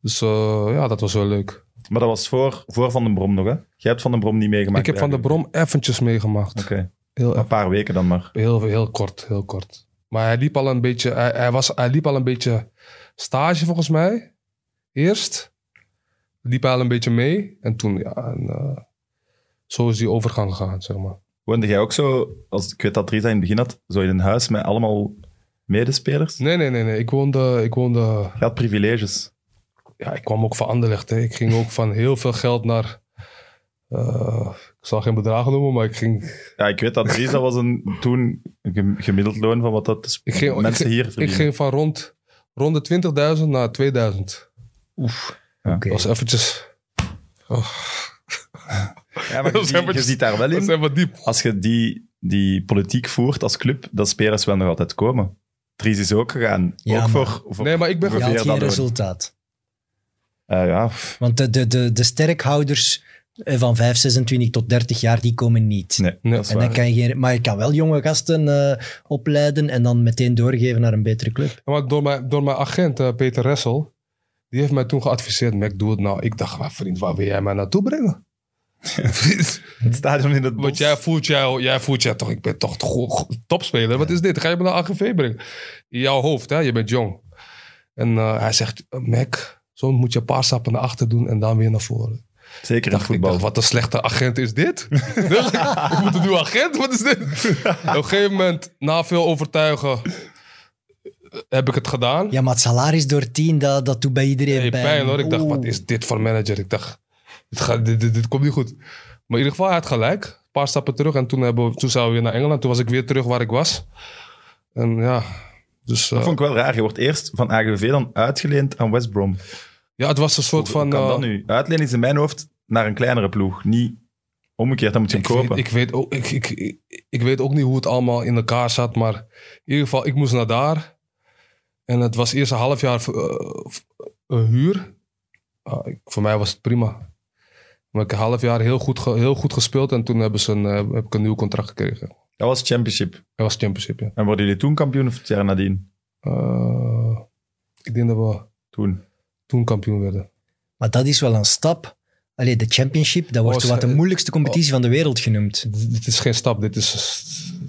S3: Dus eh, ja, dat was wel leuk.
S1: Maar dat was voor, voor Van den Brom nog, hè? Jij hebt Van den Brom niet meegemaakt.
S3: ik heb
S1: bij
S3: Van de
S1: AGVV.
S3: Brom eventjes meegemaakt.
S1: Oké,
S3: Heel,
S1: een paar weken dan maar.
S3: Heel, heel kort, heel kort. Maar hij liep al een beetje, hij, hij was, hij liep al een beetje stage volgens mij. Eerst liep hij al een beetje mee. En toen, ja, en, eh, zo is die overgang gegaan, zeg maar.
S1: Woonde jij ook zo, als, ik weet dat Dries dat in het begin had, zo in een huis met allemaal medespelers?
S3: Nee, nee, nee, nee. Ik woonde, ik woonde,
S1: Je had privileges.
S3: ja, ik kwam ook van Anderlecht. Hè. Ik ging ook van heel veel geld naar, eh, ik zal geen bedragen noemen, maar ik ging
S1: Ja, ik weet dat Dries, dat was een, toen een gem- gemiddeld loon van wat dat de sp-
S3: Ik ging- ik
S1: mensen
S3: ging-
S1: hier
S3: Ik
S1: verdienen.
S3: ging van rond, rond de 20.000 naar 2000.
S2: Oef.
S1: Ja.
S2: Oké.
S3: Dat was eventjes...
S1: ja, maar je,
S3: Dat
S1: ziet-
S3: zijn we-
S1: je ziet daar wel
S3: Dat is
S1: in.
S3: helemaal diep.
S1: Als je die, die politiek voert als club, dat spelers wel nog altijd komen. Dries is ook gegaan.
S2: Ja,
S1: ook
S2: maar-
S1: voor, voor
S3: Nee, maar ik ben
S2: Je had
S1: Ongeveer
S2: geen
S1: dat ook.
S2: resultaat.
S1: Eh, ja, pff,
S2: Want de, de, de, de sterkhouders eh, van 5, 26 tot 30 jaar, die komen niet.
S1: nee,
S3: Nee.
S1: dat is
S2: En dan
S1: waar.
S2: kan je geen, maar je kan wel jonge gasten eh, opleiden en dan meteen doorgeven naar een betere club.
S3: Ja, Maar door mijn, door mijn agent, eh, Peter Ressel, die heeft mij toen geadviseerd, Mac, doe het nou. Ik dacht, maar vriend, waar wil jij mij naartoe brengen? Vriend,
S1: Het stadion in het bos.
S3: Want jij voelt jou, jij voelt jou toch, ik ben toch go- go- topspeler. Wat is dit? Ga je me naar AGV brengen? In jouw hoofd, hè? je bent jong. En eh, hij zegt, Mac, zo moet je een paar stappen naar achter doen en dan weer naar voren.
S1: Zeker in
S3: dacht ik,
S1: voetbal.
S3: dacht, wat een slechte agent is dit? Dus ik moet een nieuwe agent, wat is dit? Op een gegeven moment, na veel overtuigen, eh, heb ik het gedaan.
S2: Ja, maar het salaris door 10, dat, dat doet bij iedereen
S3: Nee,
S2: pijn.
S3: pijn hoor. Ik dacht,
S2: Oeh.
S3: wat is dit voor manager? Ik dacht, dit, gaat, dit, dit, dit komt niet goed. Maar in ieder geval, hij had gelijk. Een paar stappen terug. En toen, hebben, we- toen zijn we weer naar Engeland. Toen was ik weer terug waar ik was. En ja, dus... eh,
S1: Dat vond ik wel raar. Je wordt eerst van AGV dan uitgeleend aan West Brom.
S3: ja, het was een soort
S1: Hoe
S3: van...
S1: kan
S3: eh,
S1: dat nu? Uitlenen is in mijn hoofd naar een kleinere ploeg. Niet omgekeerd, dan moet je
S3: ik,
S1: hem kopen.
S3: weet, ik, weet ook, ik, ik, ik, ik weet ook niet hoe het allemaal in elkaar zat. Maar in ieder geval, ik moest naar daar. En het was eerst een half jaar eh, een huur. Ah, ik- voor mij was het prima. Maar ik heb een half jaar heel goed, ge- heel goed gespeeld. En toen hebben ze een, eh, heb ik een nieuw contract gekregen.
S1: Dat was Championship.
S3: Dat was Championship, ja.
S1: En worden jullie toen kampioen of het jaar nadien?
S3: Eh, ik denk dat we
S1: Toen.
S3: toen kampioen werden.
S2: Maar dat is wel een stap. Allee, de championship, dat wordt
S3: Oh,
S2: zo wat de
S3: ze-
S2: moeilijkste competitie van de wereld genoemd.
S3: D- Dit is geen stap, dit is...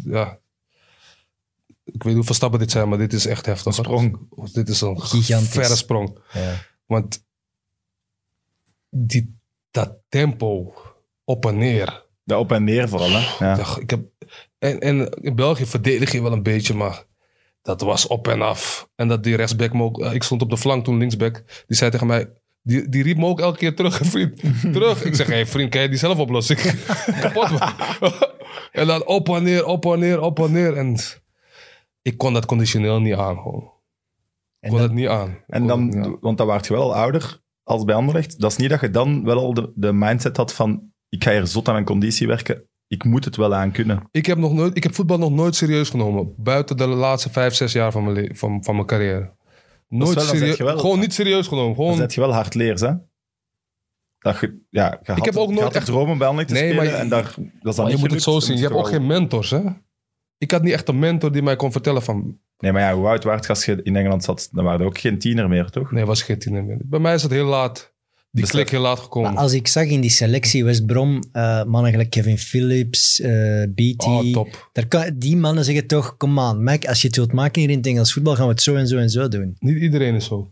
S3: Ja. Ik weet niet hoeveel stappen dit zijn, maar dit is echt heftig.
S1: Een sprong.
S3: hoor. Dit is een
S2: Gigantisch.
S3: verre sprong.
S2: Ja.
S3: Want die, dat tempo op en neer...
S1: Ja, op en neer vooral. Hè? Ja.
S3: Ja, ik heb, en, en in België verdedig je wel een beetje, maar dat was op en af. En dat die rechtsback me ook... eh, Ik stond op de flank toen linksback. Die zei tegen mij... Die, die riep me ook elke keer terug, vriend. Terug. Ik zeg, hé hey, vriend, kan je die zelf oplossen? Ik- Kapot. man. en dan op en neer, op en neer, op en neer. En ik kon dat conditioneel niet aan. gewoon. Ik
S2: En
S3: kon
S2: dan-
S3: dat niet aan. Ik
S1: En
S3: kon
S1: dan,
S3: het niet aan.
S1: want dan waard je wel al ouder als bij Anderlecht. Dat is niet dat je dan wel al de, de mindset had van ik ga hier zot aan mijn conditie werken. Ik moet het wel aan kunnen.
S3: Ik heb, nog nooit, ik heb voetbal nog nooit serieus genomen. Buiten de laatste vijf, zes jaar van mijn, le- van, van mijn carrière. Nooit
S1: wel- dan zet
S3: serieus.
S1: je wel-
S3: Gewoon niet serieus genomen.
S1: Dan
S3: Gewoon,
S1: zet je wel hard leers, hè? Dat je, ja, je had,
S3: heb ook
S1: je
S3: nooit
S1: had de
S3: echt-
S1: droom om bij Anderlecht te
S3: Nee,
S1: spelen
S3: maar-
S1: en daar, dat is dan
S3: maar
S1: niet
S3: je moet
S1: gelukt.
S3: het zo
S1: Dan
S3: zien.
S1: moet
S3: Je hebt ook
S1: wel-
S3: geen mentors, hè? Ik had niet echt een mentor die mij kon vertellen van...
S1: Nee, maar ja, hoe oud waard als je in Engeland zat? Dan waren er ook geen tiener meer, toch?
S3: Nee, was geen tiener meer. Bij mij is het heel laat. Die
S1: Besef.
S3: klik heel laat
S2: Maar
S3: gekomen.
S2: als ik zag in die selectie West Brom, eh, mannen gelijk Kevin Phillips, eh BT.
S3: oh, top.
S2: daar kan, die mannen zeggen toch, kom aan, Mac, als je het wilt maken hier in het Engels voetbal, gaan we het zo en zo en zo doen.
S3: Niet iedereen is zo.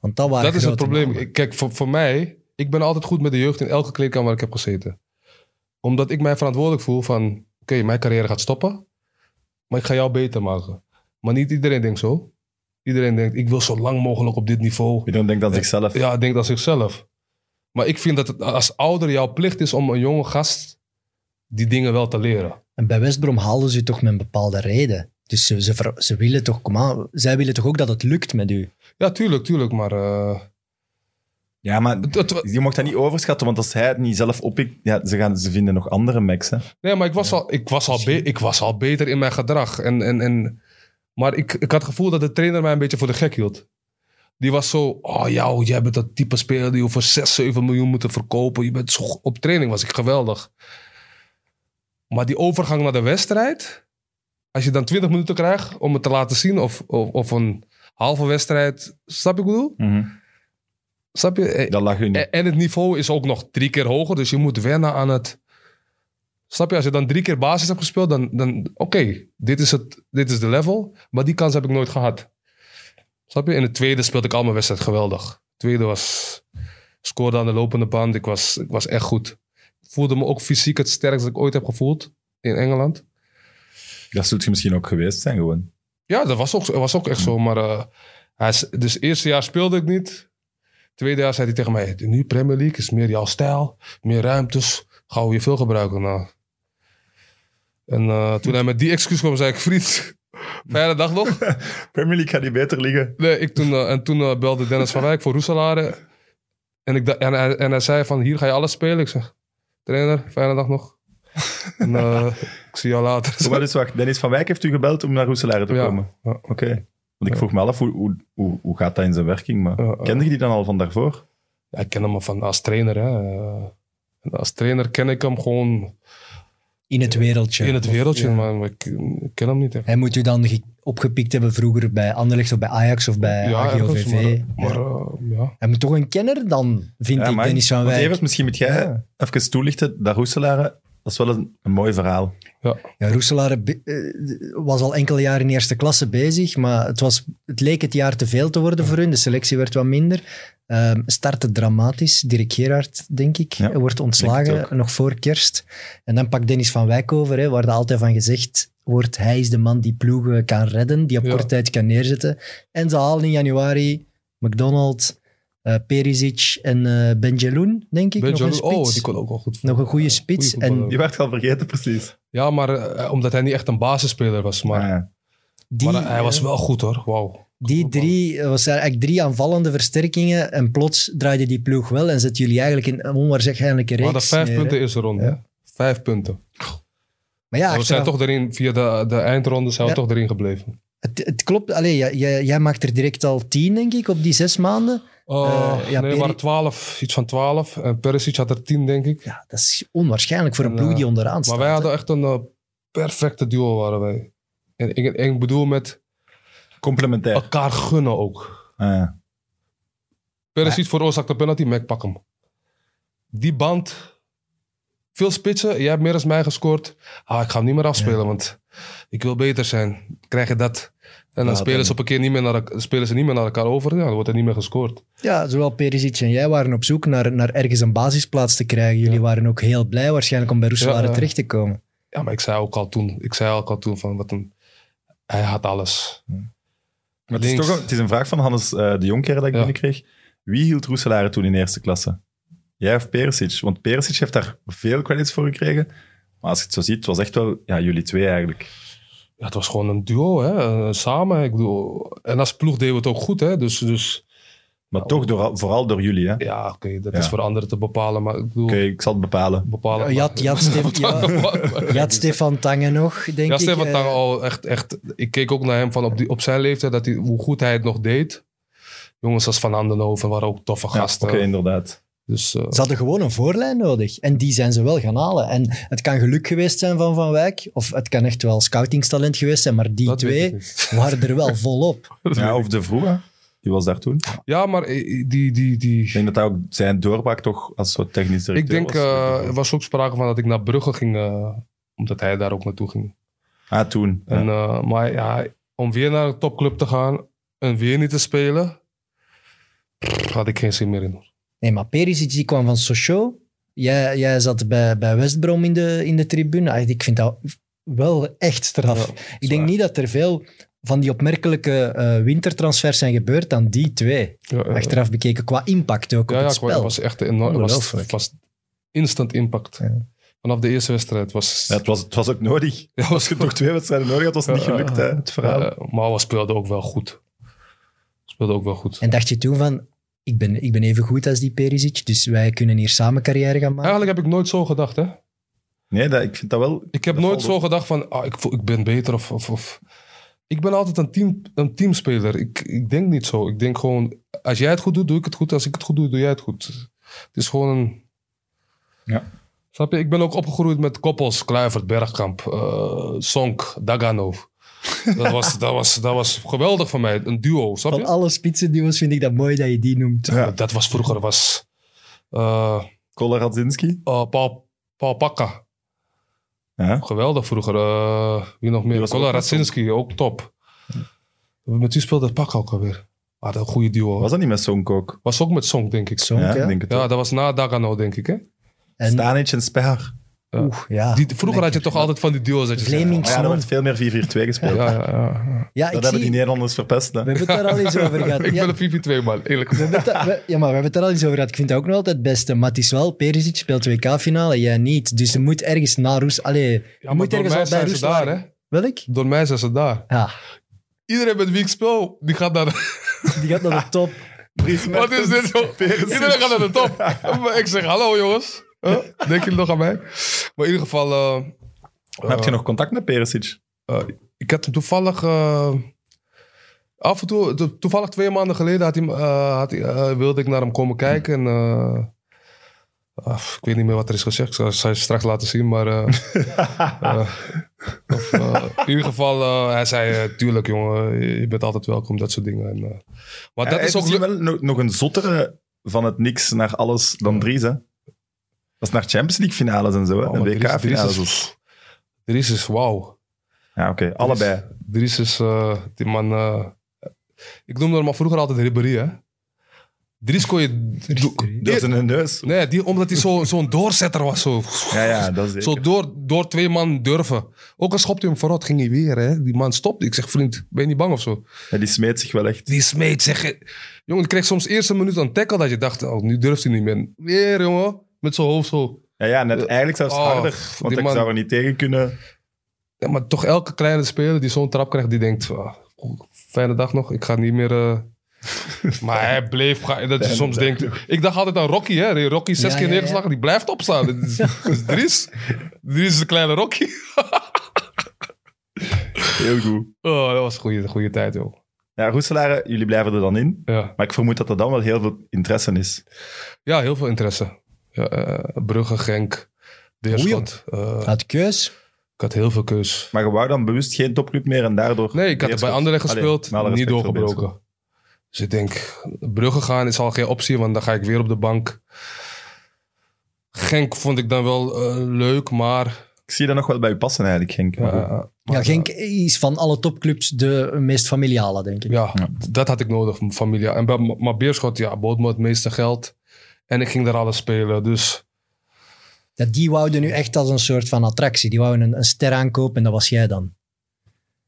S2: Want dat waren
S3: dat is het
S2: grote
S3: probleem.
S2: mannen.
S3: Ik- Kijk, voor, voor mij, ik ben altijd goed met de jeugd in elke kleedkamer waar ik heb gezeten. Omdat ik mij verantwoordelijk voel van, oké, mijn carrière gaat stoppen, maar ik ga jou beter maken. Maar niet iedereen denkt zo. Iedereen denkt, ik wil zo lang mogelijk op dit niveau.
S1: Iedereen denkt aan zichzelf.
S3: Ja, denkt aan zichzelf. Maar ik vind dat het als ouder jouw plicht is om een jonge gast die dingen wel te leren.
S2: En bij West Brom haalden ze u toch met een bepaalde reden. Dus ze, ze, ver- ze willen toch, kom aan, zij willen toch ook dat het lukt met u.
S3: Ja, tuurlijk, tuurlijk, maar... eh,
S1: Ja, maar
S3: het- het-
S1: je mag dat niet overschatten, want als hij het niet zelf oppikt, ja, ze, gaan, ze vinden nog andere Macs, hè?
S3: Nee, maar ik was, al, ik was, al, be- ik was al beter in mijn gedrag. En, en, en, maar ik, ik had het gevoel dat de trainer mij een beetje voor de gek hield. Die was zo, oh jou, jij bent dat type speler die we voor 6, 7 miljoen moeten verkopen. Je bent zo, go- op training was ik geweldig. Maar die overgang naar de wedstrijd, als je dan 20 minuten krijgt om het te laten zien, of, of, of een halve wedstrijd, snap je wat ik bedoel? Snap je? Eh,
S1: Dat lag hun niet.
S3: en, en het niveau is ook nog drie keer hoger, dus je moet wennen aan het. Snap je, als je dan drie keer basis hebt gespeeld, dan. dan Oké, dit, is het- dit is de level, maar die kans heb ik nooit gehad. Snap je? In het tweede speelde ik al mijn wedstrijd geweldig. Het tweede was. scoorde aan de lopende band, ik was, ik was echt goed. Ik voelde me ook fysiek het sterkst dat ik ooit heb gevoeld in Engeland.
S1: Dat zult je misschien ook geweest zijn, gewoon.
S3: Ja, dat was ook, dat was ook echt zo. Maar eh, hij, is- dus het eerste jaar speelde ik niet. Tweede jaar zei hij tegen mij, nu Premier League is meer jouw stijl, meer ruimtes, gaan we je veel gebruiken. Nou. En eh, toen hij met die excuus kwam, zei ik, vriend, fijne dag nog.
S1: Premier League gaat die beter liggen.
S3: Nee, ik toen, eh, en toen eh, belde Dennis van Wijk voor Roeselare. En, ik da- en, hij, en hij zei van, hier ga je alles spelen. Ik zeg, trainer, fijne dag nog. En, eh, ik zie jou later.
S1: Maar dus wacht, Dennis van Wijk heeft u gebeld om naar Roeselare te
S3: Ja.
S1: komen.
S3: Ja.
S1: Oké. Want ik vroeg me al af, hoe, hoe, hoe, hoe gaat dat in zijn werking? Maar
S3: Ja, ja.
S1: kende je die dan al van daarvoor?
S3: Ja, ik ken hem van als trainer. Hè. Eh, en als trainer ken ik hem gewoon
S2: In het wereldje.
S3: in het wereldje,
S2: Ja.
S3: maar ik, ik ken hem niet echt.
S2: Hij moet u dan ge- opgepikt hebben vroeger bij Anderlecht of bij Ajax of bij
S3: ergens,
S2: AGOVV.
S3: maar, maar, eh, ja.
S2: Hij moet toch een kenner dan, vind ik,
S1: maar
S2: Dennis van Wijk.
S1: Evert, misschien moet jij even toelichten. Dat Roeselare, dat is wel een, een mooi verhaal.
S2: Ja, Roeselaar be- eh, was al enkele jaren in eerste klasse bezig, maar het, was, het leek het jaar te veel te worden voor hun. De selectie werd wat minder. Ehm startte dramatisch. Dirk Gerard, denk ik,
S1: Ja,
S2: wordt
S1: denk het
S2: ontslagen nog voor kerst. En dan pakt Dennis van Wijk over, hè, waar er altijd van gezegd wordt, hij is de man die ploegen kan redden, die op
S3: Ja.
S2: korte tijd kan neerzetten. En ze halen in januari McDonald, eh Perisic en eh Benjeloun, denk ik, nog
S3: Benjamin-
S2: een
S3: oh,
S2: spits.
S3: die kon ook wel goed.
S2: nog een goede
S3: Ja,
S2: spits.
S3: goede voetballer.
S2: en
S1: Die werd ik al vergeten, precies.
S3: Ja, maar eh, omdat hij niet echt een basisspeler was. Maar,
S1: Ah, ja.
S2: die,
S3: maar hij was
S2: eh,
S3: wel goed hoor, wauw.
S2: Die drie, eh, was er eigenlijk drie aanvallende versterkingen en plots draaide die ploeg wel en zet jullie eigenlijk in een onwaarschijnlijke
S3: We
S2: reeks
S3: hadden vijf
S2: neer, hè.
S3: punten in zijn ronde.
S2: eh, Ja.
S3: hè. Vijf punten.
S2: Maar ja,
S3: we zijn
S2: achteraf-
S3: toch erin, via de, de eindronde zijn we
S2: Ja.
S3: toch erin gebleven.
S2: het, het klopt. Allee, jij, jij, jij maakt er direct al tien, denk ik, op die zes maanden.
S3: Oh,
S2: Eh, ja,
S3: nee, we
S2: Peri-
S3: waren twaalf, iets van twaalf. En Perisic had er tien, denk ik.
S2: Ja, dat is onwaarschijnlijk voor een
S3: En,
S2: ploeg die
S3: eh,
S2: onderaan staat.
S3: Maar wij
S2: hè.
S3: hadden echt een eh, perfecte duo, waren wij. En ik, en ik bedoel met
S1: Complementair.
S3: elkaar gunnen ook.
S1: Ah, ja.
S3: Perisic veroorzaakt de penalty, Mac pak hem. Die band. Veel spitsen, jij hebt meer dan mij gescoord. Ah, ik ga hem niet meer afspelen, want ik wil beter zijn. Krijg je dat? En dan
S1: Ja,
S3: spelen,
S1: dan-
S3: ze op een keer niet meer naar, elk- spelen ze niet meer naar elkaar over. Ja, dan wordt er niet meer gescoord.
S2: Ja, zowel Perisic en jij waren op zoek naar, naar ergens een basisplaats te krijgen. Jullie waren ook heel blij waarschijnlijk om bij Roeselare
S3: Ja, eh. ja.
S2: terecht te komen.
S3: Ja, maar ik zei ook al toen, ik zei ook al toen van wat een... Hij had alles.
S1: Maar het, is
S3: Links.
S1: toch, een- het is een vraag van Hannes eh, de Jonker dat ik
S3: Ja.
S1: binnenkreeg. Wie hield Roeselare toen in eerste klasse? Jij of Perisic? Want Perisic heeft daar veel credits voor gekregen. Maar als je het zo ziet, het was echt wel ja, jullie twee eigenlijk.
S3: Ja, het was gewoon een duo, hè? eh, samen. Ik bedoel, en als ploeg deden we het ook goed. Hè? Dus, dus
S1: Maar toch door, vooral door jullie, hè? Oké,
S3: Ja, oké, dat
S1: Ja.
S3: is voor anderen te bepalen, maar ik bedoel...
S1: ik zal het bepalen.
S3: Bepalen.
S2: Je had- je had Stef-
S3: ja.
S2: Je had Stefan Tangen nog, denk
S3: Ja,
S2: ik.
S3: Stefan
S2: eh,
S3: Tang al echt, echt. Ik keek ook naar hem van op, die, op zijn leeftijd, dat hij, hoe goed hij het nog deed. Jongens als Van Andenhoven waren ook toffe
S1: Ja, Oké,
S3: gasten.
S1: inderdaad.
S3: Dus eh,
S2: Ze hadden gewoon een voorlijn nodig. En die zijn ze wel gaan halen. En het kan geluk geweest zijn van Van Wijk. Of het kan echt wel scoutingstalent geweest zijn. Maar die
S3: dat weet ik
S2: twee
S3: niet.
S2: waren er wel volop.
S1: Ja, of de vroege. Die was daar toen.
S3: Ja, maar eh, die. die, die
S1: Ik denk dat dat ook zijn doorbraak toch als soort technisch
S3: ik
S1: directeur
S3: denk,
S1: was.
S3: eh, er was ook sprake van dat ik naar Brugge ging, eh, omdat hij daar ook naartoe ging.
S1: ah, toen. Ja.
S3: En, eh, maar ja, om weer naar een topclub te gaan en weer niet te spelen, pff, had ik geen zin meer in.
S2: Nee, maar Perisic die kwam van Sochaux. Jij, jij zat bij, bij West Brom in de, in de tribune. Ah, Ik vind dat wel echt straf. ik denk
S3: waar.
S2: niet dat er veel van die opmerkelijke eh, wintertransfers zijn gebeurd dan die twee.
S3: Ja, eh,
S2: Achteraf bekeken qua impact ook
S3: Ja,
S2: op
S3: ja,
S2: het
S3: het
S2: spel.
S3: was echt enorm. was,
S2: Ongelooflijk.
S3: was instant impact. Vanaf de eerste wedstrijd was.
S1: Ja, het, was, het was ook nodig. Als je toch twee wedstrijden nodig had, was het niet gelukt, hè, het verhaal.
S3: Ja, Eh, maar we speelden ook wel goed. Speelde ook wel goed.
S2: En dacht je toen van, ik ben, ik ben even goed als die Perisic, dus wij kunnen hier samen carrière gaan maken.
S3: Eigenlijk heb ik nooit zo gedacht, hè?
S1: Nee, dat, ik vind dat wel...
S3: Ik heb
S1: Dat
S3: nooit
S1: valt
S3: zo gedacht van, ah, ik, voel- ik ben beter of, of, of- Ik ben altijd een, team, een teamspeler. Ik, ik denk niet zo. Ik denk gewoon, als jij het goed doet, doe ik het goed. Als ik het goed doe, doe jij het goed. Het is gewoon een...
S1: Ja.
S3: Snap je? Ik ben ook opgegroeid met koppels. Kluivert, Bergkamp, eh Sonk, Dagano. Dat was, dat, was, dat was geweldig voor mij. Een duo, snap
S2: Van
S3: je?
S2: alle spitsenduo's vind ik dat mooi dat je die noemt.
S1: Ja.
S3: Dat was vroeger, was... eh,
S1: Koloradzinski.
S3: eh, Paul, Paul Pakka.
S1: Ja.
S3: Geweldig vroeger. eh, wie nog meer?
S1: was ook
S3: Kola
S1: top.
S3: Radzinski, ook top. Met wie speelde Pak ook alweer? Ah, dat een goede duo.
S1: Was
S3: Was,
S1: dat niet met Sonk ook?
S3: ook met Song, denk ik.
S2: Sonk,
S1: ja,
S2: ja.
S1: ik denk het
S3: Ja,
S1: ook.
S3: dat was na Dagano, denk ik. Hè?
S2: En,
S1: Stanic en Speer.
S3: ja.
S2: oeh, ja.
S3: Die, vroeger had je toch altijd van die duo's. Dat je zei,
S2: Vlemings.
S1: Maar ja, er werd veel meer 4-4-2
S3: ja,
S1: gespeeld.
S3: ja, ja, ja.
S2: ja,
S1: Dat hebben
S2: ik zie,
S1: die
S2: we
S1: Nederlanders verpest, hè.
S2: hebben het daar al eens over gehad.
S3: Ik
S2: Ja,
S3: ben een 4-4-2 man, eerlijk
S2: we
S3: gezegd.
S2: hebben het daar- we- ja, maar we hebben het daar al eens over gehad. Ik vind dat ook nog altijd het beste. Maar het is wel, Perisic speelt WK-finale, jij niet. Dus je moet ergens naar Roes... Allee,
S3: Ja,
S2: je
S3: maar
S2: moet
S3: door
S2: ergens
S3: mij
S2: al bij
S3: zijn
S2: Roes
S3: ze daar, hè?
S2: waren. Welk?
S3: Door mij zijn ze daar.
S2: Ja,
S3: Iedereen met wie ik speel, die gaat naar...
S2: die gaat naar de top.
S3: Wat is dit, joh? Iedereen gaat naar de top. Maar ik zeg, hallo jongens. Huh? Denken jullie nog aan mij? Maar in ieder geval... eh,
S1: Maar heb je nog contact met Perisic?
S3: Eh, ik had hem toevallig. eh, af en toe, to- toevallig twee maanden geleden had hij, hem, eh, had hij, eh, wilde ik naar hem komen kijken. En, eh, ah, ik weet niet meer wat er is gezegd. Ik zal zal je straks laten zien. Maar. eh, eh, of, eh, in ieder geval, eh, hij zei: eh, Tuurlijk, jongen, je je bent altijd welkom, dat soort dingen. En, eh, maar dat
S1: Hij
S3: is ook.
S1: misschien
S3: leuk-
S1: wel nog, nog een zottere van het niks naar alles dan Dries, hè. Dat is naar Champions League finales en zo, hè.
S3: Oh,
S1: en
S3: maar Dries- Dries
S1: WK-finales.
S3: is-
S1: of-
S3: Dries is wauw.
S1: Ja, oké. Allebei.
S3: Dries is. eh, die man. eh, ik noemde hem al vroeger altijd Ribéry, hè? Dries kon je.
S1: Dat is een neus.
S3: Nee, die, omdat hij zo- zo'n doorzetter was. Zo,
S1: Ja, ja, dat is zeker.
S3: zo door, door twee man durven. Ook al schopte hij hem vooruit, ging hij weer. Hè. Die man stopte. Ik zeg, vriend, ben je niet bang of zo?
S1: Ja, die smeet zich wel echt.
S3: Die smeet, zeg. eh, Jongen, die kreeg soms eerst een minuut aan tackle dat je dacht, oh, nu durft hij niet meer. Weer, jongen. Met zijn hoofd zo.
S1: Ja, ja net
S3: Eh,
S1: eigenlijk zelfs
S3: oh,
S1: harder. Want
S3: die
S1: ik
S3: man-
S1: zou er niet tegen kunnen.
S3: Ja, maar toch elke kleine speler die zo'n trap krijgt, die denkt, ah, oh, fijne dag nog, ik ga niet meer... eh. maar hij bleef gaan. Dat je
S1: Fijne
S3: soms
S1: dag
S3: denkt... Ik dacht altijd aan Rocky, hè. Die Rocky zes
S2: Ja,
S3: keer
S2: ja,
S3: neergeslagen, die blijft opstaan. Dat is, dat is Dries. Dries is de kleine Rocky.
S1: Heel goed.
S3: Oh, dat was een goede, goede tijd, joh.
S1: Ja, Roeselaren, jullie blijven er dan in.
S3: Ja,
S1: Maar ik vermoed dat er dan wel heel veel interesse is.
S3: ja heel veel interesse. Ja, eh, Brugge, Genk, Deerschot. Eh,
S2: Had keus.
S3: ik had heel veel keus.
S1: Maar je wou dan bewust geen topclub meer en daardoor...
S3: Nee, ik had er
S1: Beerschot.
S3: bij anderen
S1: Allee,
S3: gespeeld,
S1: met alle
S3: niet
S1: respect voor
S3: doorgebroken. Dus ik denk, Brugge gaan is al geen optie, want dan ga ik weer op de bank. Genk vond ik dan wel eh, leuk, maar...
S1: Ik zie dat nog wel bij u passen eigenlijk, Genk. Maar goed.
S3: eh,
S2: Ja,
S3: maar,
S2: Genk is van alle topclubs de meest familiale, denk ik.
S3: Ja,
S1: Ja.
S3: dat had ik nodig, mijn familie. En, bij- maar Beerschot, ja, bood me het meeste geld. En ik ging daar alles spelen, dus...
S2: Dat die wouden nu echt als een soort van attractie. Die wouden een, een ster aankopen en dat was jij dan.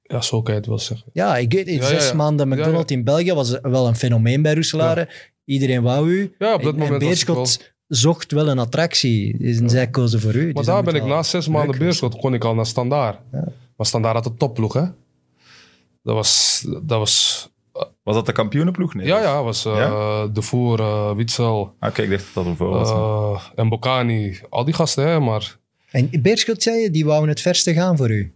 S3: Ja, zo kan je het wel zeggen.
S2: Ja, ik weet, in
S3: Ja, ja,
S2: zes
S3: ja.
S2: maanden
S3: Ja, ja.
S2: McDonald's in België was wel een fenomeen bij Roeselare. Iedereen wou u.
S3: Ja, op dat
S2: en, en
S3: moment was ik wel...
S2: Beerschot zocht wel een attractie. Dus en zij kozen voor u.
S3: Maar
S2: Dus
S3: daar
S2: dat
S3: ben
S2: moet
S3: ik
S2: wel-
S3: na zes maanden
S2: lukken.
S3: Beerschot kon ik al naar Standaard. Maar Standaard had een topploeg, hè. Dat was, dat was
S1: Was dat de kampioenenploeg? Nee,
S3: Ja,
S1: dat was-
S3: ja, was eh
S1: Ja?
S3: De Voer, eh, Witzel,
S1: Ah, Oké, ik dacht dat dat ervoor was.
S3: eh, en Bocani. Al die gasten, hè, maar...
S2: En Beerschot zei je, die wouden het verste gaan voor u.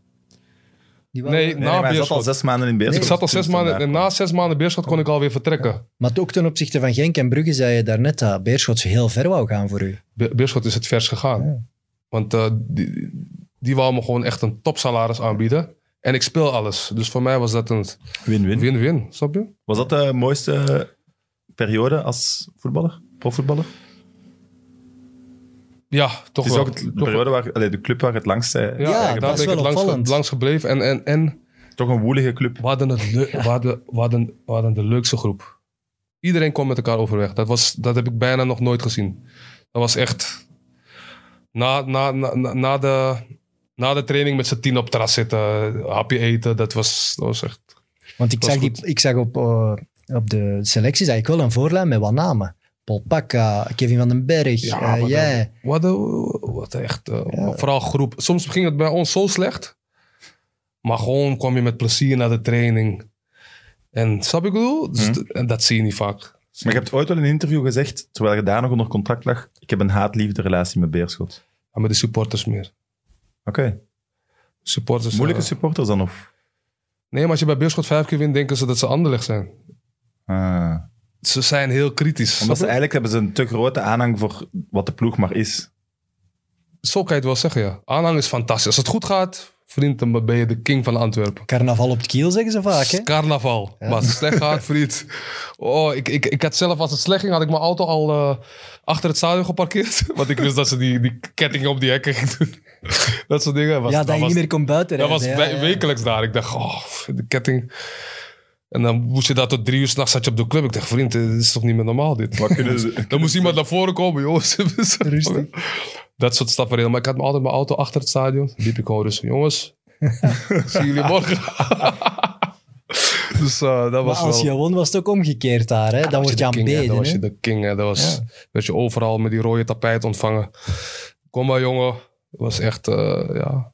S2: Die wouden-
S3: Nee,
S1: nee, nee,
S3: na
S1: maar hij zat al
S3: Beerschot.
S1: zes maanden in Beerschot.
S3: Ik zat al zes
S1: Toen
S3: maanden,
S1: daar-
S3: en na zes maanden Beerschot kon ik alweer vertrekken.
S2: Maar ook ten opzichte van Genk en Brugge zei je daarnet dat Beerschot heel ver wou gaan voor u.
S3: Be- Beerschot is het vers gegaan. Want eh, die, die wou me gewoon echt een topsalaris aanbieden. En ik speel alles. Dus voor mij was dat een
S1: Win-win.
S3: win-win, snap je?
S1: Was dat de mooiste periode als voetballer? Profvoetballer?
S3: Ja, toch
S1: Het is
S3: wel.
S1: ook het- de
S3: Toch wel.
S1: periode waar... allee, de club waar het langst... zij-
S2: Ja,
S3: Ja, daar
S2: dat
S3: ben
S2: is
S3: ik
S2: wel
S3: het langs,
S2: opvallend.
S3: langs gebleven. En, en, en
S1: Toch een woelige club.
S3: we, hadden het leu- we, hadden, we, hadden, we hadden de leukste groep. Iedereen kwam met elkaar overweg. Dat, was, dat heb ik bijna nog nooit gezien. Dat was echt... Na, na, na, na- na, de, na de training met z'n tien op het terras zitten, hapje eten, dat was, dat was echt...
S2: Want ik
S3: Dat is
S2: zag, die,
S3: goed.
S2: ik zag op, eh, op de selectie zag ik wel een voorlijn met wat namen. Paul Pacca, Kevin van den Berg,
S3: Ja,
S2: eh,
S3: wat
S2: jij.
S3: Wat, een- wat echt. eh, Vooral groep. Soms ging het bij ons zo slecht. Maar gewoon kwam je met plezier naar de training. En snap je wat ik bedoel? Dus
S1: Mhm.
S3: d- en dat zie je niet vaak.
S1: Maar je hebt ooit wel in een interview gezegd, terwijl je daar nog onder contract lag, ik heb een haat-liefde relatie met Beerschot.
S3: En met de supporters meer.
S1: Oké.
S3: Supporters,
S1: Moeilijke
S3: eh,
S1: supporters dan? Of?
S3: nee, maar als je bij Beerschot vijf keer wint, denken ze dat ze anderleg zijn.
S1: Ah.
S3: Ze zijn heel kritisch.
S1: Omdat ze
S3: Snap je?
S1: eigenlijk hebben ze een te grote aanhang voor wat de ploeg maar is.
S3: Zo kan je het wel zeggen, ja. Aanhang is fantastisch. Als het goed gaat, vriend, dan ben je de king van Antwerpen.
S2: Carnaval op het kiel, zeggen ze vaak. Hè?
S3: Carnaval. Maar als het slecht gaat, vriend. Oh, ik, ik, ik had zelf, als het slecht ging, had ik mijn auto al eh, achter het stadion geparkeerd. Want ik wist dat ze die, die kettingen op die hekken gingen doen. Dat soort dingen. Was,
S2: ja, dat je
S3: was,
S2: niet meer komt buiten.
S3: dat was
S2: rijden,
S3: we-
S2: ja, ja.
S3: wekelijks daar. Ik dacht, oh, de ketting. En dan moest je daar tot drie uur s'nachts zat je op de club. Ik dacht, vriend, dit is toch niet meer normaal dit?
S1: Wat kunnen ze...
S3: Dan moest iemand naar voren komen, jongens. Dus-
S2: Rustig.
S3: Dat soort stappen. Maar ik had me altijd mijn auto achter het stadion. Liep ik gewoon rustig. Jongens, zie jullie morgen. dus eh, dat
S2: Maar
S3: was
S2: als
S3: wel...
S2: je won, was het ook omgekeerd daar. Hè? Dan word je
S3: de king, hè. Dan was je
S2: aanbeden.
S3: de king. Hè. Dat was, werd je overal met die rode tapijt ontvangen. Kom maar, jongen. Het was echt, eh, ja...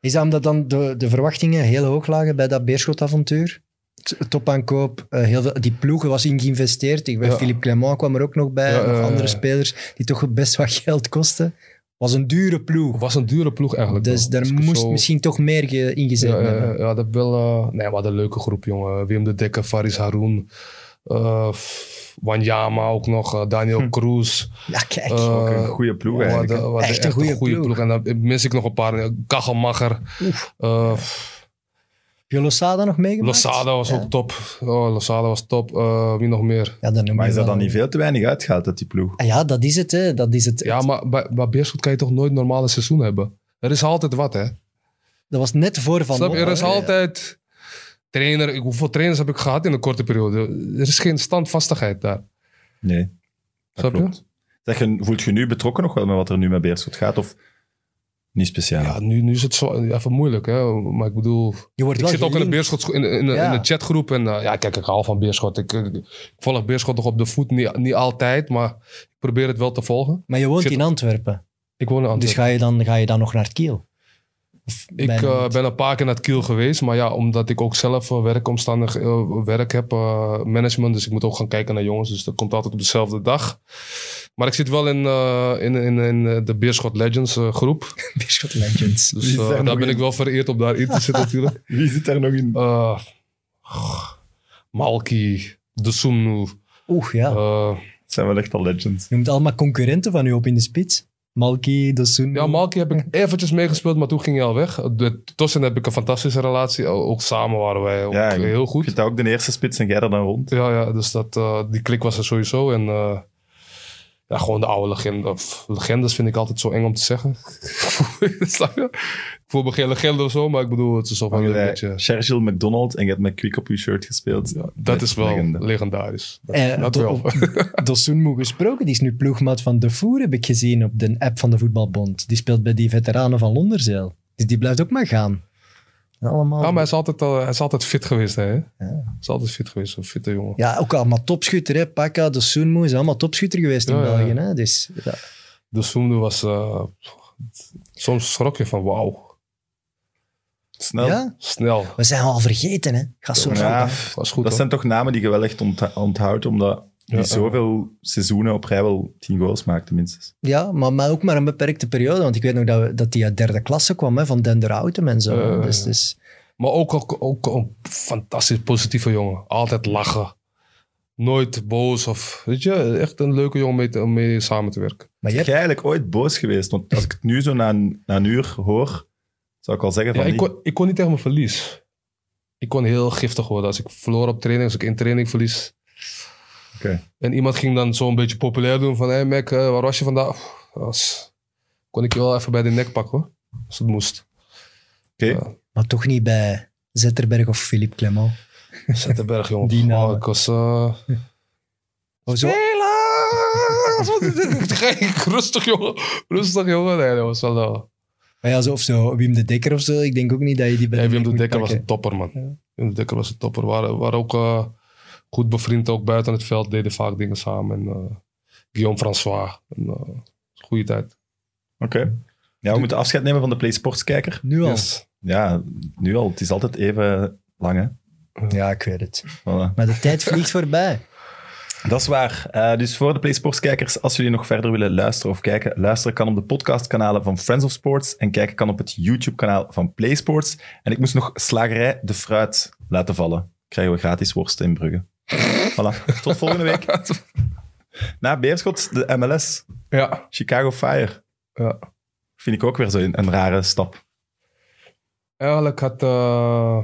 S2: Is dat omdat dan de, de verwachtingen heel hoog lagen bij dat Beerschot-avontuur? T- Topaankoop, eh, heel veel, die ploegen was in geïnvesteerd. Ik,
S3: Ja.
S2: Philippe Clement kwam er ook nog bij,
S3: Ja,
S2: nog
S3: ja, ja,
S2: andere
S3: ja.
S2: spelers die toch best wat geld kosten. was een dure ploeg.
S3: Het was een dure ploeg eigenlijk.
S2: Dus
S3: wel.
S2: daar
S3: ik
S2: moest
S3: zo-
S2: misschien toch meer ge- ingezet
S3: Ja, ja,
S2: worden.
S3: ja, ja, dat wel... eh, nee, we hadden een leuke groep, jongen. Wim de Dekker, Faris Haroun. eh Wanyama ook nog. eh, Daniel Cruz.
S2: Ja, kijk.
S3: eh,
S1: Ook een goede ploeg
S3: We
S1: eigenlijk.
S3: hadden-
S1: hè.
S3: we hadden
S2: Echt een goede ploeg.
S3: En dan mis ik nog een paar. Kachelmacher. eh
S2: Heb je Losada nog meegemaakt?
S3: Losada was
S2: ja.
S3: ook top. Oh, Losada was top. Eh, wie nog meer?
S2: Ja, dan noem
S1: Maar
S2: je
S1: is er
S2: wel-
S1: dan niet veel te weinig uitgehaald uit die ploeg?
S2: Ah, ja, dat is het. Hè. Dat, is het.
S3: Ja, maar bij, bij Beerschot kan je toch nooit normale seizoen hebben? Er is altijd wat, hè?
S2: dat was net voor Van
S3: Snap je? Er
S2: Noppen,
S3: is
S2: hè.
S3: altijd... Trainer, ik- hoeveel trainers heb ik gehad in een korte periode? Er is geen standvastigheid daar.
S1: Nee, dat
S3: Snap je?
S1: klopt. Zeg, je- voelt je nu betrokken nog wel met wat er nu met Beerschot gaat? Of niet speciaal?
S3: Ja, nu, nu is het zo even moeilijk, hè? Maar ik bedoel...
S2: Je wordt
S3: Ik
S2: wel
S3: zit ook in de,
S2: gelinkt.
S3: Beerschot, in, in, in
S2: Ja.
S3: de chatgroep en eh, ja, kijk, ik hou van Beerschot. Ik, eh, ik volg Beerschot nog op de voet, niet, niet altijd, maar ik probeer het wel te volgen.
S2: Maar je woont
S3: zit-
S2: in Antwerpen.
S3: Ik woon in Antwerpen.
S2: Dus ga je, dan, ga je dan nog naar het Kiel? Of
S3: Ik
S2: bijna
S3: eh,
S2: niet?
S3: ben een paar keer naar het Kiel geweest. Maar ja, omdat ik ook zelf eh, werkomstandig eh, werk heb, eh, management. Dus ik moet ook gaan kijken naar jongens. Dus dat komt altijd op dezelfde dag. Maar ik zit wel in, eh, in, in, in eh, de Beerschot Legends eh, groep.
S2: Beerschot Legends.
S3: Dus
S1: Die
S3: eh,
S1: zijn
S3: daar
S1: nog
S3: ben
S1: in.
S3: ik wel vereerd om daarin te zitten natuurlijk.
S1: Wie zit daar nog in?
S3: Eh, Malki, De Soemnu.
S2: Oeh, ja.
S3: eh,
S1: Het zijn wel echt al legends.
S2: Je noemt allemaal concurrenten van u op in de spits. Malki, Dosun.
S3: ja, Malki heb ik eventjes meegespeeld, maar toen ging hij al weg. De Tossen heb ik een fantastische relatie. Ook samen waren wij ook
S1: Ja, ik-
S3: heel
S1: Ik
S3: goed.
S1: vind dat ook de eerste spits en jij er dan rond.
S3: Ja, ja dus dat, eh, die klik was er sowieso. En eh, ja, gewoon de oude legende, of legendes vind ik altijd zo eng om te zeggen. Snap je? ik voel me geen legende of zo, maar ik bedoel, het is zo van een
S1: Jij-
S3: beetje...
S1: Churchill McDonald en je hebt met Quick op je shirt gespeeld.
S3: Dat is wel
S1: legende.
S3: legendarisch.
S2: Eh,
S3: dat
S2: Do-
S3: wel.
S2: Dosunmu gesproken, die is nu ploegmaat van De Voer, heb ik gezien op de app van de voetbalbond. Die speelt bij die veteranen van Londerzeel. Dus die blijft ook maar gaan. Allemaal.
S3: Ja,
S2: Ja,
S3: maar hij is altijd, al- hij is altijd fit geweest, hè? Hij is altijd fit geweest, een fitte jongen.
S2: ook allemaal topschutter, hè. Paka, Dosunmu is allemaal topschutter geweest in
S3: Ja, ja, ja.
S2: België, hè. Dus, ja.
S3: De Soemde was... eh, soms schrok je van, wauw.
S1: Snel.
S2: Ja?
S3: Snel.
S2: We zijn al vergeten, hè. Gaat zo
S1: Ja,
S2: ja.
S1: pff,
S3: was goed.
S1: dat
S3: hoor.
S1: zijn toch namen die je wel echt ont- onthoudt, omdat die
S3: Ja, ja.
S1: zoveel seizoenen op rij wel tien goals maakt, tenminste.
S2: ja, maar, maar ook maar een beperkte periode. Want ik weet nog dat, we, dat die uit derde klasse kwam, hè, van Denderhouten en zo.
S3: Eh,
S2: dus, dus,
S3: Maar ook, ook, ook een fantastisch positieve jongen. Altijd lachen. Nooit boos of... Weet je, echt een leuke jongen om mee, te- om mee samen te werken.
S2: maar
S1: Ben
S2: je hebt-
S1: jij eigenlijk ooit boos geweest? Want als ik het nu zo na een, na een uur hoor, zou ik al zeggen
S3: Ja,
S1: van...
S3: ik
S1: die-
S3: kon, ik kon niet tegen mijn verlies. Ik kon heel giftig worden. Als ik verloor op training, als ik in training verlies.
S1: Oké.
S3: En iemand ging dan zo'n beetje populair doen van... Hé hey Mac, eh, waar was je vandaag? Oeh, dat was- kon ik je wel even bij de nek pakken hoor. Als het moest.
S1: Oké.
S3: Ja.
S2: Maar toch niet bij Zetterberg of Philippe Clement.
S3: Zetterberg, jongen.
S2: Die
S3: Oh,
S2: namen.
S3: ik was... eh,
S2: Oh, zo.
S3: Helaas! Wat is dit? Kijk, Rustig, jongen. Rustig, jongen. Nee, dat was wel... eh,
S2: Maar ja, zo, of zo, Wim de Dekker of zo. Ik denk ook niet dat je die bij
S3: Nee,
S2: de
S3: Wim
S2: nek
S3: de
S2: moet
S3: Dekker was
S2: pakken.
S3: een topper, man. Wim de Dekker was een topper. We waren, we waren ook eh, goed bevriend, ook buiten het veld. Deden vaak dingen samen. En, eh, Guillaume François. En, eh, goede tijd.
S1: Oké. Ja, we moeten afscheid nemen van de Play Sports kijker.
S2: Nu al.
S3: Yes.
S1: Ja, nu al. Het is altijd even lang, hè.
S2: Ja, ik weet het.
S1: Voilà.
S2: Maar de tijd vliegt voorbij.
S1: Dat is waar. Eh, dus voor de PlaySports-kijkers, als jullie nog verder willen luisteren of kijken, luisteren kan op de podcastkanalen van Friends of Sports en kijken kan op het YouTube-kanaal van PlaySports. En ik moest nog Slagerij de Fruit laten vallen. Krijgen we gratis worsten in Brugge. Voilà. Tot volgende week. Na Beerschot, de MLS.
S3: Ja.
S1: Chicago Fire.
S3: Ja.
S1: Vind ik ook weer zo'n een rare stap.
S3: Eigenlijk had eh,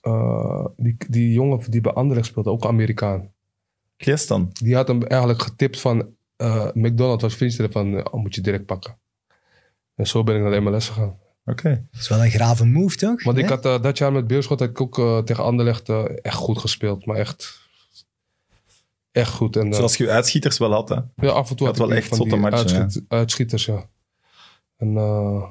S3: eh, die, die jongen die bij Anderlecht speelde, ook Amerikaan.
S1: Glees dan.
S3: Die had hem eigenlijk getipt van eh McDonald's. Wat vind je ervan? Oh, moet je direct pakken. En zo ben ik naar de MLS gegaan.
S1: Oké.
S2: Dat is wel een grave move, toch?
S3: Want ik
S2: Hè?
S3: had eh, dat jaar met Beerschot had ik ook eh, tegen Anderlecht eh, echt goed gespeeld. Maar echt, echt goed. En, eh,
S1: Zoals je je uitschieters wel had, hè.
S3: ja, af en toe
S1: had
S3: had,
S1: wel
S3: ik
S1: echt
S3: van die
S1: zotte matchen,
S3: uitschiet- uitschieters, ja. En eh,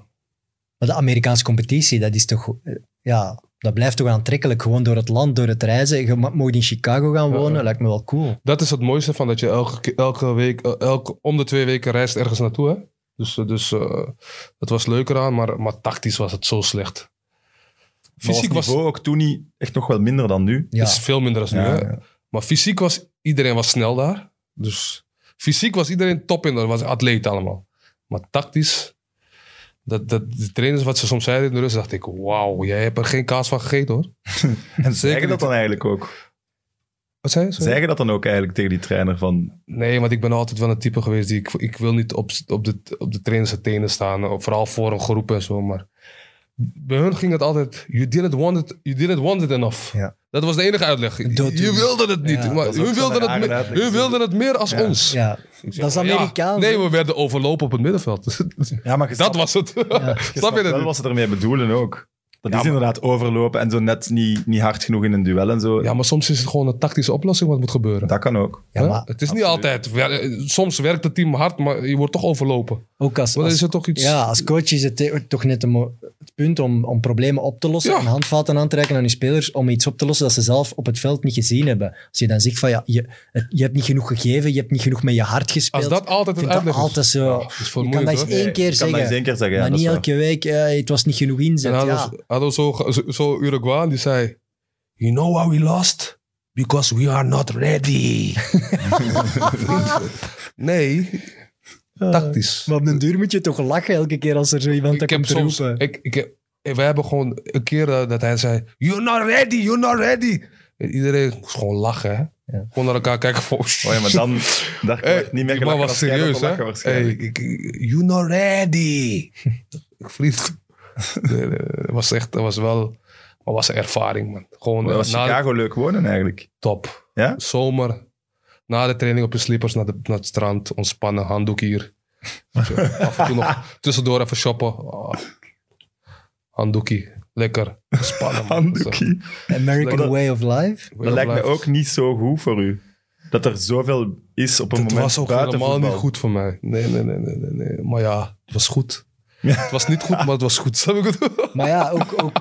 S2: Maar de Amerikaanse competitie, dat is toch... eh, Ja, dat blijft toch aantrekkelijk. Gewoon door het land, door het reizen. Je ma- mag in Chicago gaan
S3: Ja,
S2: wonen,
S3: ja.
S2: lijkt me wel cool.
S3: dat is het mooiste van dat je elke, ke- elke week, eh, elke, om de twee weken reist ergens naartoe. Hè? Dus, eh, dus eh, dat was leuker aan, maar, maar tactisch was het zo slecht. Fysiek
S1: Fysiek was
S3: was
S1: niveau ook toen niet echt nog wel minder dan nu.
S2: Ja.
S3: is veel minder dan nu.
S1: Ja,
S3: hè? Maar fysiek was iedereen was snel daar. Dus fysiek was iedereen top in. Dat was atleet allemaal. Maar tactisch, dat, dat, de trainers wat ze soms zeiden in de rust, dacht ik, wauw, jij hebt er geen kaas van gegeten hoor.
S1: En zeggen dat
S3: niet-
S1: dan eigenlijk ook.
S3: Wat zei je? Sorry?
S1: Zeggen dat dan ook eigenlijk tegen die trainer van...
S3: Nee, want ik ben altijd wel een type geweest die, ik, ik wil niet op, op, de, op de trainers zijn tenen staan. eh, Vooral voor een groep en zo, maar... Bij hun ging het altijd, you didn't want it, you didn't want it enough.
S2: Ja.
S3: Dat was de enige uitleg.
S2: Dat
S3: je
S2: is-
S3: wilde het niet.
S2: Ja.
S3: maar
S1: Dat is ook
S3: hun
S1: zo'n
S3: wilden het,
S1: rare
S3: meer-
S1: uitleg.
S3: hun wilden het meer als
S1: Ja.
S3: ons.
S2: Ja, dat is
S3: Ja,
S2: Amerikaans.
S3: nee, we werden overlopen op het middenveld.
S1: Ja, maar je
S3: dat was het. Snap je dat?
S1: wel
S3: niet?
S1: wat ze ermee bedoelen ook. Dat
S3: Ja,
S1: is
S3: maar-
S1: inderdaad overlopen en zo net niet, niet hard genoeg in een duel en zo.
S3: Ja, maar soms is het gewoon een tactische oplossing wat moet gebeuren.
S1: Dat kan ook.
S2: Ja,
S3: Hè?
S2: maar
S3: het is niet altijd. wer- Soms werkt het team hard, maar je wordt toch overlopen.
S2: ook als,
S3: Want dan
S2: als-
S3: is er toch iets.
S2: ja, als coach is het te- toch net een mo- het punt om, om problemen op te lossen.
S3: Ja.
S2: En handvaten aan te reiken aan je spelers om iets op te lossen dat ze zelf op het veld niet gezien hebben. Als je dan zegt van, ja, je, het- je hebt niet genoeg gegeven, je hebt niet genoeg met je hart gespeeld.
S3: als dat altijd
S2: ik
S3: het
S2: vind dat
S3: uitleg is.
S2: altijd zo...
S3: Ja, dat
S2: je
S3: is
S2: kan
S3: vermoeiend,
S2: dat eens
S3: hoor.
S2: één keer
S1: Ik kan dat eens
S2: zeggen.
S1: één keer zeggen. Ja,
S2: Maar
S1: dat
S2: niet
S1: is waar.
S2: elke week, eh, het was niet genoeg inzet.
S3: En hadden,
S2: ja.
S3: we- hadden we zo, zo, zo Uruguayan die zei: You know why we lost? Because we are not ready. nee, tactisch.
S2: Eh, Maar op den duur moet je toch lachen elke keer als er zo iemand dat
S3: ik heb
S2: komt
S3: soms,
S2: roepen.
S3: ik, ik heb, eh, we hebben gewoon een keer eh, dat hij zei, you're not ready, you're not ready. En iedereen moest gewoon lachen, hè.
S2: Ja.
S3: Gewoon naar elkaar kijken van,
S1: Oh ja, maar dan... Daar kan
S3: Hey,
S1: ik niet meer
S3: Eh, die man
S1: gelachen
S3: was
S1: als jij dat
S3: serieus,
S1: wil
S3: hè.
S1: lachen
S3: Hey,
S1: waarschijnlijk.
S3: ik, ik- you're not ready. Vriend. Nee, nee, Het was echt, dat was wel, maar was een ervaring, man. Gewoon
S1: Maar
S3: eh,
S1: was
S3: na-
S1: Chicago leuk wonen eigenlijk?
S3: top.
S1: Ja?
S3: Zomer, na de training op je slippers naar, de, naar het strand, ontspannen, handdoek hier. Zo, Af en toe nog tussendoor even shoppen. Ah. Handdoekie, lekker. Spannen. man.
S1: Handdoekie.
S2: American
S1: dat-
S2: Way of Life.
S3: Way
S1: Dat
S3: of
S1: lijkt me
S3: life.
S1: ook niet zo goed voor u. Dat er zoveel is op een
S3: Het
S1: moment
S3: was ook
S1: buiten
S3: helemaal
S1: voetbal.
S3: niet goed voor mij. Nee, nee, nee, nee, nee, nee. Maar ja, het was goed.
S1: Ja.
S3: Het was niet goed, maar het was goed. Snap ik het?
S2: Maar ja, ook... ook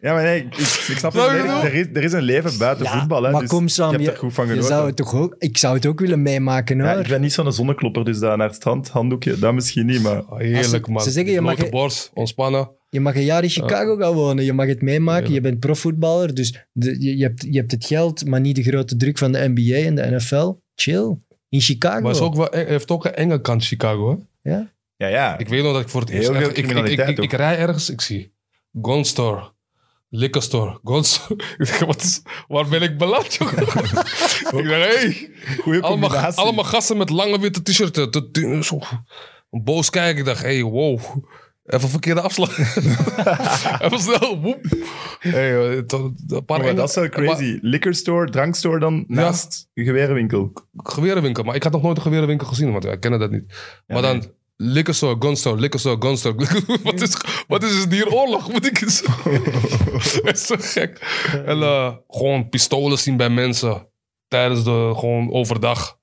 S1: Ja, maar nee, ik, ik snap het
S3: Snap je
S1: volledig.
S3: wat ik
S1: Er is, er is een leven buiten
S2: ja,
S1: voetbal. Hè,
S2: maar
S1: dus
S2: kom Sam,
S1: je hebt
S2: je,
S1: er goed van
S2: je
S1: genoten.
S2: zou het toch ook, ik zou het ook willen meemaken hoor.
S1: Ja, ik ben niet zo'n zonnekloppер, dus daar naar het strand, handdoekje, dat misschien niet, maar...
S3: Ah,
S2: Als
S3: Heerlijk,
S2: ze-
S3: man.
S2: ze zeggen, je mag
S3: Blote
S2: je-
S3: borst, ontspannen.
S2: Je mag een jaar in Chicago gaan wonen. Je mag het meemaken.
S3: Ja.
S2: Je bent profvoetballer. Dus de- je, je, hebt, je hebt het geld, maar niet de grote druk van de NBA en de NFL. Chill. In Chicago.
S3: Maar het is ook wel, hij heeft ook een enge kant, Chicago. Hè?
S1: Ja, ja.
S3: Ik weet nog dat ik voor het eerst...
S1: Heel veel
S3: echt- ik, ik, ik,
S1: criminaliteit
S3: ik- ik rij ergens, ik zie... Gun store. Liquor store. Gun store. Ik denk, wat is, waar ben ik beland, jongen? ik denk, hey,
S1: Goeie
S3: allemaal,
S1: combinatie.
S3: allemaal gasten met lange witte t-shirts. Tot- zo. Boos kijken. Ik dacht, hey, wow. Even verkeerde afslag. Even snel. Woep. Hey, eh, tot- een paar
S1: Oh, maar
S3: enge-
S1: dat is wel crazy. Liquor store, drankstore dan naast een gewerenwinkel.
S3: gewerenwinkel. Maar ik had nog nooit een gewerenwinkel gezien, want ik kende dat niet. maar dan, liquor store, gun store, liquor store, gun store. wat, is, wat is het hier oorlog? Moet ik eens... dat is zo gek. En eh, gewoon pistolen zien bij mensen. Tijdens de, gewoon overdag.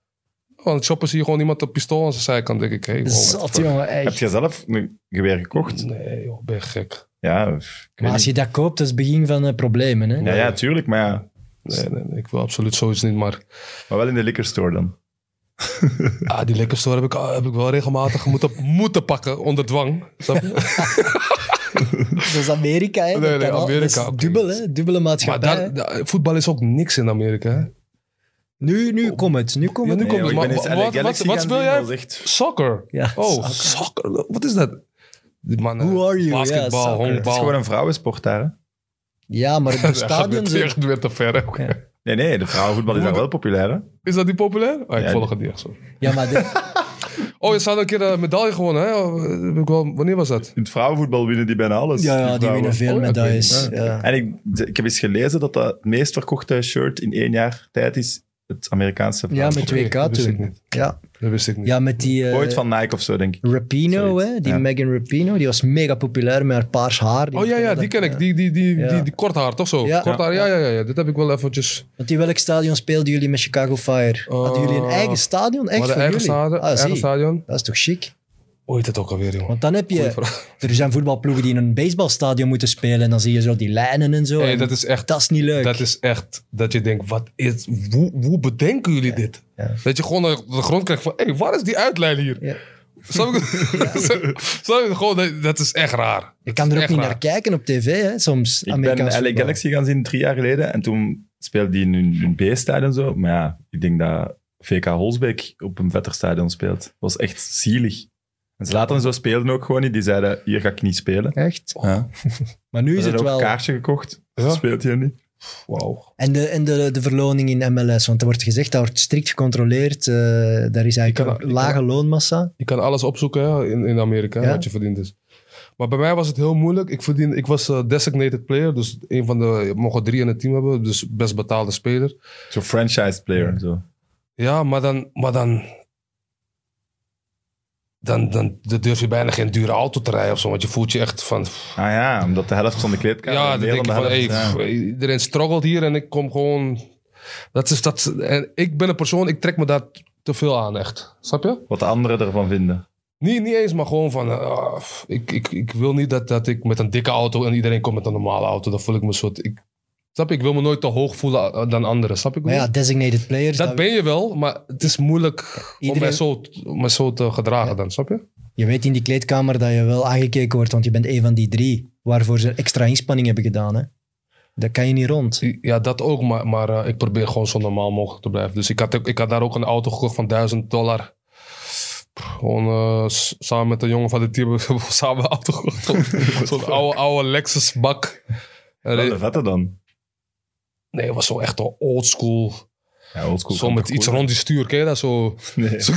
S3: Want shoppen zie je gewoon iemand een pistool aan zijn zijkant. denk ik, hey, wow, what the
S2: Zat,
S3: fuck.
S2: jongen. echt.
S1: Heb jij zelf een geweer gekocht?
S3: Nee, joh, ben je gek.
S1: Ja, pff, ik
S2: Maar
S1: weet
S2: als
S1: niet.
S2: je dat koopt, dat is het begin van eh, problemen. Hè?
S1: ja, ja, tuurlijk. Maar, ja.
S3: Nee, nee, nee, ik wil absoluut zoiets niet, maar...
S1: maar wel in de liquor store dan.
S3: Ah, die liquor store heb ik, heb ik wel regelmatig moeten, moeten pakken, onder dwang. Snap je?
S2: Dat is Amerika. Hè?
S3: Nee,
S2: Dat
S3: nee,
S2: kan al- dat is
S3: Amerika, oké.
S2: dubbel, hè? Dubbele
S3: Maar
S2: maatschappij.
S3: daar, daar- voetbal is ook niks in Amerika. Hè?
S2: nu, nu komt het. Nu komt
S3: Oh. Ja,
S2: het.
S3: nu komt
S1: joh,
S3: het.
S1: ik
S3: Maar
S1: ben eens
S3: wa-
S1: LA
S3: wat-
S1: Galaxy
S3: wat- wat
S1: gaan
S3: speel
S1: zien,
S3: jij?
S1: dat is echt-
S3: Soccer.
S2: Ja,
S3: oh,
S2: soccer.
S3: soccer. Wat is dat? Die mannen,
S2: Who are you? Ja,
S3: Basketbal,
S2: soccer.
S1: Het is
S3: honkbal.
S1: gewoon een vrouwensport daar. hè?
S2: Ja, maar op de stadions...
S3: Het echt weer te ver. hè. Oké.
S2: Ja.
S1: Nee, nee, de vrouwenvoetbal is daar wel populair. Hè?
S3: Is dat niet populair? Ah, ik
S1: Ja,
S3: volg
S1: die-
S3: het niet echt zo.
S2: Ja, maar de-
S3: Oh, je had een keer een medaille gewonnen. Hè? Oh, heb ik wel- Wanneer was dat?
S1: In het vrouwenvoetbal winnen die bijna alles.
S2: ja, ja, die
S1: vrouwen.
S2: winnen veel
S3: Oh, dat
S2: medailles.
S3: weet ik.
S2: Ja.
S1: En ik, ik heb eens gelezen dat dat het meest verkochte shirt in één jaar tijd is. Het Amerikaanse
S2: ja, met
S3: Ah, Oké,
S2: 2K
S3: dat wist ik
S2: toen.
S3: niet.
S2: Ja.
S3: Dat wist ik niet.
S2: ja, met die... eh,
S1: Ooit van Nike of zo, denk ik.
S2: Rapino,
S1: Zoiets.
S2: hè? die
S1: Ja.
S2: Megan Rapino, die was mega populair met haar paars haar.
S3: Oh ja, ja, die ken ik. Die, die, die,
S2: Ja.
S3: die, die kort haar, toch zo?
S2: Ja.
S3: Kort haar, ja, ja, ja, ja. Dit heb ik wel eventjes...
S2: Want in welk stadion speelden jullie met Chicago Fire? Hadden jullie een
S3: Eh,
S2: eigen stadion?
S3: We
S2: Echt
S3: hadden
S2: voor
S3: eigen,
S2: jullie?
S3: stadion,
S2: ah,
S3: eigen
S2: zie.
S3: stadion.
S2: Dat is toch chic?
S3: Hoe heet dat ook alweer, jongen?
S2: Want dan heb
S3: Goeie
S2: je...
S3: vraag.
S2: Er zijn voetbalploegen die in een baseballstadion moeten spelen en dan zie je zo die lijnen en zo.
S3: Hey,
S2: En
S3: dat is echt...
S2: dat is niet leuk.
S3: Dat is echt dat je denkt, wat is, hoe, hoe bedenken jullie dit?
S2: ja.
S3: Dat je gewoon naar de grond krijgt van, hé, waar is die uitlijn hier?
S2: Ja.
S3: Snap ik? Snap je? Gewoon, dat, dat is echt raar.
S2: je kan er ook
S3: echt
S2: niet
S3: raar.
S2: naar kijken op tv, hè? soms.
S1: Ik ben
S2: Amerikaans
S1: LA
S2: voetbal.
S1: Galaxy gaan zien drie jaar geleden. En toen speelde die in hun, hun B-stadion zo. Maar ja, ik denk dat VK Holsbeek op een vetter stadion speelt. Dat was echt zielig. En ze laten zo speelden ook gewoon niet. Die zeiden, hier ga ik niet spelen.
S2: Echt?
S1: Ja.
S2: Maar nu
S1: We hebben
S2: is het
S1: ook een
S2: wel...
S1: kaartje gekocht. Ze
S3: Ja.
S1: speelt hier niet.
S3: Wauw.
S2: En, de, en de, de verloning in MLS, want er wordt gezegd, dat wordt strikt gecontroleerd. eh, daar is
S3: kan
S2: eigenlijk
S3: dat-
S2: een
S3: ik kan
S2: lage
S3: dat-
S2: loonmassa.
S3: Je kan alles opzoeken hè, in, in Amerika, hè,
S2: Ja.
S3: wat je verdiend is. Maar bij mij was het heel moeilijk. Ik, verdien, ik was eh, designated player, dus een van de... Je mocht er drie in het team hebben, dus best betaalde speler.
S1: Zo'n franchise player. Zo.
S3: Ja, maar dan. Maar dan, dan, dan, dan durf je bijna geen dure auto te rijden of zo. Want je voelt je echt van. pff,
S1: Ah ja, omdat de helft van de
S3: Ja,
S1: kleedkamer...
S3: dan denk je van. hey, pff, Iedereen struggelt hier en ik kom gewoon. Dat is dat. En ik ben een persoon, ik trek me daar te veel aan, echt. Snap je?
S1: Wat de anderen ervan vinden.
S3: Niet, niet eens, maar gewoon van. eh, pff, ik, ik, ik wil niet dat, dat ik met een dikke auto en iedereen komt met een normale auto. Dan voel ik me een soort. Ik, snap je? Ik wil me nooit te hoog voelen eh, dan anderen. Snap je?
S2: Maar ja, designated players,
S3: Dus dat
S2: dat-
S3: ben je wel, maar het is moeilijk om mij
S2: iedereen-
S3: zo, om mij zo te gedragen dan, snap je?
S2: je weet in die kleedkamer dat je wel aangekeken wordt, want je bent een van die drie waarvoor ze extra inspanning hebben gedaan. Hè? Dat kan je niet rond.
S3: Ja, dat ook, maar, maar eh, ik probeer gewoon zo normaal mogelijk te blijven. Dus ik had, ook- ik had daar ook een auto gekocht van 1000 dollar. Gewoon eh, s- samen met de jongen van de team hebben we samen een auto gekocht. Zo'n oude, oude Lexus bak. En
S1: Wel
S3: die-
S1: de vette dan.
S3: Nee, het was zo echt een oldschool.
S1: Ja, oldschool
S3: Zo
S1: kan
S3: met
S1: toch
S3: iets
S1: cool.
S3: rond die stuur, ken je dat? Zo,
S1: Nee.
S3: zo,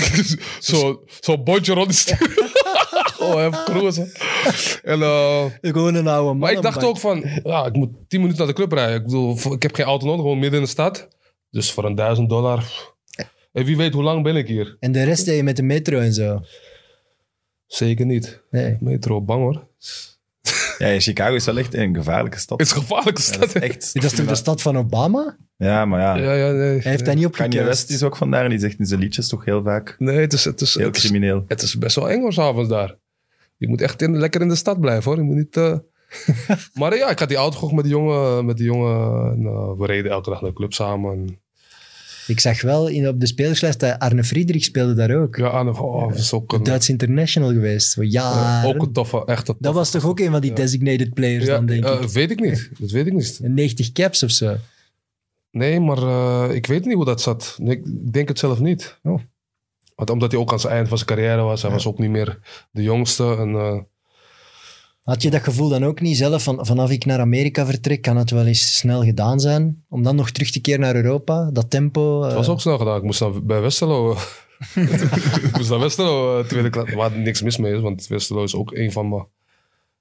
S3: zo, zo'n bondje rond die stuur. oh, even cruisen. En eh,
S2: Gewoon een oude man.
S3: Maar ik dacht ook van, ja, ik moet 10 minuten naar de club rijden. Ik bedoel, voor- ik heb geen auto nodig, gewoon midden in de stad. Dus voor een duizend dollar. En wie weet hoe lang ben ik hier?
S2: En de rest deed je met de metro en zo.
S3: Zeker niet.
S2: Nee.
S3: Metro, bang hoor.
S1: Ja, Chicago is wel echt een gevaarlijke stad.
S3: Het is een gevaarlijke
S1: Ja,
S3: stad.
S1: dat is echt...
S2: Dat is toch de stad van Obama?
S1: Ja, maar ja.
S3: Ja, ja, nee.
S2: Hij heeft daar niet op
S1: Kanye West
S2: gekust.
S1: is ook vandaar en die zegt in zijn liedjes toch heel vaak.
S3: Nee, het is, het is,
S1: Heel
S3: het is,
S1: crimineel.
S3: het is best wel eng hoor, 's avonds daar. Je moet echt in, lekker in de stad blijven hoor. Je moet niet... eh, maar ja, nou, ik had die auto gekocht met die jongen. Met die jongen en, eh, we reden elke dag naar de club samen. En
S2: Ik zag wel in, op de spelerslijst dat Arne Friedrich speelde daar ook.
S3: Ja, Arne, oh, dat is ook een,
S2: Duits international geweest. Voor
S3: eh,
S2: jaren.
S3: ook een toffe, echt een
S2: dat was toch ook een van die
S3: Ja.
S2: designated players
S3: ja,
S2: dan, denk
S3: eh,
S2: ik.
S3: weet ik niet. Dat weet ik niet.
S2: 90 caps of zo.
S3: Nee, maar eh, ik weet niet hoe dat zat. Nee, ik denk het zelf niet.
S1: Oh.
S3: Want omdat hij ook aan zijn eind van zijn carrière was, hij was ook niet meer de jongste. En, eh,
S2: Had je dat gevoel dan ook niet zelf van vanaf ik naar Amerika vertrek, kan het wel eens snel gedaan zijn? Om dan nog terug te keren naar Europa, dat tempo.
S3: het
S2: eh,
S3: was ook snel gedaan. Ik moest naar, bij Westerlo. eh, ik moest naar Westerlo, eh, tweede klasse. Waar niks mis mee is, want Westerlo is ook een van mijn...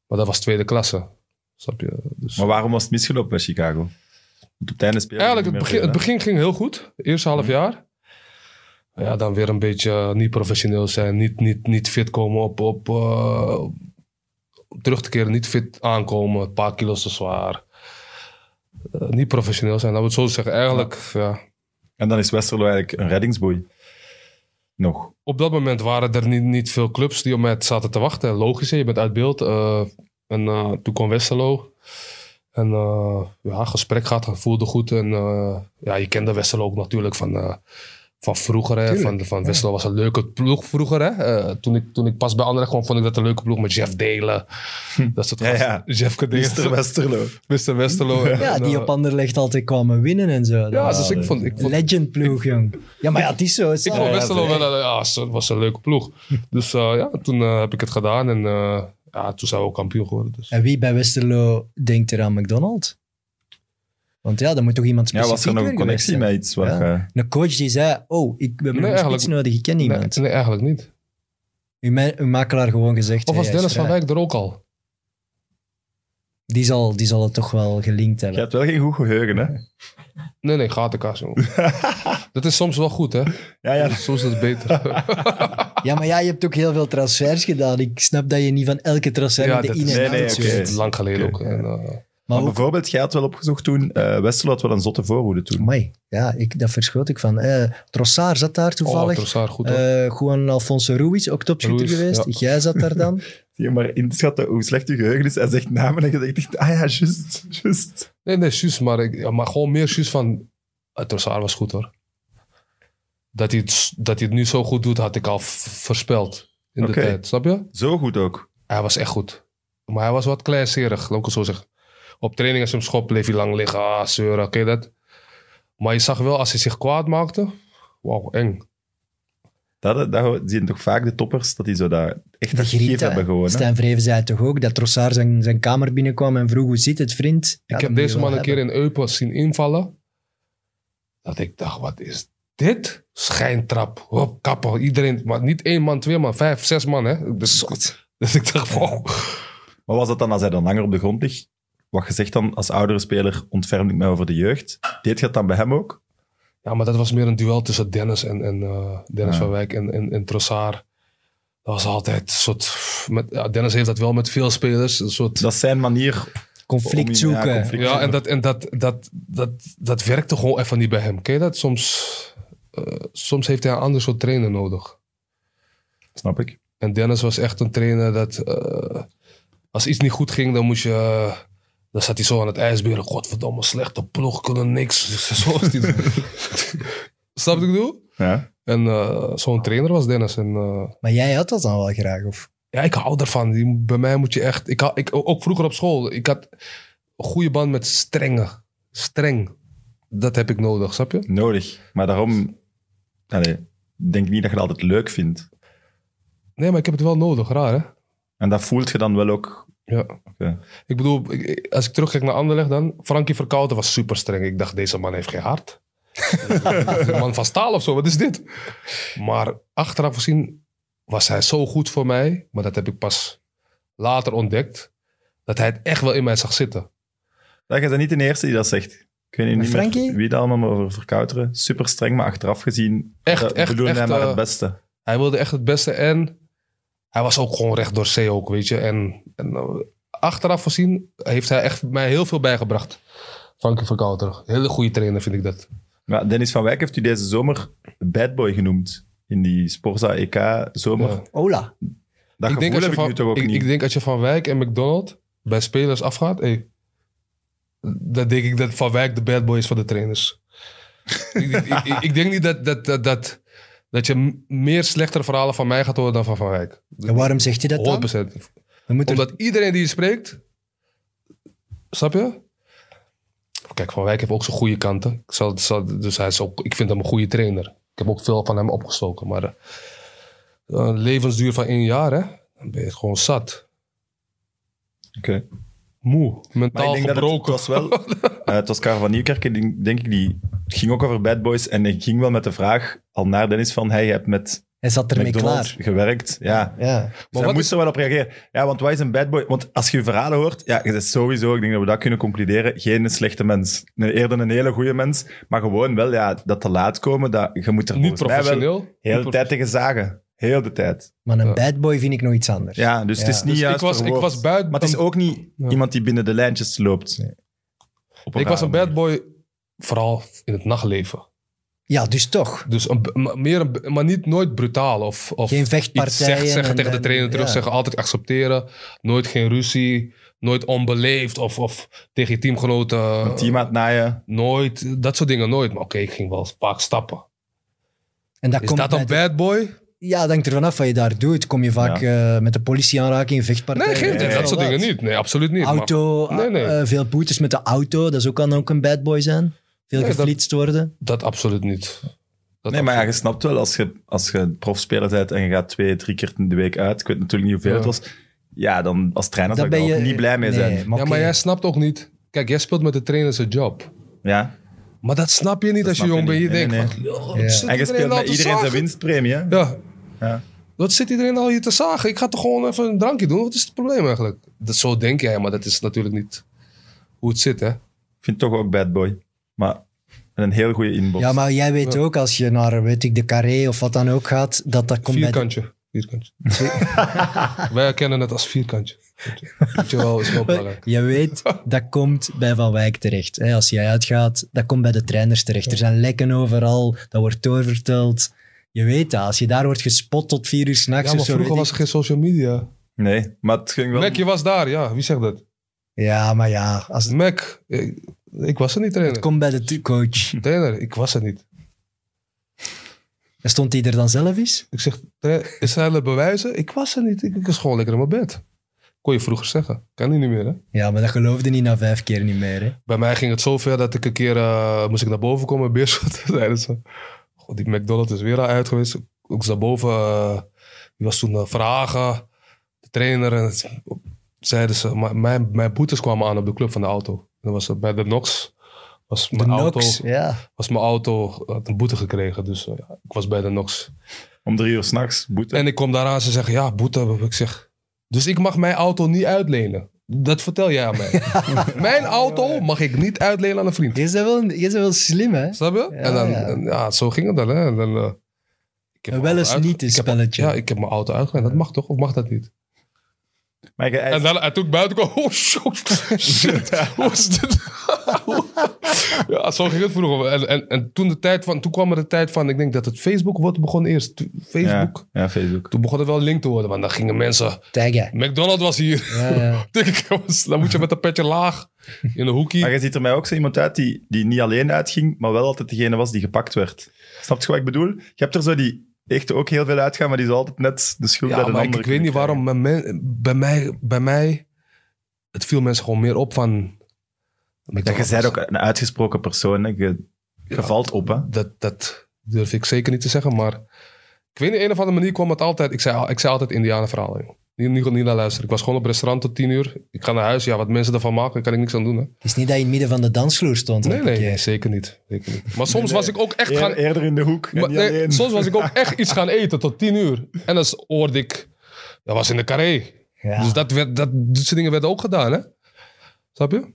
S3: Maar dat was tweede klasse. Snap je? Dus,
S1: Maar waarom was het misgelopen bij Chicago? Want op het einde speelde
S3: Eigenlijk, het
S1: hij niet
S3: begin, het
S1: meer Mhm.
S3: begin ging heel goed. Eerste half jaar. Ja, dan weer een beetje eh, niet professioneel zijn. Niet, niet, niet fit komen op... op eh, op terug te keren, niet fit aankomen. Een paar kilo's te zwaar. Eh, niet professioneel zijn, dat moet ik zo zeggen. Eigenlijk, ja.
S1: hè? En dan is Westerlo eigenlijk een reddingsboei. Nog.
S3: Op dat moment waren er niet, niet veel clubs die op mij zaten te wachten. Logisch, hè, je bent uit beeld. eh, en eh, toen kwam Westerlo. En eh, ja, gesprek gaat, voelde goed. En eh, ja, je kende Westerlo ook natuurlijk van, eh, van vroeger. Hè, van, van Westerlo was een leuke ploeg vroeger. Hè. Eh, toen, ik, toen ik pas bij Anderlecht kwam, vond ik dat een leuke ploeg met Jeff Delen. Dat soort
S1: Ja,
S3: gasten.
S1: ja.
S3: Jeff
S1: Mister
S3: Delen,
S1: Westerlo.
S3: Mr. Westerlo.
S2: ja,
S3: En,
S2: die
S3: eh,
S2: op Anderlecht altijd kwamen winnen en zo.
S3: ja,
S2: Dat
S3: dus
S2: was-
S3: ik vond, ik vond
S2: Legend ploeg, jong. Ja, maar ja, het is zo. Het is
S3: Ik
S2: zo.
S3: vond Westerlo wel, een- ja, het was een leuke ploeg. Dus eh, ja, toen eh, heb ik het gedaan en eh, ja, toen zijn we ook kampioen geworden. Dus.
S2: En wie bij Westerlo denkt er aan McDonald's? Want ja, dan moet toch iemand
S1: Ja, was
S2: specifiek
S1: er nog
S2: weer
S1: een connectie
S2: geweest zijn.
S1: met iets waar...
S2: Ja.
S1: eh,
S2: Een coach die zei, oh, ik ben
S3: Nee,
S2: nog een spits
S3: eigenlijk-
S2: nodig, ik ken
S3: Nee,
S2: niemand.
S3: nee, eigenlijk niet.
S2: Uw, ma- uw makelaar gewoon gezegd.
S3: Of
S2: hey,
S3: was
S2: hij is
S3: Dennis van
S2: vrij.
S3: Wijk er ook al?
S2: Die zal, die zal het toch wel gelinkt
S1: Je
S2: hebben.
S1: hebt wel geen goed geheugen, hè?
S3: Nee, nee, gatenkaas, jongen. dat is soms wel goed, hè?
S1: Ja, ja.
S3: Soms is het beter.
S2: Ja, maar ja, je hebt ook heel veel transfers gedaan. Ik snap dat je niet van elke transfer
S3: Ja,
S2: met de
S3: dat
S2: in-
S3: is-
S2: en
S1: nee, nee,
S2: out
S1: oké.
S2: weet.
S1: Ja.
S3: Het is lang geleden
S1: Oké,
S3: ook. En, eh,
S2: Maar
S1: Maar
S2: ook,
S1: bijvoorbeeld, jij had wel opgezocht toen... eh Westerlo had wel een zotte voorhoede toen.
S2: amai, ja, ik, dat verschoot ik van. Eh, Trossard zat daar
S3: oh,
S2: toevallig.
S3: Trossard, goed hoor.
S2: Eh, Juan Alfonso Ruiz, ook topschutter
S3: Ruiz,
S2: geweest.
S3: ja.
S2: Jij zat daar dan.
S1: Zie je maar in te schatten hoe slecht je geheugen is. Hij zegt namen en je denkt echt, ah ja, juist, juist.
S3: Nee, nee, Suus, maar, ik, ja, maar gewoon meer Suus van... eh, Trossard was goed, hoor. Dat hij, het, dat hij het nu zo goed doet, had ik al v- voorspeld in
S1: Oké.
S3: de tijd. Snap je?
S1: Zo goed ook.
S3: Hij was echt goed. Maar hij was wat kleinserig, laat ik het zo zeggen. Op training als hij hem schop, bleef hij lang liggen. Ah, zeuren, ken je dat? Maar je zag wel, als hij zich kwaad maakte... Wauw, eng.
S1: Dat, dat zien toch vaak de toppers, dat die zo dat echt dat
S2: Griet,
S1: gegeven
S2: hè.
S1: hebben gewoon. hè?
S2: Stijn Vreven zei toch ook dat Trossard zijn, zijn kamer binnenkwam en vroeg hoe zit het, vriend? Ja,
S3: ik
S2: dat
S3: heb
S2: moet je
S3: deze
S2: wel
S3: man een keer
S2: hebben.
S3: in Eupen zien invallen. Dat ik dacht, wat is dit? Schijntrap, hop, kappen. Iedereen, maar niet één man, twee man, vijf, zes man. Hè? Dus, dus ik dacht, wow.
S1: Maar was dat dan als hij dan langer op de grond ligt? Wat gezegd dan als oudere speler, ontferm ik mij over de jeugd. Deed je dat dan bij hem ook?
S3: Ja, maar dat was meer een duel tussen Dennis en, en eh, Dennis
S1: Ja.
S3: van Wijk en, en, en Trossard. Dat was altijd een soort... Met, ja, Dennis heeft dat wel met veel spelers. Een soort,
S1: Dat is zijn manier. om- ja,
S2: Conflict zoeken.
S1: conflict.
S3: ja, en, dat, en dat, dat, dat, dat werkte gewoon even niet bij hem. Ken je dat? Soms, eh, soms heeft hij een ander soort trainer nodig.
S1: Snap ik.
S3: En Dennis was echt een trainer dat... eh, als iets niet goed ging, dan moest je... eh, dan zat hij zo aan het ijsberen. Godverdomme, slechte ploeg, kunnen niks. Zoals die... Snap je wat ik bedoel?
S1: Ja.
S3: En eh, zo'n trainer was Dennis. En, eh,
S2: Maar jij had dat dan wel graag, of?
S3: ja, ik hou ervan. Die- Bij mij moet je echt... Ik, had- ik, ook vroeger op school. Ik had een goede band met strenge. Streng. Dat heb ik nodig, snap je?
S1: Nodig. Maar daarom allee, ik denk niet dat je dat altijd leuk vindt.
S3: Nee, maar ik heb het wel nodig. Raar, hè?
S1: En dat voelt je dan wel ook.
S3: Ja.
S1: Oké.
S3: Ik bedoel, ik- ik- als ik terugkijk naar Anderlecht dan... Frankie Verkouten was super streng. Ik dacht, deze man heeft geen hart. Dit is een man van staal of zo, wat is dit? Maar achteraf gezien was hij zo goed voor mij. Maar dat heb ik pas later ontdekt. Dat hij het echt wel in mij zag zitten.
S1: Dat je bent niet de eerste die dat zegt. Ik weet niet
S2: Maar
S1: meer
S2: Frankie?
S1: wie dat allemaal maar over verkouteren. Super streng, maar achteraf gezien
S3: Echt,
S1: dat
S3: echt,
S1: bedoelde
S3: echt.
S1: hij maar
S3: eh,
S1: het beste.
S3: Hij wilde echt het beste en hij was ook gewoon recht door zee ook, weet je. En, en eh, achteraf gezien heeft hij echt mij heel veel bijgebracht. Frankie Verkouter. Hele goede trainer vind ik dat.
S1: Maar Dennis van Wijk heeft u deze zomer Bad Boy genoemd. In die Sporza EK zomer.
S3: Ja.
S2: Ola.
S1: Dat
S3: ik,
S1: gevoel
S3: denk
S1: heb
S3: als je
S1: ik
S3: van,
S1: nu toch ook
S3: ik,
S1: niet.
S3: ik denk als je van Wijk en McDonald bij spelers afgaat, hey, dan denk ik dat Van Wijk de bad boy is van de trainers. ik, ik, ik- ik denk niet dat, dat, dat, dat, dat je m- meer slechtere verhalen van mij gaat horen dan van Van Wijk.
S2: En waarom zegt hij dat dan?
S3: 100%.
S2: Dan moet er-
S3: Oh, Omdat iedereen die je spreekt, snap je? Kijk, Van Wijk heeft ook zijn goede kanten. Ik, zal, zal- dus hij is ook, ik vind hem een goede trainer. Ik heb ook veel van hem opgestoken. Maar eh, een levensduur van één jaar, hè? dan ben je gewoon zat. Moe,
S1: Maar
S3: mentaal
S1: ik denk dat het, het
S3: gebroken.
S1: was wel... eh, het was Karel van Nieuwkerk, denk, denk ik, die het ging ook over Bad Boys. En ik ging wel met de vraag al naar Dennis van, hey, je hebt met
S2: Hij zat ermee
S1: McDonald's
S2: klaar.
S1: gewerkt. Ja.
S2: Ja.
S1: Maar
S3: wat
S1: moest
S3: is-
S1: er wel op reageren. Ja, want wij zijn bad boy. Want als je je verhalen hoort, ja, je bent sowieso, ik denk dat we dat kunnen concluderen, geen slechte mens. Nee, eerder een hele goede mens. Maar gewoon wel, ja, dat te laat komen, dat, je moet er
S3: niet
S1: volgens mij wel
S3: professioneel.
S1: heel
S3: Niet
S1: de
S3: prof-
S1: tijd tegen zagen. Heel de tijd.
S2: Maar een
S3: Ja.
S2: bad boy vind ik nog iets anders.
S1: Ja, dus het
S2: Ja.
S1: is niet
S3: Dus ik
S1: juist
S3: was, ik
S1: verwoord.
S3: was buiten.
S1: Maar het is ook niet
S3: Ja.
S1: iemand die binnen de lijntjes loopt. Op
S3: ik was
S1: rare
S3: een bad
S1: manier.
S3: boy, vooral in het nachtleven.
S2: Ja, dus toch.
S3: Dus een, maar meer een, maar niet nooit brutaal of, of
S2: Geen
S3: iets
S2: vechtpartijen.
S3: zeggen, zeggen
S2: en-
S3: tegen de
S2: en-
S3: trainer terug,
S2: ja.
S3: zeggen altijd accepteren, nooit geen ruzie, nooit onbeleefd of, of tegen je teamgenoten, eh,
S1: Een team aan het naaien.
S3: nooit, dat soort dingen nooit. Maar oké, ik ging wel vaak stappen.
S2: En dat
S3: Is
S2: komt
S3: dat een
S2: bij-
S3: bad boy?
S2: Ja, het hangt er vanaf wat je daar doet. Kom je vaak eh, met de politie aanraking, vechtpartijen?
S3: Nee, geen,
S1: nee,
S3: dat soort
S2: wat.
S3: dingen niet. Nee, absoluut niet. maar-
S2: Auto,
S3: Nee, nee.
S2: eh, veel boetes met de auto. Dat is ook, kan ook een bad boy zijn. Veel
S3: Nee, dat-
S2: geflitst worden.
S3: dat absoluut niet. Dat
S1: Nee, maar ja,
S3: absoluut-
S1: je snapt wel, als je, als je profspeler bent en je gaat twee, drie keer in de week uit, ik weet natuurlijk niet hoeveel het
S3: Ja.
S1: was, ja, dan als trainer
S2: Dan
S1: zou ik
S2: ben
S1: daar
S2: je
S1: ook niet blij mee
S2: nee,
S1: zijn.
S2: Maar,
S3: ja,
S2: oké.
S3: maar jij snapt ook niet. Kijk, jij speelt met de trainer zijn job.
S1: Ja.
S3: Maar dat snap je niet als je
S1: snap
S3: jong
S1: je
S3: bent. Je
S1: niet.
S3: denkt
S1: Nee,
S3: van, "Lul,
S2: Ja.
S3: wat zit
S1: En je speelt
S3: nou
S1: met
S3: te
S1: iedereen zijn
S3: zagen?"
S1: winstpremie, hè?
S3: Ja.
S1: Ja.
S3: Wat zit iedereen al hier te zagen? Ik ga toch gewoon even een drankje doen? Wat is het probleem eigenlijk? Dat, zo denk jij, maar dat is natuurlijk niet hoe het zit, hè?
S1: Ik vind toch ook bad boy. Maar met een heel goede inbox.
S2: ja, maar jij weet
S3: Ja.
S2: ook als je naar weet ik, de carré of wat dan ook gaat, dat dat komt bij de-
S3: Vierkantje. Vierkantje. Wij kennen het als vierkantje. Weet je wel, is wel belangrijk.
S2: Je weet, dat komt bij Van Wijk terecht. Hè, als jij uitgaat, dat komt bij de trainers terecht. Er zijn lekken overal, dat wordt doorverteld. Je weet dat. Als je daar wordt gespot tot vier uur s'nachts
S3: Ja, maar
S2: of zo.
S3: vroeger
S2: weet
S3: was
S2: ik-
S3: er geen social media.
S1: Nee, maar het ging wel...
S3: Mac, je was daar, ja. Wie zegt dat?
S2: Ja, maar ja. Als het,
S3: Mac, ik, ik was er niet,
S2: het
S3: trainer.
S2: komt bij de t- coach.
S3: Trainer, ik was er niet.
S2: En stond hij er dan zelf is?
S3: Ik zeg, tra- is er alle bewijzen? Ik was er niet. Ik, ik was gewoon lekker in mijn bed. Kon je vroeger zeggen. Kan die niet meer, hè?
S2: Ja, maar dat geloofde niet na vijf keer niet meer. Hè?
S3: Bij mij ging het zo ver dat ik een keer eh, moest ik naar boven komen in Beerschot. zeiden ze, "Goh, die McDonald's is weer al uit geweest. Ik was naar boven, eh, die was toen eh, Verhagen, de trainer. En het- zeiden ze, maar mijn, mijn boetes kwamen aan op de club van de auto. Dat was het bij de Nox. Was
S2: De
S3: mijn, auto,
S2: Nox, ja.
S3: was mijn auto, had een boete gekregen. Dus eh, ja, ik was bij de Nox.
S1: Om drie uur s'nachts, boete.
S3: En ik kom daaraan, ze zeggen, ja, boete. Ik zeg, dus ik mag mijn auto niet uitlenen. Dat vertel jij aan mij. mijn auto mag ik niet uitlenen aan een vriend.
S2: Je is wel, je is wel slim, hè?
S3: Snap je? en dan,
S2: ja.
S3: en ja, zo ging het dan. Hè? En dan eh, ik heb
S2: Een
S3: mijn
S2: wel eens
S3: auto
S2: niet een
S3: ik heb-
S2: spelletje.
S3: Ja, ik heb mijn auto uitgeleend. Dat mag toch? Of mag dat niet?
S1: Maar je-
S3: En, dan, en toen ik buiten kwam, oh shit, shit hoe is dit? ja, zo ging het vroeger. En, en, en toen, de tijd van, toen kwam er de tijd van, ik denk dat het Facebook wordt begon eerst. Toen- Facebook.
S1: Ja, ja, Facebook.
S3: Toen begon het wel link te worden, want dan gingen mensen...
S2: Taggen.
S3: McDonald's was hier.
S2: Ja, ja.
S3: Denk ik, jongens, dan moet je met een petje laag in de
S1: Maar
S3: hoekie.
S1: je ziet er mij ook zo iemand uit die, die niet alleen uitging, maar wel altijd degene was die gepakt werd. Snap je wat ik bedoel? Je hebt er zo die echt ook heel veel uitgaan, maar die is altijd net de schuld
S3: Ja,
S1: bij de
S3: maar ik,
S1: ander.
S3: ik weet niet waarom. Bij, men- bij, mij, bij mij, het viel mensen gewoon meer op van...
S1: Ja, je bent ook een uitgesproken persoon. Hè. Je, je
S3: Ja.
S1: valt op, hè.
S3: Dat, dat durf ik zeker niet te zeggen, maar... Ik weet niet, een of andere manier kwam het altijd... Ik zei, al- ik zei altijd Indianenverhalen, joh. Niet, niet, niet naar luisteren. Ik was gewoon op restaurant tot tien uur. Ik ga naar huis. Ja, wat mensen ervan maken, daar kan ik niks aan doen. Hè.
S2: Het is niet dat je in het midden van de dansvloer stond.
S3: Nee,
S2: elke
S3: nee,
S2: keer.
S3: zeker niet. Zeker niet. Maar soms
S1: nee.
S3: was ik ook echt
S1: Eer-
S3: gaan...
S1: eerder in de hoek, en
S3: Maar,
S1: niet
S3: nee,
S1: alleen.
S3: soms was ik ook echt iets gaan eten tot tien uur. En dan hoorde ik... Dat was in de carré.
S2: Ja.
S3: Dus dat, werd, dat, dit soort dingen werden ook gedaan, hè? Snap je?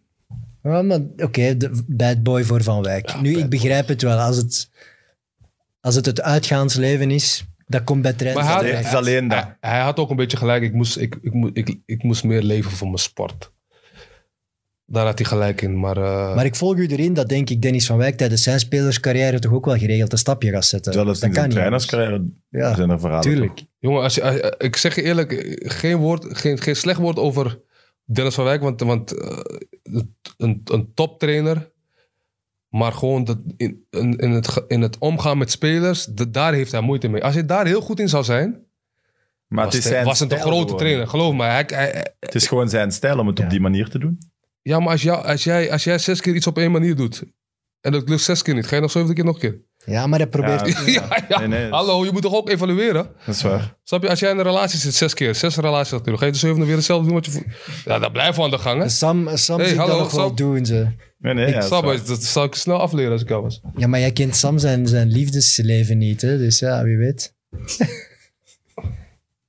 S2: Ja, maar oké, de bad boy voor Van Wijk. nu, ik begrijp het wel. Als het, als het het uitgaansleven is, dat komt bij trainers.
S3: Maar hij-
S1: Het is alleen dat.
S3: Hij, hij had ook een beetje gelijk. Ik moest, ik, ik, moe- ik, ik moest meer leven voor mijn sport. Daar had hij gelijk in. Maar, eh,
S2: Maar ik volg u erin dat, denk ik, Dennis van Wijk tijdens zijn spelerscarrière toch ook wel geregeld een stapje gaat zetten.
S1: Zelfs
S2: dat
S1: in zijn
S2: kan
S1: trainerscarrière
S2: Ja,
S1: zijn er verhalen.
S2: tuurlijk.
S3: jongen, als je, als je- ik zeg je eerlijk, geen, woord, geen, geen slecht woord over Dennis van Wijk. Want, want eh, het- een, een toptrainer Maar gewoon dat in, in, in het, ge- in het omgaan met spelers, da- daar heeft hij moeite mee. Als hij daar heel goed in zou zijn,
S1: Maar
S3: was
S1: het is
S3: hij-
S1: zijn
S3: was het een
S1: stijl
S3: grote
S1: gewoon.
S3: trainer. Geloof me. Hij, hij-
S1: Het is gewoon zijn stijl om het
S2: Ja.
S1: op die manier te doen.
S3: ja, maar als, jou, als, jij, als jij zes keer iets op één manier doet, en dat lukt zes keer niet, ga je nog zevende keer nog een keer?
S2: Ja, maar dat probeert...
S1: Ja.
S3: ja, ja.
S1: Nee, nee, dat is-
S3: Hallo, je moet toch ook evalueren?
S1: Dat is waar.
S3: Snap je, als jij in een relatie zit, zes keer, zes relaties achter, ga je de zevende weer hetzelfde doen wat je vo- Ja, dat blijft wel aan de gang, hè?
S2: Sam, Sam
S3: Hey,
S2: ziet
S3: hallo,
S2: dat nog wel
S3: Sam.
S2: doen, ze.
S1: Nee, nee, ja, dat is
S3: Snap
S1: waar.
S3: je, dat zou ik snel afleren als ik jou was.
S2: Ja, maar jij kent Sam zijn, zijn liefdesleven niet, hè? Dus ja, wie weet.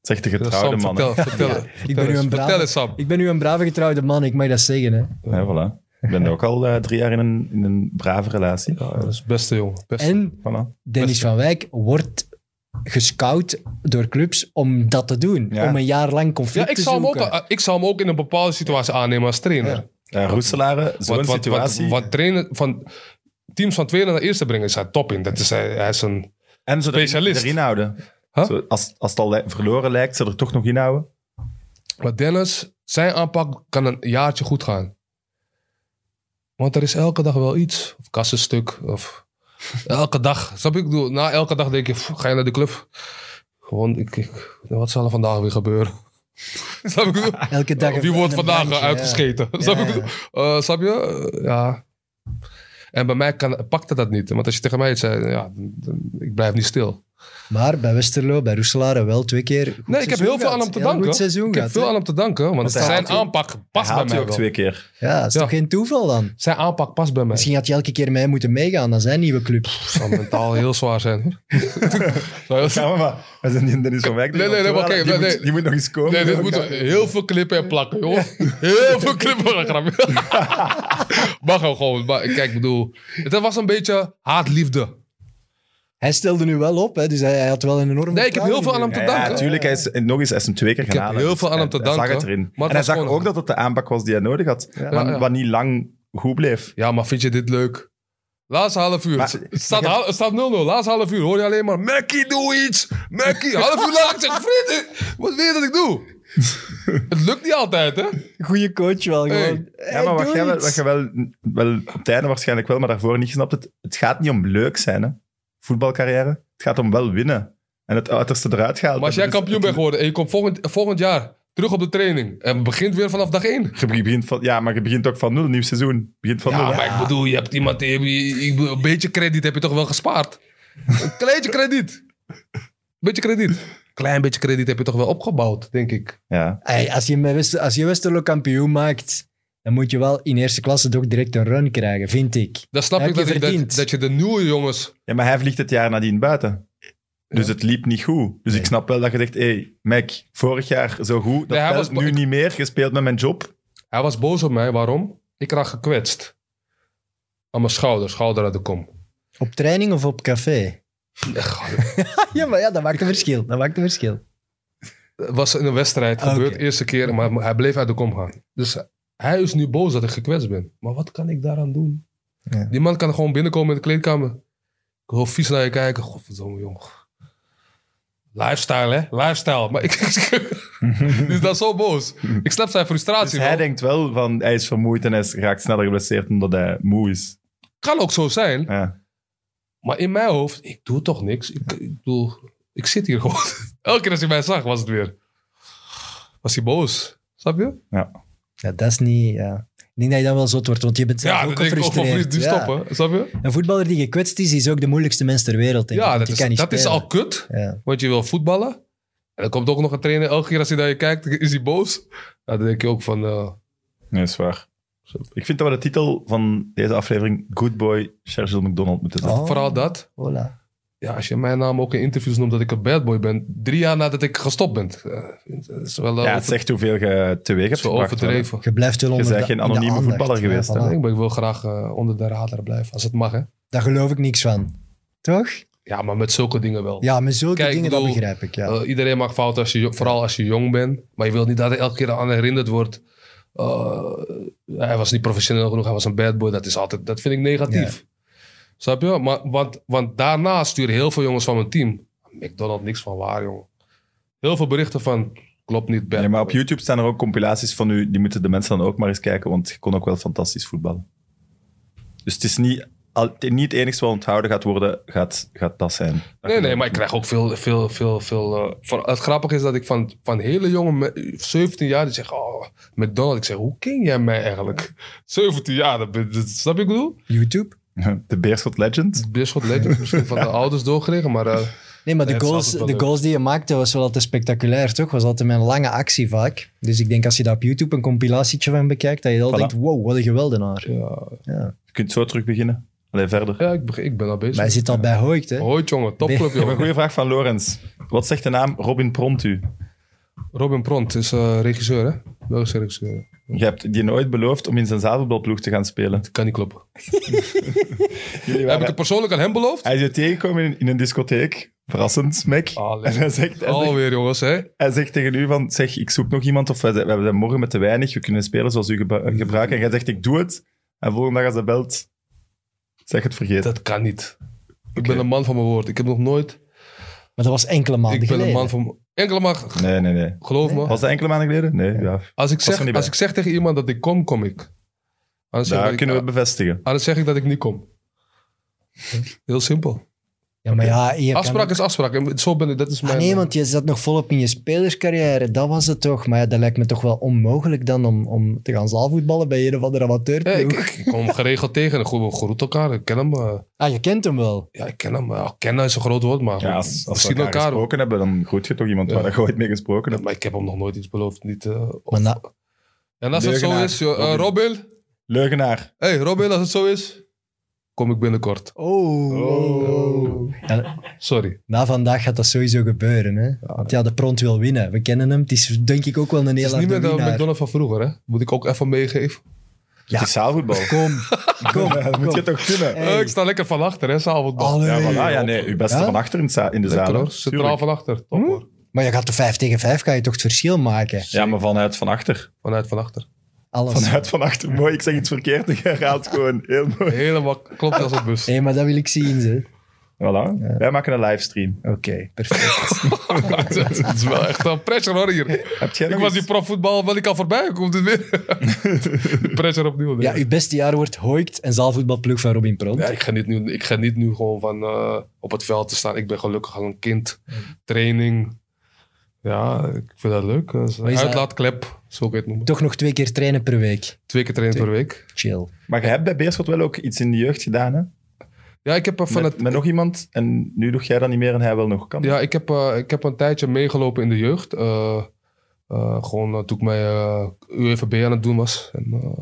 S1: Zegt de
S3: Ja,
S1: getrouwde
S3: Sam,
S1: man. hè.
S3: Vertel, vertel, het.
S2: Ik
S3: vertel,
S2: ben, u
S3: eens,
S2: een
S3: vertel
S2: brave,
S3: eens, Sam.
S2: ik ben nu een brave getrouwde man, ik mag dat zeggen, hè?
S1: Ja, voilà. Ik ben ook al eh, drie jaar in een, in een brave relatie.
S3: Ja, dat is beste jongen. Beste.
S2: En
S1: Voilà.
S2: Dennis
S3: Beste.
S2: van Wijk wordt gescout door clubs om dat te doen.
S1: Ja.
S2: Om een jaar lang conflict
S3: Ja, ik
S2: te
S3: zou, hem ook,
S2: zoeken.
S3: eh, ik zou hem ook in een bepaalde situatie aannemen als trainer.
S2: Ja.
S1: Ja, Eh, Roeselaren, zo'n
S3: Want, want, want,
S1: situatie.
S3: want trainen van teams van tweede naar eerste brengen is hij top in. Dat is, hij, hij is een,
S1: en ze erin,
S3: specialist.
S1: erin houden.
S3: Huh?
S1: Zo, als, als het al li- verloren lijkt, ze er toch nog in houden.
S3: maar Dennis, zijn aanpak kan een jaartje goed gaan. Want er is elke dag wel iets. Of kassenstuk. Of elke dag. Snap je? Ik bedoel, na elke dag denk je, "Pff, ga je naar de club? Gewoon, ik, ik, wat zal er vandaag weer gebeuren? Snap ik?
S2: Elke
S1: Oh,
S2: dag.
S3: Of Wie
S2: een-
S3: wordt
S2: een
S3: vandaag
S2: bandje,
S3: uitgescheten? Snap
S2: ja,
S3: ik? Eh, snap je? Eh, ja. En bij mij kan, pakte dat niet. Want als je tegen mij iets zei, ja, dan- ik blijf niet stil.
S2: ja. Maar bij Westerlo, bij Roeselare wel twee keer. goed
S3: Nee, ik heb
S2: seizoen
S3: heel veel aan
S2: gehad.
S3: hem te
S2: Heel
S3: danken.
S2: Goed seizoen
S3: Ik heb
S2: gehad,
S3: veel
S2: hè?
S3: aan hem te danken, want
S1: hij
S3: zijn
S1: haalt je-
S3: aanpak
S1: Hij
S3: past bij
S1: haalt je
S3: mij
S1: ook
S3: wel.
S1: twee keer.
S2: Ja, dat is
S3: Ja.
S2: toch geen toeval dan?
S3: Zijn aanpak past bij mij.
S2: Misschien had je elke keer mee moeten meegaan naar zijn nieuwe club.
S3: Het zou mentaal heel zwaar zijn. hoor. Zou heel-
S1: Ja, maar, maar we zijn niet in Dennis van Wijk.
S3: Nee, nee, nee, maar
S1: die,
S3: kijk, nee,
S1: moet,
S3: nee.
S1: die moet nog eens komen.
S3: Nee, dit moet heel veel klippen en plakken, joh. Heel veel klippen en grapje. Mag hem gewoon. Maar kijk, ik bedoel, het was een beetje haatliefde.
S2: Hij stelde nu wel op, hè, dus hij, hij had wel een enorme.
S3: Nee, ik heb heel
S2: vertrouwen
S3: veel aan hem
S2: in
S3: te
S1: Ja,
S3: danken.
S1: ja, natuurlijk. Hij is, en nog eens, hij is hem twee keer
S3: heb
S1: gaan halen.
S3: heel
S1: Dus
S3: veel aan
S1: hij-
S3: hem te
S1: Hij
S3: danken.
S1: zag het erin.
S3: Maar het
S1: en hij
S3: was
S1: zag
S3: gewoon-
S1: ook dat het de aanpak was die hij nodig had.
S3: Ja,
S1: wat,
S3: ja.
S1: wat niet lang goed bleef.
S3: Ja, maar vind je dit leuk? Laatste half uur.
S1: Maar-
S3: het het staat hal- het staat 0-0. Laatste half uur hoor je alleen maar... Mackie, doe iets! Mackie! half uur laat ik zeg... Vriend, eh, wat wil je dat ik doe? het lukt niet altijd, hè?
S2: hè. Goeie coach wel
S3: Hey.
S2: gewoon.
S1: Ja, maar wat jij, wel, wat jij wel, wel op het einde waarschijnlijk wel, maar daarvoor niet snapt, het, het gaat niet om leuk zijn, hè. voetbalcarrière. Het gaat om wel winnen. En het uiterste eruit gehaald.
S3: Maar als jij
S1: hebben. Dus
S3: kampioen bent geworden... en je komt volgend, volgend jaar terug op de training... en het begint weer vanaf dag 1.
S1: Je begint van, ja, maar je begint ook van nul, nieuw seizoen. Je begint van
S3: Ja,
S1: nul.
S3: maar ik bedoel, je hebt iemand... die- die- die- Een beetje krediet heb je toch wel gespaard? een kleintje krediet. Beetje krediet. Klein beetje krediet heb je toch wel opgebouwd, denk ik.
S1: Ja.
S2: Hey, als, je met Wester, als je Westerlo kampioen maakt, dan moet je wel in eerste klasse toch direct een run krijgen, vind ik.
S3: Dan snap
S2: Heb
S3: ik
S2: je
S3: dat, ik dat,
S2: verdiend.
S3: dat je de nieuwe jongens...
S1: ja, maar hij vliegt het jaar nadien buiten. Dus het liep niet goed. Dus ik snap wel dat je zegt, hé, hey, Mac, vorig jaar zo goed, dat
S3: Nee, hij
S1: telt
S3: was-
S1: nu niet meer, gespeeld met mijn job.
S3: Hij was boos op mij. Waarom? Ik raak gekwetst. Aan mijn schouder, schouder uit de kom.
S2: Op training of op café? ja, maar ja, dat maakt een verschil. Dat maakt een verschil.
S3: Het was in een wedstrijd
S2: Ah, Oké.
S3: gebeurd, eerste keer, maar hij bleef uit de kom gaan. Dus hij is nu boos dat ik gekwetst ben. Maar wat kan ik daaraan doen?
S2: Ja.
S3: Die man kan gewoon binnenkomen in de kleedkamer. Ik hoor vies naar je kijken. Godverdomme, jong. Lifestyle, hè? Lifestyle. Maar ik, die is dan zo boos. Ik snap zijn frustratie.
S1: Dus hij
S3: man.
S1: denkt wel van, hij is vermoeid en hij is- raakt sneller geblesseerd omdat hij moe is.
S3: Kan ook zo zijn.
S1: Ja.
S3: Maar in mijn hoofd, ik doe toch niks. Ik, ik bedoel, ik zit hier gewoon. Elke keer als hij mij zag, was het weer. Was hij boos. Snap je?
S2: Ja, dat is niet... Ja. Ik denk dat je dan wel zot wordt, want je bent zelf
S3: Ja,
S2: ook
S3: dat denk ik ook van
S2: gefrustreerd.
S3: vriend, nu
S2: Ja.
S3: stoppen. Snap je?
S2: Een voetballer die gekwetst is, is ook de moeilijkste mens ter wereld. Denk ik,
S3: Ja,
S2: want
S3: dat,
S2: die
S3: is,
S2: kan niet
S3: dat is
S2: spelen.
S3: al kut.
S2: Ja.
S3: Want je wil voetballen. En dan komt ook nog een trainer. Elke keer als hij naar je kijkt, is hij boos. Ja, dan denk je ook van... eh,
S1: Nee, is waar. Ik vind dat we de titel van deze aflevering Good Boy Sergio McDonald moeten zetten.
S2: Oh.
S3: Vooral dat.
S2: Voilà.
S3: Ja, als je mijn naam ook in interviews noemt dat ik een bad boy ben. Drie jaar nadat ik gestopt ben. Eh, dat is wel eh,
S1: ja, het
S3: over-
S1: zegt hoeveel je teweeg hebt
S3: is wel
S1: gebracht.
S3: overdreven.
S2: Je blijft wel onder
S1: bent
S2: de-
S1: geen
S2: in de
S1: anonieme
S2: aandacht.
S1: voetballer
S2: Ja,
S1: geweest, hè?
S2: voilà.
S3: Ik ben- ik wil graag eh, onder de radar blijven, als het mag. Hè?
S2: Daar geloof ik niks van. Toch?
S3: Ja, maar met zulke dingen wel.
S2: Ja, met zulke
S3: Kijk, ik
S2: dingen, dat
S3: bedoel,
S2: begrijp ik. Ja.
S3: Eh, iedereen maakt fouten, als je, jo- vooral als je jong bent. Maar je wilt niet dat er elke keer aan herinnerd wordt. eh, hij was niet professioneel genoeg, hij was een bad boy. Dat, is altijd, dat vind ik negatief. Snap je? Maar, want, want daarna sturen heel veel jongens van mijn team. McDonald, niks van waar, jongen. Heel veel berichten van, klopt niet, bad
S1: Ja, maar op
S3: boy.
S1: YouTube staan er ook compilaties van u. Die moeten de mensen dan ook maar eens kijken, want je kon ook wel fantastisch voetballen. Dus het is niet al- niet het enigste wat onthouden gaat worden, gaat, gaat dat zijn. Dat
S3: Nee,
S1: je-
S3: nee, maar ik krijg ook veel, veel, veel, veel... eh, voor- het grappige is dat ik van, van hele jonge, me- 17 jaar, die zeggen, oh, McDonald's. Ik zeg, hoe ken jij mij eigenlijk? 17 jaar, dat, ben- dat- snap je wat ik bedoel?
S2: YouTube?
S1: De Beerschot Legend.
S3: Bisschop Legend, misschien van de ouders doorgekregen, maar... eh,
S2: Nee, maar de,
S3: Nee, het is
S2: goals,
S3: altijd wel
S2: de
S3: leuk.
S2: goals die je maakte was wel altijd spectaculair, toch? Was altijd met een lange actie vaak. Dus ik denk als je daar op YouTube een compilatietje van bekijkt, dat je al
S1: Voilà.
S2: denkt, wow, wat een geweldenaar.
S3: ja,
S2: Ja.
S1: Je kunt zo terug beginnen. Allee, verder.
S3: ja ik, beg- ik ben al bezig.
S2: Maar hij zit Dus al bij Hoyt, hè?
S3: Hoi jongen, topclub
S1: Ik heb een
S3: jongen.
S1: goede vraag van Lorenz. Wat zegt de naam Robin Pront u?
S3: Robin Pront is eh, regisseur, hè? Belgische regisseur.
S1: Je hebt die nooit beloofd om in zijn zadelbalploeg te gaan spelen.
S3: Dat kan niet kloppen.
S1: Jullie
S3: Heb ik
S1: waren,
S3: het persoonlijk aan hem beloofd?
S1: hij is je tegengekomen in, in een discotheek. Verrassend, smek.
S3: Allee.
S1: En hij zegt, hij, zegt,
S3: Alweer jongens, hè?
S1: hij zegt tegen u van, zeg, ik zoek nog iemand. Of wij zijn- we hebben morgen met te weinig. We kunnen spelen zoals u gebru- gebruikt. En jij zegt, ik doe het. En volgende dag als hij belt, zeg het vergeten.
S3: Dat kan niet. Ik ben een man van mijn woord. Ik heb nog nooit...
S2: Maar dat was enkele maanden
S3: ik ben
S2: geleden.
S3: een man van... Enkele maand,
S1: Nee, nee, nee.
S3: geloof me.
S1: Was dat enkele maanden geleden? Nee, ja.
S3: Als ik,
S1: er niet
S3: zeg,
S1: bij.
S3: als ik zeg tegen iemand dat ik kom, kom ik. Anders, zeg,
S1: Daar
S3: ik,
S1: kunnen we bevestigen.
S3: anders zeg ik dat ik niet kom. Heel simpel.
S2: Ja, maar ja, je kan-
S3: Afspraak is afspraak. En Zo ben ik, dat is
S2: Ah,
S3: mijn...
S2: nee, want je zat nog volop in je spelerscarrière. Dat was het toch. Maar ja, dat lijkt me toch wel onmogelijk dan om, om te gaan zaalvoetballen bij een of andere
S3: Ja,
S2: amateurploeg.
S3: ik, ik- ik kom geregeld tegen. en goed- We groeten elkaar. Ik ken hem. eh,
S2: Ah, je kent hem wel.
S3: ja, ik ken hem. Ja, kennen is een groot woord, maar
S1: Ja, als, als we
S3: misschien
S1: elkaar,
S3: elkaar ook.
S1: gesproken hebben, dan groet je toch iemand
S3: Ja.
S1: waar je ooit mee gesproken
S3: Ja,
S1: hebt.
S3: maar ik heb hem nog nooit iets beloofd. Niet, eh, of-
S2: Maar na-
S3: en als het zo
S1: Leugenaar.
S3: is, joh, eh,
S1: Robin.
S3: Robin.
S1: Leugenaar.
S3: Hey, Robin, als het zo is, kom ik binnenkort.
S2: oh.
S1: Oh.
S2: Ja,
S3: Sorry.
S2: na vandaag gaat dat sowieso gebeuren. Hè? Want ja, de pront wil winnen. We kennen hem. Het is denk ik ook wel een
S3: Het is
S2: heel
S3: niet
S2: harde
S3: meer de
S2: winnaar.
S3: McDonald's van vroeger, hè? Moet ik ook even meegeven.
S1: Het is zaalvoetbal.
S2: Kom, kom,
S1: Dat moet je
S2: kom.
S1: toch kunnen?
S2: Hey.
S3: Eh, ik sta lekker van achter, hè, s'avonds.
S2: Allee.
S1: Ja, voilà, ja, nee, uw beste
S2: Ja?
S1: van achter in, het za- in de
S3: Lekker
S1: zaal.
S3: hoor,
S1: hè.
S3: centraal
S1: Tuurlijk.
S3: van achter.
S2: Hm?
S3: Top hoor.
S2: Maar je gaat de 5 tegen 5, ga je toch het verschil maken?
S1: Ja, maar vanuit van achter.
S3: Vanuit van achter.
S2: Alles.
S1: Vanuit van achter. Mooi, ik zeg iets verkeerd en jij raadt gewoon. Heel mooi.
S3: Helemaal klopt als een bus.
S2: Nee, maar dat wil ik zien, ze.
S1: Voilà. Wij maken een livestream.
S2: Oké, perfect.
S3: Het is wel echt een pressure hoor hier.
S1: Heb jij
S3: Ik
S1: nog
S3: was die
S1: iets?
S3: profvoetbal, ben ik al voorbij, komt het weer. Die pressure opnieuw. nee.
S2: Ja, uw beste jaar wordt Hoikt en zaalvoetbalploeg van Robin Pront.
S3: Ja, ik ga niet nu, ik ga niet nu gewoon van eh, op het veld te staan. Ik ben gelukkig al een kind. Training. Ja, ik vind dat leuk. Dat is een
S2: Maar is dat-
S3: uitlaatklep, zo kan je het noemen.
S2: Toch nog twee keer trainen per week.
S3: Twee keer trainen per week.
S2: Chill.
S1: Maar je hebt bij Beerschot wel ook iets in de jeugd gedaan, hè?
S3: Ja, ik heb er van
S1: met,
S3: het...
S1: met nog iemand. En nu doe jij dat niet meer en hij wel nog. Kan
S3: Ja, ik heb, eh, ik heb een tijdje meegelopen in de jeugd. Eh, eh, gewoon eh, toen ik mij eh UFB aan het doen was. En, eh,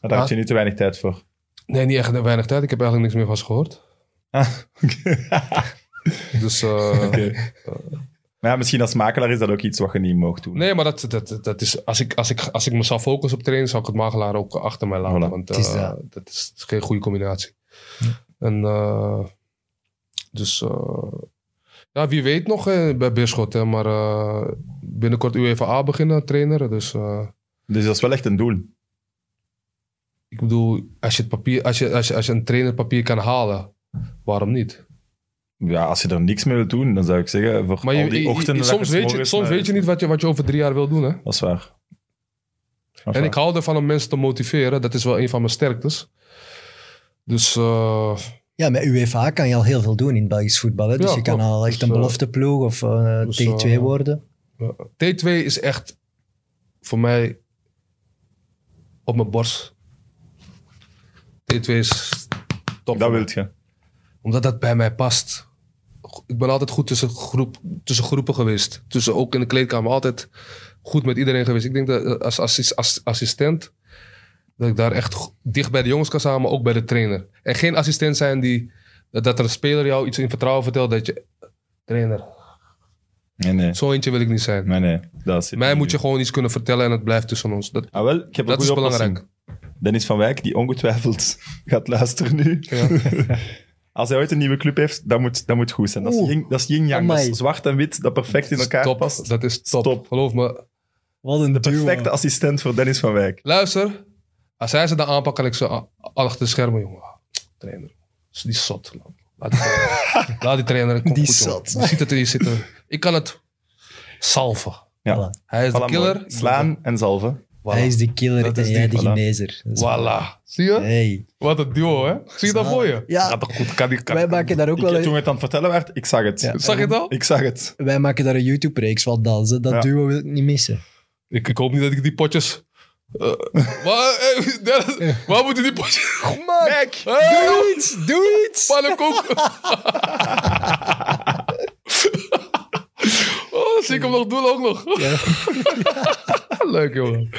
S1: Maar daar had je nu te weinig tijd voor.
S3: nee, niet echt weinig tijd. Ik heb eigenlijk niks meer van ze gehoord.
S1: Ah, oké.
S3: Dus, eh,
S1: Maar ja, misschien als makelaar is dat ook iets wat je niet mag doen.
S3: Nee, maar dat, dat, dat is, als, ik, als, ik, als ik me zou focussen op trainen, zou ik het makelaar ook achter mij laten.
S1: Voilà.
S3: Want
S2: Het is
S3: eh,
S2: dat.
S3: dat is geen goede combinatie. En eh, dus, eh, ja, wie weet nog eh, bij Beerschot. Hè, maar eh, binnenkort UEFA beginnen, trainer. Dus eh,
S1: Dus dat is wel echt een doel.
S3: ik bedoel, als je, het papier, als, je, als, je, als je een trainerpapier kan halen, waarom niet?
S1: Ja, als je er niks mee wilt doen, dan zou ik zeggen... Voor
S3: Maar
S1: al
S3: je,
S1: die
S3: je- je-
S1: ochtenden dat
S3: soms,
S1: je
S3: weet je,
S1: s'morgens
S3: soms
S1: naar-
S3: weet je niet wat je, wat je over drie jaar wil doen. Hè?
S1: Dat is waar. Dat is
S3: En
S1: waar.
S3: ik hou ervan om mensen te motiveren. Dat is wel een van mijn sterktes. Dus eh,
S2: Ja, met UEFA kan je al heel veel doen in Belgisch voetbal. Hè? Dus
S3: Ja,
S2: je kan
S3: klopt.
S2: al echt
S3: Dus,
S2: een
S3: eh,
S2: belofteploeg of eh
S3: dus,
S2: tegen twee
S3: eh,
S2: worden.
S3: T2 is echt voor mij op mijn borst. T2 is top.
S1: Dat wilt je.
S3: Omdat dat bij mij past. Ik ben altijd goed tussen, groep, tussen groepen geweest. Tussen, ook in de kleedkamer altijd goed met iedereen geweest. Ik denk dat eh, als, als, als assistent... dat ik daar echt go- dicht bij de jongens kan staan... maar ook bij de trainer. En geen assistent zijn die... dat er een speler jou iets in vertrouwen vertelt... dat je... eh, trainer,
S1: Nee, nee.
S3: zo eentje wil ik niet zijn.
S1: Nee, nee. Dat zit
S3: Mij
S1: niet
S3: moet je
S1: in.
S3: gewoon iets kunnen vertellen... en het blijft tussen ons. Dat,
S1: Ah, wel, ik heb
S3: dat
S1: een
S3: is
S1: goede
S3: belangrijk.
S1: oplossing. Dennis van Wijk, die ongetwijfeld gaat luisteren nu.
S3: Ja.
S1: Als hij ooit een nieuwe club heeft, dat moet, dat moet goed zijn. Dat is
S2: Oeh.
S1: yin- dat is yin-yang. Dat
S2: Amai.
S1: is zwart en wit, dat perfect in elkaar
S3: top.
S1: past.
S3: Dat is top.
S1: Stop.
S3: Geloof me.
S2: Wat een
S1: Perfecte assistent voor Dennis van Wijk.
S3: Luister, als hij ze dan aanpakt, kan ik ze a- achter de schermen, jongen. Ah, Trainer, is die zot. man. Laat die trainer, laat die trainer komt
S2: Die
S3: goed, jongen.
S2: zot.
S3: Je ziet het in je zitten. Ik kan het salven.
S1: Ja.
S2: Voilà.
S3: Hij is
S1: Voilà,
S3: de killer.
S1: mooi. Slaan en zalven.
S2: Hij is de killer
S3: Dat
S2: en
S3: is
S2: jij
S3: die,
S2: de
S3: voilà.
S2: genezer. Dat is-
S3: Voilà. Zie je?
S2: Hey.
S3: Wat een duo, hè? Zie je dat
S2: Zalig.
S3: voor je?
S2: Ja.
S3: toch goed. Kan die, kan-
S2: Ah. Wij maken daar ook
S1: Ik,
S2: wel...
S1: toen het aan het vertellen werd, ik zag het.
S2: Ja.
S3: Zag je het al?
S1: Ik zag het.
S2: Wij maken daar een YouTube-reeks van dansen. Dat
S1: Ja.
S2: duo wil ik niet missen.
S3: Ik, ik hoop niet dat ik die potjes... eh, waar, eh, Dennis, waar moeten die potjes...
S1: Mac!
S3: Hey,
S2: Doe iets! Doe iets!
S3: pannenkoek! oh, dat zie ik hem nog doen ook nog.
S2: Ja.
S3: Leuk, jongen.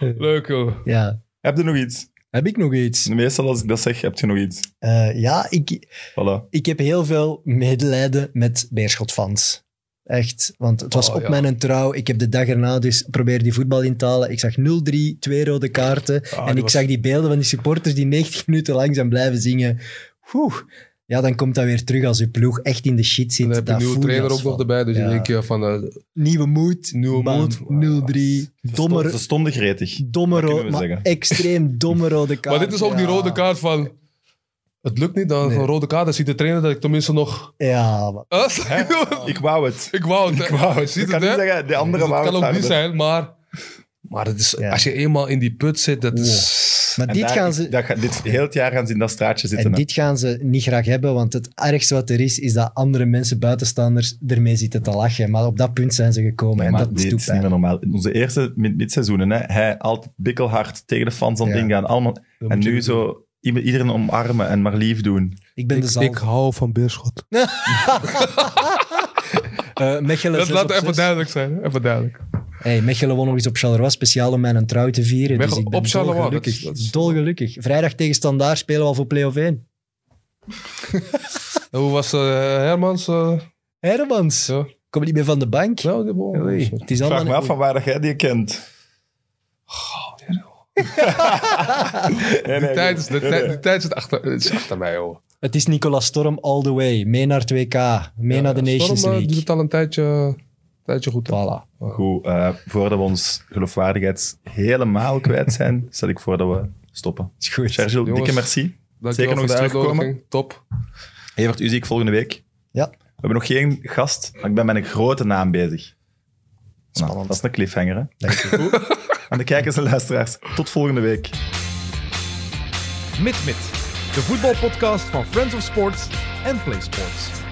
S3: Leuk, jongen.
S2: Ja.
S1: Heb je nog iets?
S2: Heb ik nog iets?
S1: Meestal als ik dat zeg, heb je nog iets.
S2: Eh, ja, ik,
S1: Voilà.
S2: ik heb heel veel medelijden met Beerschot-fans. Echt, want het was
S3: Oh,
S2: op
S3: ja.
S2: mijn trouw. Ik heb de dag erna dus probeer die voetbal in te halen. Ik zag 0-3, twee rode kaarten.
S3: Ah,
S2: en
S3: die
S2: ik
S3: was-
S2: zag die beelden van die supporters die 90 minuten lang zijn blijven zingen. Oeh. Ja, dan komt dat weer terug als je ploeg echt in de shit zit.
S3: Dan heb je
S2: Dat
S3: een nieuwe
S2: voel je
S3: trainer
S2: als
S3: ook nog
S2: fan.
S3: erbij. Dus
S2: Ja.
S3: je denkt je van... eh,
S2: Nieuwe moed.
S3: Nieuwe
S2: bam,
S3: moed.
S2: 0-3. Domme,
S1: Ze stonden gretig.
S2: domme
S1: kunnen
S2: ro-
S1: we
S2: maar
S1: zeggen.
S2: extreem domme rode kaart.
S3: maar dit is ook die
S2: Ja.
S3: rode kaart van... Het lukt niet, dan
S2: Nee.
S3: een rode kaart. Dan ziet de trainer dat ik tenminste nog...
S2: Ja, maar-
S3: Huh? Snap je?
S1: Ik wou het.
S3: Ik wou het. Ik wou het.
S1: Ik
S3: Ziet
S1: kan
S3: het,
S1: niet
S3: hè?
S1: zeggen, de andere
S3: Dus
S1: wou
S3: het kan
S1: het
S3: ook niet
S1: harder.
S3: zijn, maar... Maar het is,
S2: Ja.
S3: als je eenmaal in die put zit, dat is...
S2: maar
S1: En
S2: dit
S1: daar-
S2: gaan
S1: ik-
S2: ze...
S1: dat ga- dit heel het jaar gaan ze in dat straatje zitten.
S2: En
S1: hè.
S2: dit gaan ze niet graag hebben, want het ergste wat er is, is dat andere mensen, buitenstaanders, ermee zitten te lachen. Maar op dat punt zijn ze gekomen
S1: Nee,
S2: en
S1: maar
S2: dat
S1: dit
S2: doet
S1: is niet meer
S2: pijn.
S1: normaal. In onze eerste mid- midseizoenen, hè, hij altijd bikkelhard tegen de fans aan het
S2: Ja.
S1: ingaan. Allemaal,
S3: Dat
S1: en
S3: moet je
S1: nu
S3: niet doen.
S1: zo ieder- iedereen omarmen en maar lief doen.
S2: Ik ben de
S3: Ik, ik
S2: zalf.
S3: hou van Beerschot.
S2: Eh, Mechelen,
S3: Dat
S2: zes
S3: laat
S2: op
S3: even
S2: zes.
S3: duidelijk zijn. hè. Even duidelijk.
S2: Hey, Mechelen won nog eens op Charleroi, speciaal om mijn trouw te vieren.
S3: Mechelen-
S2: dus ik ben
S3: op Charleroi, dat
S2: dolgelukkig.
S3: is- dat is-
S2: dolgelukkig. Vrijdag tegen Standaard spelen we al voor play-off 1.
S3: En hoe was eh, Hermans? eh
S2: Hermans,
S3: Ja.
S2: kom niet meer van de bank.
S3: nou, die bal.
S2: Oei, het is
S1: Ik
S2: allemaal
S1: vraag me af van waar dat jij die kent. Nee, nee,
S3: Die tijd is-
S1: nee,
S3: de
S1: nee.
S3: tijd- die tijd zit achter, het is achter mij, joh.
S2: Het is Nicolas Storm all the way. Mee naar 2K. Mee naar de Nations
S3: Storm, eh,
S2: League.
S3: doet het al een tijdje, tijdje goed. hè.
S2: Voilà.
S1: Goed, eh, voordat we ons geloofwaardigheid helemaal kwijt zijn, stel ik voor dat we stoppen.
S2: Is goed.
S1: Sergio,
S3: Jongens.
S1: dikke merci.
S3: Dankjewel
S1: Zeker nog
S3: voor
S1: eens
S3: de
S1: terugkomen.
S3: uitnodiging. Top.
S1: Evert, u zie ik volgende week.
S2: Ja.
S1: We hebben nog geen gast, maar ik ben met een grote naam bezig. Nou,
S2: Spannend.
S1: dat is een cliffhanger, hè?
S2: Dank je.
S1: Aan de kijkers en luisteraars, tot volgende week.
S4: MidMid, de voetbalpodcast van Friends of Sports en Play Sports.